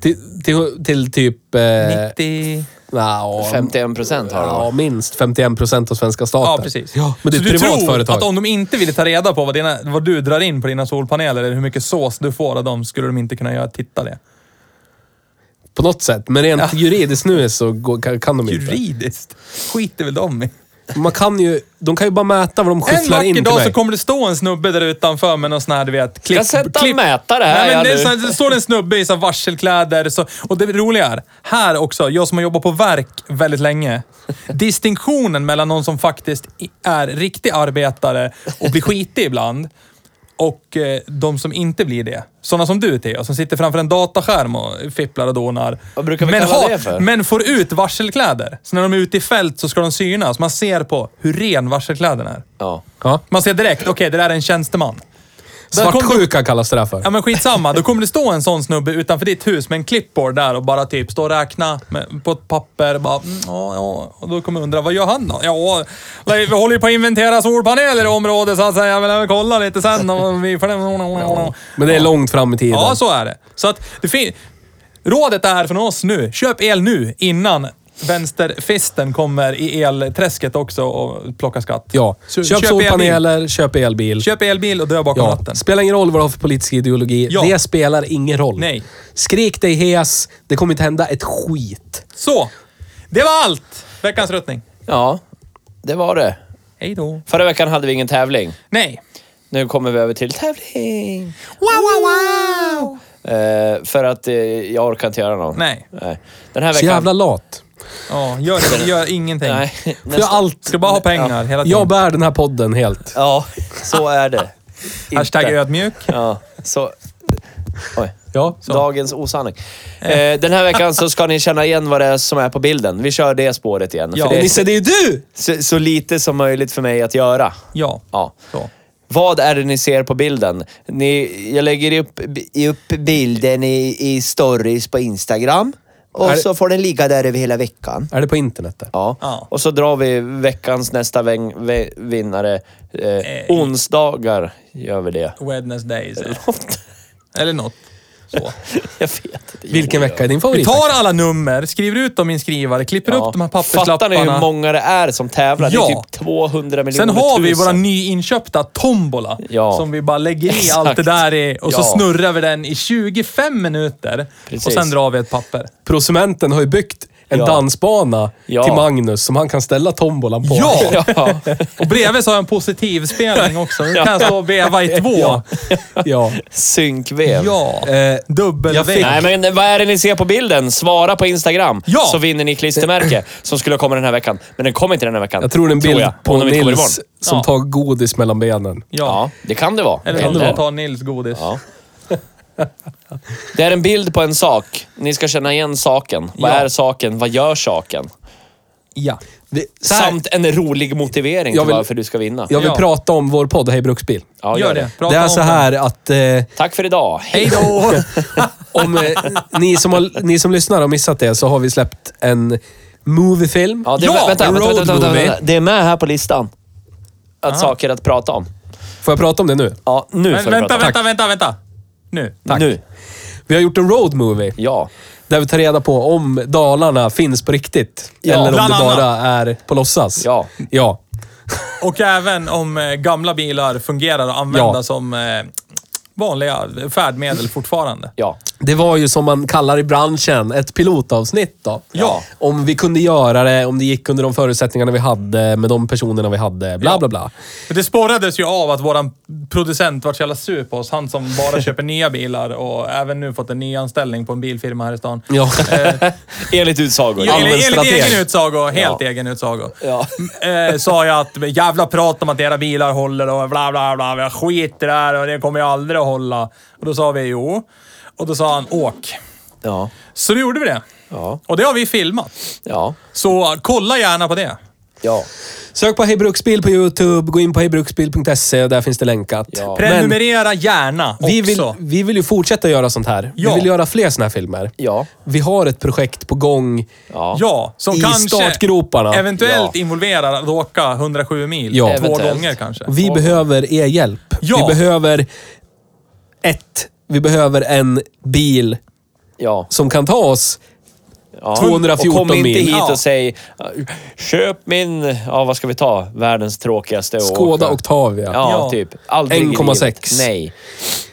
Speaker 3: till, till, till typ... Eh,
Speaker 1: 90...
Speaker 3: nja,
Speaker 2: 51 procent har de.
Speaker 3: Ja, minst 51 procent av svenska staten.
Speaker 1: Ja, precis.
Speaker 3: men det är
Speaker 1: Så
Speaker 3: ett
Speaker 1: du
Speaker 3: privat
Speaker 1: tror
Speaker 3: företag.
Speaker 1: att om de inte ville ta reda på vad, dina, vad du drar in på dina solpaneler, eller hur mycket sås du får av dem, skulle de inte kunna göra, titta det.
Speaker 3: På något sätt. Men rent juridiskt nu så går, kan, kan de inte.
Speaker 1: Juridiskt skiter väl de i.
Speaker 3: Man kan ju, de kan ju bara mäta vad de
Speaker 1: En
Speaker 3: skyfflar in
Speaker 1: vacker
Speaker 3: till
Speaker 1: dag så
Speaker 3: mig.
Speaker 1: kommer det stå en snubbe där utanför med någon sån här, du vet, klipp...
Speaker 2: Ska sätta en mätare här
Speaker 1: Nej, men det, är
Speaker 2: Äh, ja, nu.
Speaker 1: så, här, det står en snubbe i så här varselkläder. Så, och det roliga är, här också, jag som har jobbat på verk väldigt länge. Distinktionen mellan någon som faktiskt i- är riktig arbetare och blir skitig ibland och eh, de som inte blir det. Sådana som du Theo, som sitter framför en dataskärm och fipplar och donar.
Speaker 2: Vad brukar vi
Speaker 1: men,
Speaker 2: kalla det för?
Speaker 1: men får ut varselkläder. Så när de är ute i fält så ska de synas. Man ser på hur ren varselkläderna är.
Speaker 2: Ja.
Speaker 3: Ja.
Speaker 1: Man ser direkt, okej det där är en tjänsteman. Där kom-
Speaker 3: Svartsjuka kallas det där för.
Speaker 1: Ja men skitsamma, då kommer det stå en sån snubbe utanför ditt hus med en clipboard där och bara typ stå och räkna med, på ett papper. Bara, mm, ja, ja. Och då kommer jag undra, vad gör han då? Ja, vi håller ju på att inventera solpaneler i området så att säga. Jag vill även kolla lite sen om vi...
Speaker 3: Men det är långt fram i tiden.
Speaker 1: Ja, så är det. Så att det fin- Rådet är från oss nu, köp el nu innan vänsterfisten kommer i elträsket också och plockar skatt.
Speaker 3: Ja.
Speaker 1: Så-
Speaker 3: Köp,
Speaker 1: köp
Speaker 3: solpaneler, köp elbil.
Speaker 1: Köp elbil och dö bakom
Speaker 3: ja.
Speaker 1: ratten.
Speaker 3: Spelar ingen roll vad du har för politisk ideologi.
Speaker 1: Ja.
Speaker 3: Det spelar ingen roll.
Speaker 1: Nej.
Speaker 3: Skrik dig hes. Det kommer inte hända ett skit.
Speaker 1: Så! Det var allt! Veckans ruttning.
Speaker 2: ja, det var det.
Speaker 1: Hej då.
Speaker 2: Förra veckan hade vi ingen tävling.
Speaker 1: Nej.
Speaker 2: Nu kommer vi över till tävling.
Speaker 1: Wow, wow, wow!
Speaker 2: Eh, för att eh, jag orkar inte göra någon.
Speaker 1: Nej.
Speaker 2: Den här
Speaker 3: Så
Speaker 2: veckan...
Speaker 3: jävla lat.
Speaker 1: Ja, gör, gör ingenting.
Speaker 2: Nej.
Speaker 3: För jag, allt,
Speaker 1: Ska bara ha pengar hela tiden.
Speaker 3: jag bär den här podden helt.
Speaker 2: Ja, så är det.
Speaker 1: Hashtag
Speaker 2: Inte.
Speaker 1: ödmjuk.
Speaker 2: Ja, så... Oj.
Speaker 3: Ja.
Speaker 2: Dagens osanning. Eh, den här veckan så ska ni känna igen vad det är som är på bilden. Vi kör det spåret igen.
Speaker 1: Ja.
Speaker 2: För det
Speaker 3: Och
Speaker 2: är
Speaker 3: Nisse, det är ju du!
Speaker 2: så, så lite som möjligt för mig att göra.
Speaker 1: Ja.
Speaker 2: Ja.
Speaker 1: Så.
Speaker 2: Vad är det ni ser på bilden? Ni, jag lägger upp, upp bilden i, i stories på Instagram. Och
Speaker 3: Är det-
Speaker 2: så får den ligga där över hela veckan.
Speaker 3: Är det på internet där?
Speaker 2: Ja.
Speaker 1: Ja.
Speaker 2: Och så drar vi veckans nästa väng, vä- vinnare. Eh, onsdagar gör vi det.
Speaker 1: Wednesdays. Eller något. Så.
Speaker 2: jag vet inte.
Speaker 3: Vilken vecka är din
Speaker 1: Vi
Speaker 3: favorit?
Speaker 1: tar alla nummer, skriver ut dem i en skrivare, klipper
Speaker 2: Ja.
Speaker 1: upp de här
Speaker 2: Fattar ni hur
Speaker 1: papperslapparna.
Speaker 2: många det är som tävlar? Det är
Speaker 1: Ja.
Speaker 2: typ 200 miljoner
Speaker 1: Sen har vi
Speaker 2: tusen.
Speaker 1: våra nyinköpta tombola.
Speaker 2: Ja.
Speaker 1: Som vi bara lägger i
Speaker 2: Exakt.
Speaker 1: allt det där i och så
Speaker 2: Ja.
Speaker 1: snurrar vi den i 25 minuter. Och
Speaker 2: Precis.
Speaker 1: sen drar vi ett papper.
Speaker 3: Prosumenten har ju byggt en
Speaker 2: Ja.
Speaker 3: dansbana
Speaker 2: Ja.
Speaker 3: till Magnus som han kan ställa tombolan på.
Speaker 1: Ja!
Speaker 2: Ja.
Speaker 1: Och bredvid så har jag en positiv spelning också. Nu kan jag stå och veva i två.
Speaker 3: Ja. ja.
Speaker 2: Synkvev.
Speaker 1: Ja.
Speaker 3: Eh,
Speaker 1: Dubbel
Speaker 3: jag
Speaker 1: V.
Speaker 3: fick-
Speaker 2: Nej, men vad är det ni ser på bilden? Svara på Instagram
Speaker 1: Ja!
Speaker 2: så vinner ni klistermärke som skulle ha kommit den här veckan. Men den kom inte den här veckan.
Speaker 3: Jag tror det är en bild
Speaker 2: jag.
Speaker 3: på
Speaker 2: Om den inte kommer
Speaker 3: Nils
Speaker 2: imorgon.
Speaker 3: som
Speaker 1: Ja.
Speaker 3: tar godis mellan benen.
Speaker 2: Ja,
Speaker 1: Ja.
Speaker 2: det kan det vara.
Speaker 1: Eller om
Speaker 2: Eller-
Speaker 1: du tar Nils godis.
Speaker 2: Ja. Det är en bild på en sak. Ni ska känna igen saken. Vad
Speaker 1: Ja.
Speaker 2: är saken? Vad gör saken?
Speaker 1: Ja.
Speaker 3: Det, så här,
Speaker 2: Samt en rolig motivering
Speaker 3: Jag
Speaker 2: till
Speaker 3: vill-
Speaker 2: varför du ska vinna.
Speaker 3: jag vill
Speaker 1: Ja.
Speaker 3: prata om vår podd Hej Bruksbil.
Speaker 2: Ja,
Speaker 1: Gör det. Prata
Speaker 3: det är
Speaker 1: om
Speaker 3: så här att eh,
Speaker 2: Tack för idag. Hej.
Speaker 1: Hej då!
Speaker 3: om eh, ni, som har, ni som lyssnar har missat det så har vi släppt en moviefilm.
Speaker 2: Ja, det,
Speaker 1: Ja,
Speaker 2: vänta,
Speaker 3: en
Speaker 2: vänta, vänta, vänta,
Speaker 3: roadmovie.
Speaker 2: vänta. Det är med här på listan. Att saker att prata om.
Speaker 3: Får jag prata om det nu?
Speaker 2: Ja, nu
Speaker 1: Men,
Speaker 2: får du
Speaker 1: vänta,
Speaker 2: prata. Tack.
Speaker 1: vänta, vänta, vänta. Nu.
Speaker 2: Nu.
Speaker 3: Vi har gjort en road movie
Speaker 2: Ja.
Speaker 3: där vi tar reda på om Dalarna finns på riktigt.
Speaker 2: Ja.
Speaker 3: eller om
Speaker 1: Bland
Speaker 3: det
Speaker 1: annat.
Speaker 3: bara är på låtsas.
Speaker 2: Ja.
Speaker 3: ja.
Speaker 1: Och även om eh, gamla bilar fungerar att använda
Speaker 3: Ja.
Speaker 1: som... Eh, vanliga färdmedel fortfarande.
Speaker 2: Ja.
Speaker 3: Det var ju som man kallar i branschen, ett pilotavsnitt då.
Speaker 1: Ja.
Speaker 3: Om vi kunde göra det, om det gick under de förutsättningarna vi hade, med de personerna vi hade, bla bla bla.
Speaker 1: Men Det spårades ju av att våran producent vart så jävla sur på oss. Han som bara köper nya bilar och även nu fått en ny anställning på en bilfirma här i stan.
Speaker 3: Ja.
Speaker 2: Eh. Enligt utsagor.
Speaker 1: Jo, enligt, enligt
Speaker 3: strateg.
Speaker 1: egen utsago, helt egen utsago, eh, sa jag att jävla prat om att era bilar håller och bla bla bla. Jag skiter där och det kommer jag aldrig att hålla. Och då sa vi jo. Och då sa han åk.
Speaker 2: Ja.
Speaker 1: Så då gjorde vi det.
Speaker 2: Ja.
Speaker 1: Och det har vi filmat.
Speaker 2: Ja.
Speaker 1: Så kolla gärna på det.
Speaker 2: Ja.
Speaker 3: Sök på Hej Bruksbil på Youtube, gå in på hejbruksbil.se, där finns det länkat.
Speaker 2: Ja.
Speaker 3: Men
Speaker 1: Prenumerera gärna också.
Speaker 3: vi vill, vi vill ju fortsätta göra sånt här.
Speaker 1: Ja.
Speaker 3: Vi vill göra fler såna här filmer.
Speaker 2: Ja.
Speaker 3: Vi har ett projekt på gång.
Speaker 2: Ja.
Speaker 1: Ja, som
Speaker 3: I
Speaker 1: kanske
Speaker 3: startgroparna.
Speaker 1: eventuellt
Speaker 2: Ja.
Speaker 1: involverar att åka 107 mil.
Speaker 3: Ja.
Speaker 1: Två
Speaker 2: Eventuellt.
Speaker 1: gånger kanske.
Speaker 3: Och vi behöver er hjälp.
Speaker 1: Ja.
Speaker 3: Vi behöver ett. Vi behöver en bil
Speaker 2: ja.
Speaker 3: som kan ta oss.
Speaker 2: Ja.
Speaker 3: 214
Speaker 2: och kom inte
Speaker 3: mil.
Speaker 2: hit
Speaker 1: Ja.
Speaker 2: och säg köp min, ja vad ska vi ta, världens tråkigaste att
Speaker 3: Skoda
Speaker 2: åka."
Speaker 3: Octavia.
Speaker 2: Ja,
Speaker 1: Ja.
Speaker 2: typ. Aldrig i
Speaker 3: 1,6.
Speaker 2: livet. Nej.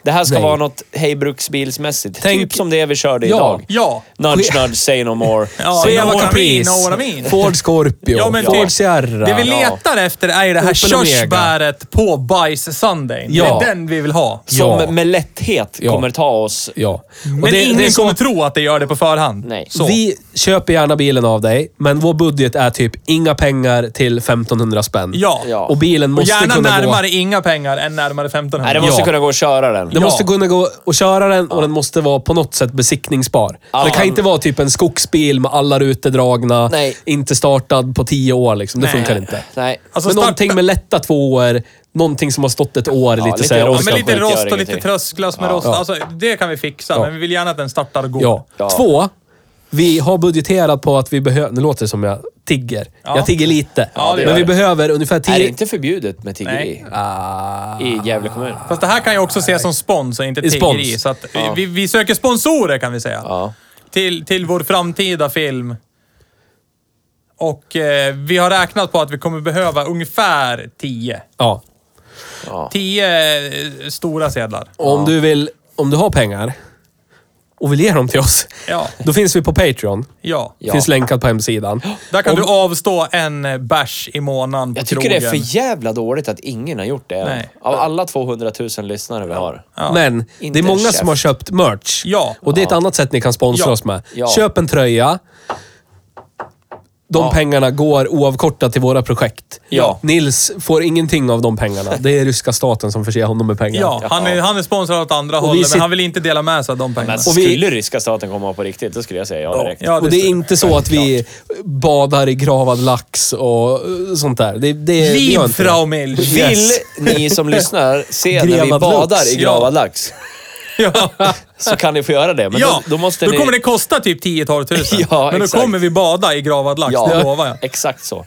Speaker 2: Det här ska
Speaker 3: Nej.
Speaker 2: vara något hejbruksbilsmässigt.
Speaker 3: Tänk-
Speaker 2: Typ som det vi körde
Speaker 3: Ja.
Speaker 2: idag.
Speaker 1: Ja.
Speaker 2: Nudge, nudge, say no more.
Speaker 1: Ja,
Speaker 2: say
Speaker 1: det
Speaker 2: no
Speaker 1: var
Speaker 2: more,
Speaker 1: kamin,
Speaker 2: please.
Speaker 1: no what I mean.
Speaker 3: Ford Scorpio.
Speaker 1: Ja, men
Speaker 3: Ford
Speaker 1: typ.
Speaker 3: Sierra.
Speaker 1: Det vi
Speaker 2: Ja.
Speaker 1: letar efter är ju det här
Speaker 3: Opel Omega.
Speaker 1: körsbäret på Bajs Sunday.
Speaker 3: Ja.
Speaker 1: Det är den vi vill ha.
Speaker 2: Som
Speaker 3: Ja.
Speaker 2: med lätthet
Speaker 3: Ja.
Speaker 2: kommer ta oss...
Speaker 3: Ja. Och
Speaker 1: Men
Speaker 3: det- det är
Speaker 1: ingen
Speaker 3: så-
Speaker 1: kommer tro att det gör det på förhand.
Speaker 2: Nej.
Speaker 1: Så.
Speaker 3: Vi köper gärna bilen av dig, men vår budget är typ inga pengar till 1500 spänn.
Speaker 1: Ja.
Speaker 2: Ja.
Speaker 3: Och bilen
Speaker 1: Och
Speaker 3: måste
Speaker 1: gärna
Speaker 3: kunna
Speaker 1: närmare
Speaker 3: gå...
Speaker 1: inga pengar än närmare
Speaker 2: Nej,
Speaker 1: 1500.
Speaker 2: det måste
Speaker 3: Ja.
Speaker 2: kunna gå att köra den.
Speaker 3: Den måste kunna gå och köra den och den måste vara på något sätt besiktningsbar.
Speaker 2: Ja.
Speaker 3: Det kan inte vara typ en skogsbil med alla rutor dragna,
Speaker 2: Nej.
Speaker 3: inte startad på tio år liksom. Det
Speaker 1: Nej.
Speaker 3: funkar inte.
Speaker 2: Nej.
Speaker 1: Alltså
Speaker 3: men
Speaker 1: starta-
Speaker 3: någonting med lätta tvåor, någonting som har stått ett år lite,
Speaker 2: lite
Speaker 3: så här
Speaker 2: rost.
Speaker 1: Ja, men
Speaker 3: orkan.
Speaker 1: lite
Speaker 2: skit gör
Speaker 1: rost och lite
Speaker 2: ingenting.
Speaker 1: trösklas med rost.
Speaker 3: Ja.
Speaker 1: Alltså, det kan vi fixa, men vi vill gärna att den startar och går.
Speaker 3: Ja.
Speaker 2: Ja.
Speaker 3: Två, vi har budgeterat på att vi behöver... Nu låter det som jag tigger. Jag tigger lite.
Speaker 1: Ja, det gör
Speaker 3: men vi
Speaker 1: det.
Speaker 3: behöver ungefär tio...
Speaker 2: Är det inte förbjudet med tiggeri
Speaker 1: Nej.
Speaker 2: i Gävle kommun?
Speaker 1: Fast det här kan ju också ses som spons och inte
Speaker 3: I spons.
Speaker 1: tiggeri. Så att vi, vi söker sponsorer kan vi säga.
Speaker 2: Ja.
Speaker 1: Till, till vår framtida film. Och eh, vi har räknat på att vi kommer behöva ungefär 10.
Speaker 3: Ja.
Speaker 1: 10 eh, stora sedlar.
Speaker 3: Och om du vill, om du har pengar och vill ge dem till oss,
Speaker 1: Ja.
Speaker 3: då finns vi på Patreon.
Speaker 1: Ja.
Speaker 2: Ja.
Speaker 3: Finns länkat på hemsidan.
Speaker 1: Där kan
Speaker 3: om,
Speaker 1: du avstå en eh, bärs i månaden på
Speaker 2: Jag tycker det
Speaker 1: krogen.
Speaker 2: är för jävla dåligt att ingen har gjort det än.
Speaker 1: Nej.
Speaker 2: Av alla 200 000 lyssnare vi har.
Speaker 3: Men
Speaker 2: Inte
Speaker 3: det är många
Speaker 2: en
Speaker 3: som har köpt merch.
Speaker 1: Ja.
Speaker 3: Och det är ett annat sätt ni kan sponsra
Speaker 1: Ja.
Speaker 3: oss med.
Speaker 2: Ja.
Speaker 3: Köp en tröja. De pengarna går oavkortat till våra projekt.
Speaker 2: Ja.
Speaker 3: Nils får ingenting av de pengarna. Det är ryska staten som förser honom med pengar.
Speaker 1: Ja, han är, han är sponsrad åt andra hållet,
Speaker 3: sit-
Speaker 1: men han vill inte dela med sig av de pengarna.
Speaker 2: Men alltså,
Speaker 3: vi-
Speaker 2: skulle ryska staten komma på riktigt, då skulle jag säga ja direkt.
Speaker 1: Ja,
Speaker 3: och det är inte så att vi badar i gravad lax och eh, sånt där. Det, det, vi gör inte det.
Speaker 1: Frau Milch!
Speaker 2: Vill ni som lyssnar se när vi
Speaker 3: Grevad
Speaker 2: badar
Speaker 3: lax.
Speaker 2: i gravad lax
Speaker 1: Ja.
Speaker 2: så kan ni få göra det. Men
Speaker 1: ja,
Speaker 2: då, då måste ni...
Speaker 1: kommer det kosta typ 10-12 tusen.
Speaker 2: Ja,
Speaker 1: men då
Speaker 2: exakt.
Speaker 1: kommer vi bada i gravad lax,
Speaker 2: Ja,
Speaker 1: det lovar jag.
Speaker 2: exakt så.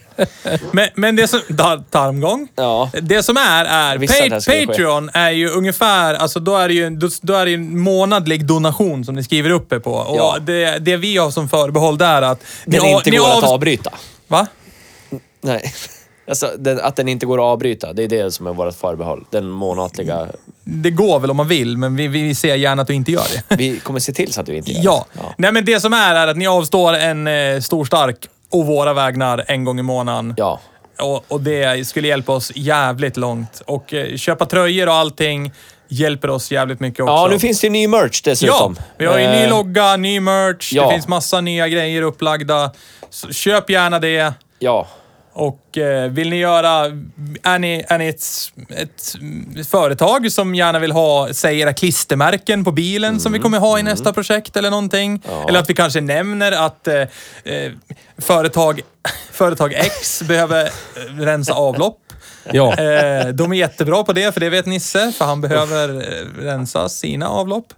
Speaker 1: Men, men det som... Dar- Tarmgång.
Speaker 2: Ja.
Speaker 1: Det som är, är...
Speaker 2: visste att det här skulle
Speaker 1: Pa- Patreon är ju ungefär... Alltså då är det ju, en- då, då är det ju en månadlig donation som ni skriver upp er på. Och
Speaker 2: Ja.
Speaker 1: det, det vi har som förbehåll där är att... ni
Speaker 2: Den
Speaker 1: a-
Speaker 2: inte
Speaker 1: ni
Speaker 2: går att
Speaker 1: avs-
Speaker 2: avbryta.
Speaker 1: Va?
Speaker 2: Nej. Alltså, den, att den inte går att avbryta, det är det som är vårt förbehåll. Den månatliga...
Speaker 1: Det går väl om man vill, men vi, vi ser gärna att du inte gör det.
Speaker 2: Vi kommer se till så att du inte gör det.
Speaker 1: Ja. Nej, men det som är är att ni avstår en eh, stor stark och våra vägnar en gång i månaden.
Speaker 2: Ja.
Speaker 1: Och, och det skulle hjälpa oss jävligt långt. Och eh, köpa tröjor och allting hjälper oss jävligt mycket också.
Speaker 2: Ja, nu finns det ju ny merch
Speaker 1: Ja,
Speaker 2: dessutom.
Speaker 1: vi har ju ny
Speaker 2: Eh,
Speaker 1: logga, ny merch,
Speaker 2: ja.
Speaker 1: det finns massa nya grejer upplagda. Så köp gärna det.
Speaker 2: Ja.
Speaker 1: Och eh, vill ni göra... Är ni, är ni ett, ett företag som gärna vill ha, säg era klistermärken på bilen som vi kommer ha i nästa projekt eller någonting. Eller att vi kanske nämner att eh, eh, företag, företag X behöver eh, rensa avlopp.
Speaker 3: Ja.
Speaker 1: Eh, de är jättebra på det, för det vet Nisse, för han behöver eh, rensa sina avlopp.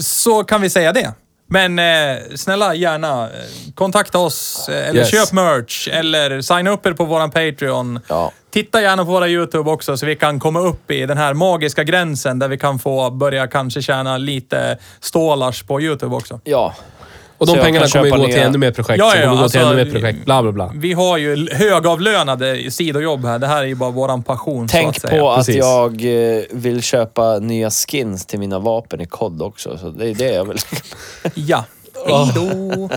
Speaker 1: Så kan vi säga det. Men eh, snälla, gärna eh, kontakta oss eh, eller
Speaker 3: Yes.
Speaker 1: köp merch eller signa upp er på våran Patreon.
Speaker 2: Ja.
Speaker 1: Titta gärna på våra YouTube också så vi kan komma upp i den här magiska gränsen där vi kan få börja kanske tjäna lite stålars på YouTube också.
Speaker 2: Ja.
Speaker 3: Och de
Speaker 2: Så jag
Speaker 3: pengarna
Speaker 2: kan
Speaker 3: kommer ju
Speaker 2: köpa
Speaker 3: gå till
Speaker 2: nya-
Speaker 3: ännu mer projekt,
Speaker 1: Ja,
Speaker 3: som
Speaker 1: ja,
Speaker 3: kommer gå
Speaker 1: alltså,
Speaker 3: till ännu mer projekt, bla bla bla.
Speaker 1: Vi har ju l- högavlönade sidojobb här. Det här är ju bara våran passion, så
Speaker 2: Tänk
Speaker 1: att säga.
Speaker 2: på att
Speaker 3: Precis.
Speaker 2: jag eh, vill köpa nya skins till mina vapen i kod också. Så det är det jag vill.
Speaker 1: Ja. Hejdå!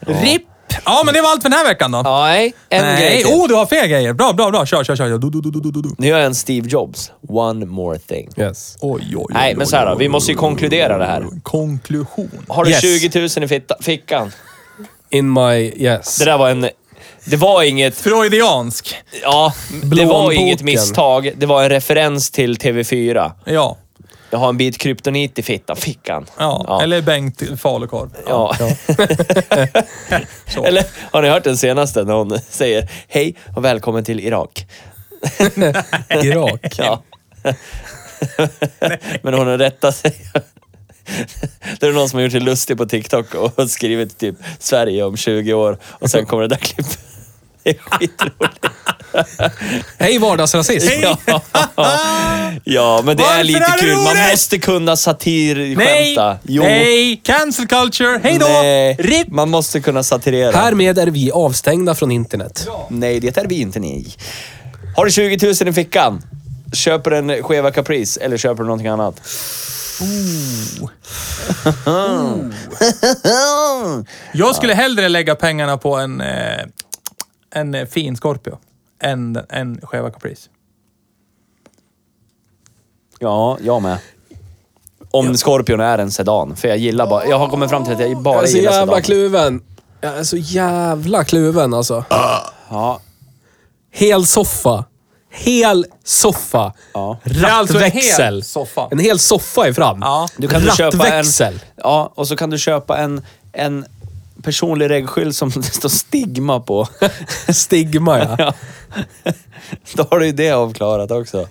Speaker 1: RIP! Ja, men det var allt för den här veckan då.
Speaker 2: Ja, nej. En grej
Speaker 1: Nej,
Speaker 2: till.
Speaker 1: oh, du har fler grejer. Bra, bra, bra. Kör, kör, kör. Du, du, du, du, du, du.
Speaker 2: Nu gör jag en Steve Jobs. One more thing.
Speaker 3: Yes.
Speaker 1: Oj, oj, oj,
Speaker 2: Nej, men
Speaker 1: oj,
Speaker 2: så här då.
Speaker 1: oj,
Speaker 2: Vi
Speaker 1: oj,
Speaker 2: måste ju
Speaker 1: oj,
Speaker 2: konkludera det här.
Speaker 1: oj. Konklusion.
Speaker 2: Har du
Speaker 3: Yes.
Speaker 2: 20 000 i fitta, fickan?
Speaker 3: In my... Yes.
Speaker 2: Det där var en... Det var inget...
Speaker 1: Freudiansk.
Speaker 2: Ja, det var
Speaker 3: Blånboken.
Speaker 2: inget misstag. Det var en referens till TV4.
Speaker 1: Ja.
Speaker 2: Jag har en bit kryptonit i fitta, fickan.
Speaker 1: Ja,
Speaker 2: Ja.
Speaker 1: eller Bengt falukorv.
Speaker 2: Ja. Eller har ni hört den senaste när hon säger hej och välkommen till Irak?
Speaker 3: Irak.
Speaker 2: Ja. Men hon har rättat sig. Det är någon som har gjort sig lustig på TikTok och skrivit typ Sverige om 20 år och sen kommer det där klippet. Det är skitroligt.
Speaker 3: Hej vardagsrasism!
Speaker 2: Ja. ja, men det
Speaker 1: Varför
Speaker 2: är lite
Speaker 1: är det
Speaker 2: kul. Man
Speaker 1: roligt?
Speaker 2: måste kunna
Speaker 1: Nej!
Speaker 2: satirskämta. Jo.
Speaker 1: Nej! Cancel culture! Hej då!
Speaker 2: Nej.
Speaker 1: RIP!
Speaker 2: Man måste kunna satirera.
Speaker 3: Härmed är vi avstängda från internet.
Speaker 2: Nej, det är vi inte ni. Har du 20 000 i fickan? Köper du en skeva Caprice eller köper du någonting annat?
Speaker 1: Jag skulle hellre lägga pengarna på en, eh, en eh, fin Scorpio än en skeva Caprice.
Speaker 2: Ja, jag med. Om Scorpion är en sedan, för jag gillar bara... Jag har kommit fram till att jag bara
Speaker 3: Jag är så
Speaker 2: gillar
Speaker 3: jävla
Speaker 2: sedan.
Speaker 3: kluven. Jag är så jävla kluven alltså.
Speaker 2: Ja.
Speaker 3: Hel soffa. Hel soffa.
Speaker 2: Ja.
Speaker 1: är alltså en hel
Speaker 3: Rattväxel.
Speaker 1: soffa.
Speaker 3: En hel soffa är fram.
Speaker 1: Ja.
Speaker 2: Du kan du köpa en,
Speaker 3: Rattväxel.
Speaker 2: Ja, och så kan du köpa en, en personlig reggskylt som det står stigma på.
Speaker 3: Stigma ja.
Speaker 2: Ja. Då har du ju det avklarat också.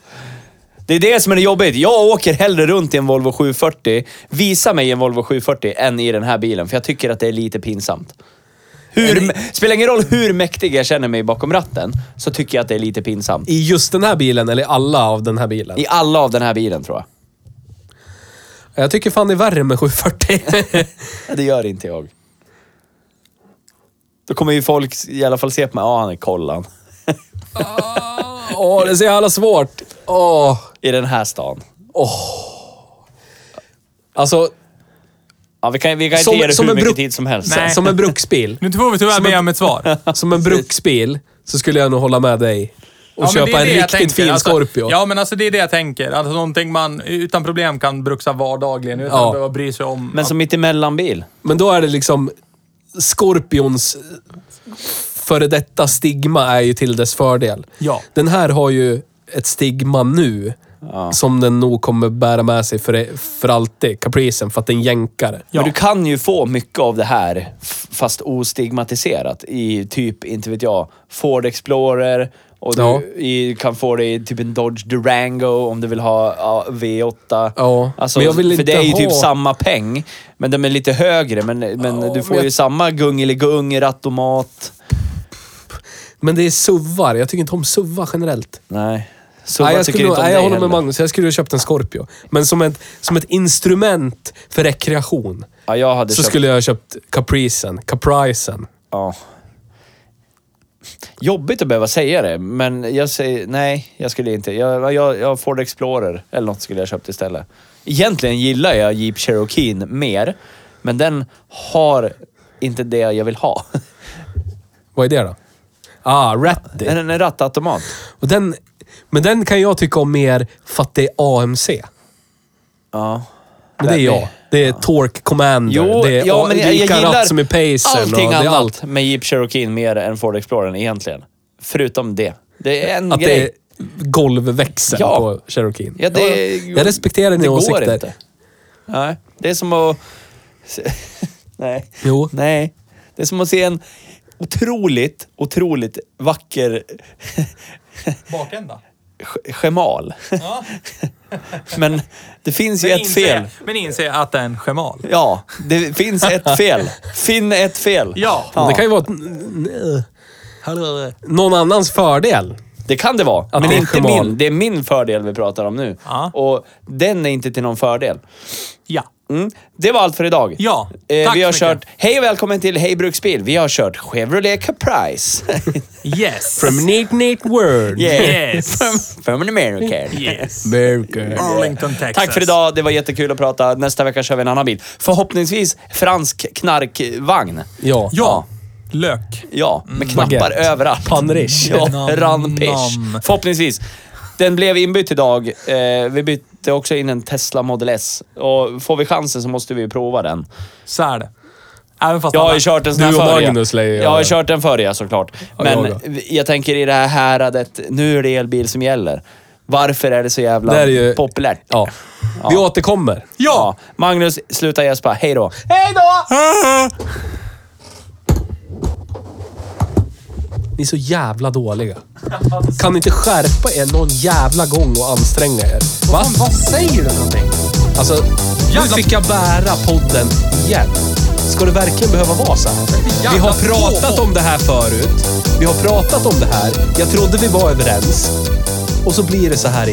Speaker 2: Det är det som är det jobbigt. Jag åker hellre runt i en Volvo 740. Visa mig en Volvo 740 än i den här bilen, för jag tycker att det är lite pinsamt. Hur, spelar ingen roll hur mäktig jag känner mig bakom ratten, så tycker jag att det är lite pinsamt.
Speaker 3: I just den här bilen eller i alla av den här bilen.
Speaker 2: I alla av den här bilen tror jag.
Speaker 3: Jag tycker fan det är värre med 740.
Speaker 2: Det gör inte jag. Då kommer ju folk i alla fall se på mig, ja han är kollan.
Speaker 3: Åh, det är så jävla svårt. Åh.
Speaker 2: I den här stan.
Speaker 3: Alltså,
Speaker 2: Ja, vi kan, vi kan inte
Speaker 3: Som-
Speaker 2: ge det
Speaker 3: som
Speaker 2: hur
Speaker 3: en bro-
Speaker 2: mycket tid som helst.
Speaker 1: Nej.
Speaker 3: som en bruksbil.
Speaker 1: Nu får vi tyvärr
Speaker 3: Som en-
Speaker 1: be om ett svar.
Speaker 3: Som en bruksbil så skulle jag nog hålla med dig. Och
Speaker 1: Ja, men det
Speaker 3: köpa
Speaker 1: är
Speaker 3: en
Speaker 1: det jag
Speaker 3: riktigt
Speaker 1: tänker.
Speaker 3: fin
Speaker 1: alltså,
Speaker 3: Scorpio.
Speaker 1: Ja, men alltså det är det jag tänker. Alltså någonting man utan problem kan bruxa vardagligen utan
Speaker 3: Ja.
Speaker 1: att behöva bry sig om.
Speaker 2: Men som mitt emellanbil.
Speaker 3: Men då är det liksom Scorpions före detta stigma är ju till dess fördel.
Speaker 1: Ja.
Speaker 3: Den här har ju ett stigma nu som den nog kommer bära med sig för, e-, för alltid. Capricen, för att den jänkar.
Speaker 1: Ja.
Speaker 2: Men du kan ju få mycket av det här, f- fast ostigmatiserat. I typ, inte vet jag, Ford Explorer. Och du
Speaker 3: Ja.
Speaker 2: i, kan få det i typ en Dodge Durango om du vill ha ja, V8.
Speaker 3: Ja,
Speaker 2: Alltså,
Speaker 3: men jag vill
Speaker 2: för
Speaker 3: inte
Speaker 2: det är ju typ
Speaker 3: ha-
Speaker 2: samma peng, men de är lite högre. Men, men
Speaker 3: Ja,
Speaker 2: du får
Speaker 3: men
Speaker 2: ju
Speaker 3: jag-
Speaker 2: samma gungeligung, rattomat.
Speaker 3: Men det är suvar. Jag tycker inte om suvar generellt.
Speaker 2: Nej. Så
Speaker 3: nej,
Speaker 2: vad
Speaker 3: jag,
Speaker 2: tycker
Speaker 3: skulle,
Speaker 2: du
Speaker 3: nog-
Speaker 2: inte om
Speaker 3: nej, jag
Speaker 2: dig
Speaker 3: håller med
Speaker 2: heller?
Speaker 3: Magnus. Jag skulle ha köpt en Scorpio. Men som ett, som ett instrument för rekreation
Speaker 2: Ja, jag hade
Speaker 3: så
Speaker 2: köpt...
Speaker 3: skulle jag ha köpt Capricen. Capricen.
Speaker 2: Ja. Jobbigt att behöva säga det, men jag säger nej, jag skulle inte. Jag, jag, jag Ford Explorer eller något skulle jag köpt istället. Egentligen gillar jag Jeep Cherokee mer, men den har inte det jag vill ha.
Speaker 3: Vad är det då? Ah, Ratty.
Speaker 2: Den är en rattautomat.
Speaker 3: Och den, men den kan jag tycka om mer för att det är AMC.
Speaker 2: Ja.
Speaker 3: Men det är jag. Det är Torque Commander. det är ja, men jag, lika ratt som i Pacern.
Speaker 2: allting
Speaker 3: och det är
Speaker 2: annat
Speaker 3: allt.
Speaker 2: med Jeep Cherokee mer än Ford Explorern egentligen. Förutom det. Det är en
Speaker 3: Att
Speaker 2: grej.
Speaker 3: det är golvväxel
Speaker 2: Ja.
Speaker 3: på Cherokee.
Speaker 2: Ja, det-
Speaker 3: jag respekterar dina
Speaker 2: Det går
Speaker 3: åsikter.
Speaker 2: inte. Nej, det är som att... Nej.
Speaker 3: Jo.
Speaker 2: Nej. Det är som att se en otroligt, otroligt vacker
Speaker 1: bakända.
Speaker 2: sch- schemal.
Speaker 1: Ja.
Speaker 2: Men det finns ju
Speaker 1: Men
Speaker 2: ett
Speaker 1: inse-
Speaker 2: fel.
Speaker 1: Men inse att det är en schamal.
Speaker 2: Ja, det finns ett fel. Finn ett fel.
Speaker 1: Ja.
Speaker 3: Det kan ju vara ett- någon annans fördel.
Speaker 2: Det kan det vara, men
Speaker 3: det är en
Speaker 2: inte
Speaker 3: schemal.
Speaker 2: min. Det är min fördel vi pratar om nu.
Speaker 1: Ja.
Speaker 2: Och den är inte till någon fördel.
Speaker 1: Ja.
Speaker 2: Mm. Det var allt för idag.
Speaker 1: Ja,
Speaker 2: Eh,
Speaker 1: tack
Speaker 2: vi har
Speaker 1: så mycket.
Speaker 2: kört, hej och välkommen till Hej Bruksbil. Vi har kört Chevrolet Caprice.
Speaker 1: Yes.
Speaker 3: From Nignate World.
Speaker 1: Yes.
Speaker 2: From an American.
Speaker 1: yes.
Speaker 3: Burger.
Speaker 1: Arlington, Texas.
Speaker 2: Tack för idag. Det var jättekul att prata. Nästa vecka kör vi en annan bil. Förhoppningsvis fransk knarkvagn.
Speaker 3: Ja.
Speaker 1: Ja. Lök.
Speaker 2: Ja, med knappar
Speaker 3: Baguette.
Speaker 2: överallt.
Speaker 3: Panrish.
Speaker 2: Ja,
Speaker 1: Nam,
Speaker 2: Ranpish.
Speaker 1: nam.
Speaker 2: Förhoppningsvis. Den blev inbytt idag. Eh, vi bytte också in en Tesla Model S. Och får vi chansen så måste vi prova den.
Speaker 1: Så är det. Även fast
Speaker 2: Jag har
Speaker 1: alla-
Speaker 2: ju kört en sån
Speaker 3: Du
Speaker 2: här
Speaker 3: och
Speaker 2: förr, ja.
Speaker 3: Magnus lär ju
Speaker 2: Jag har
Speaker 3: göra.
Speaker 2: ju kört en förr ja, såklart. Men
Speaker 3: jag
Speaker 2: jag tänker i det här häradet, nu är det elbil som gäller. Varför är det så jävla
Speaker 3: Det är ju-
Speaker 2: populärt?
Speaker 3: ja. Vi återkommer.
Speaker 2: Ja, Magnus, sluta gäspa. Hej då!
Speaker 3: Ni är så jävla dåliga. Kan ni inte skärpa er någon jävla gång och anstränga er? Va? Vad säger du någonting? Alltså, nu fick jag bära podden igen. Ska det verkligen behöva vara så här? Vi har pratat om det här förut. Vi har pratat om det här. Jag trodde vi var överens. Och så blir det så här igen.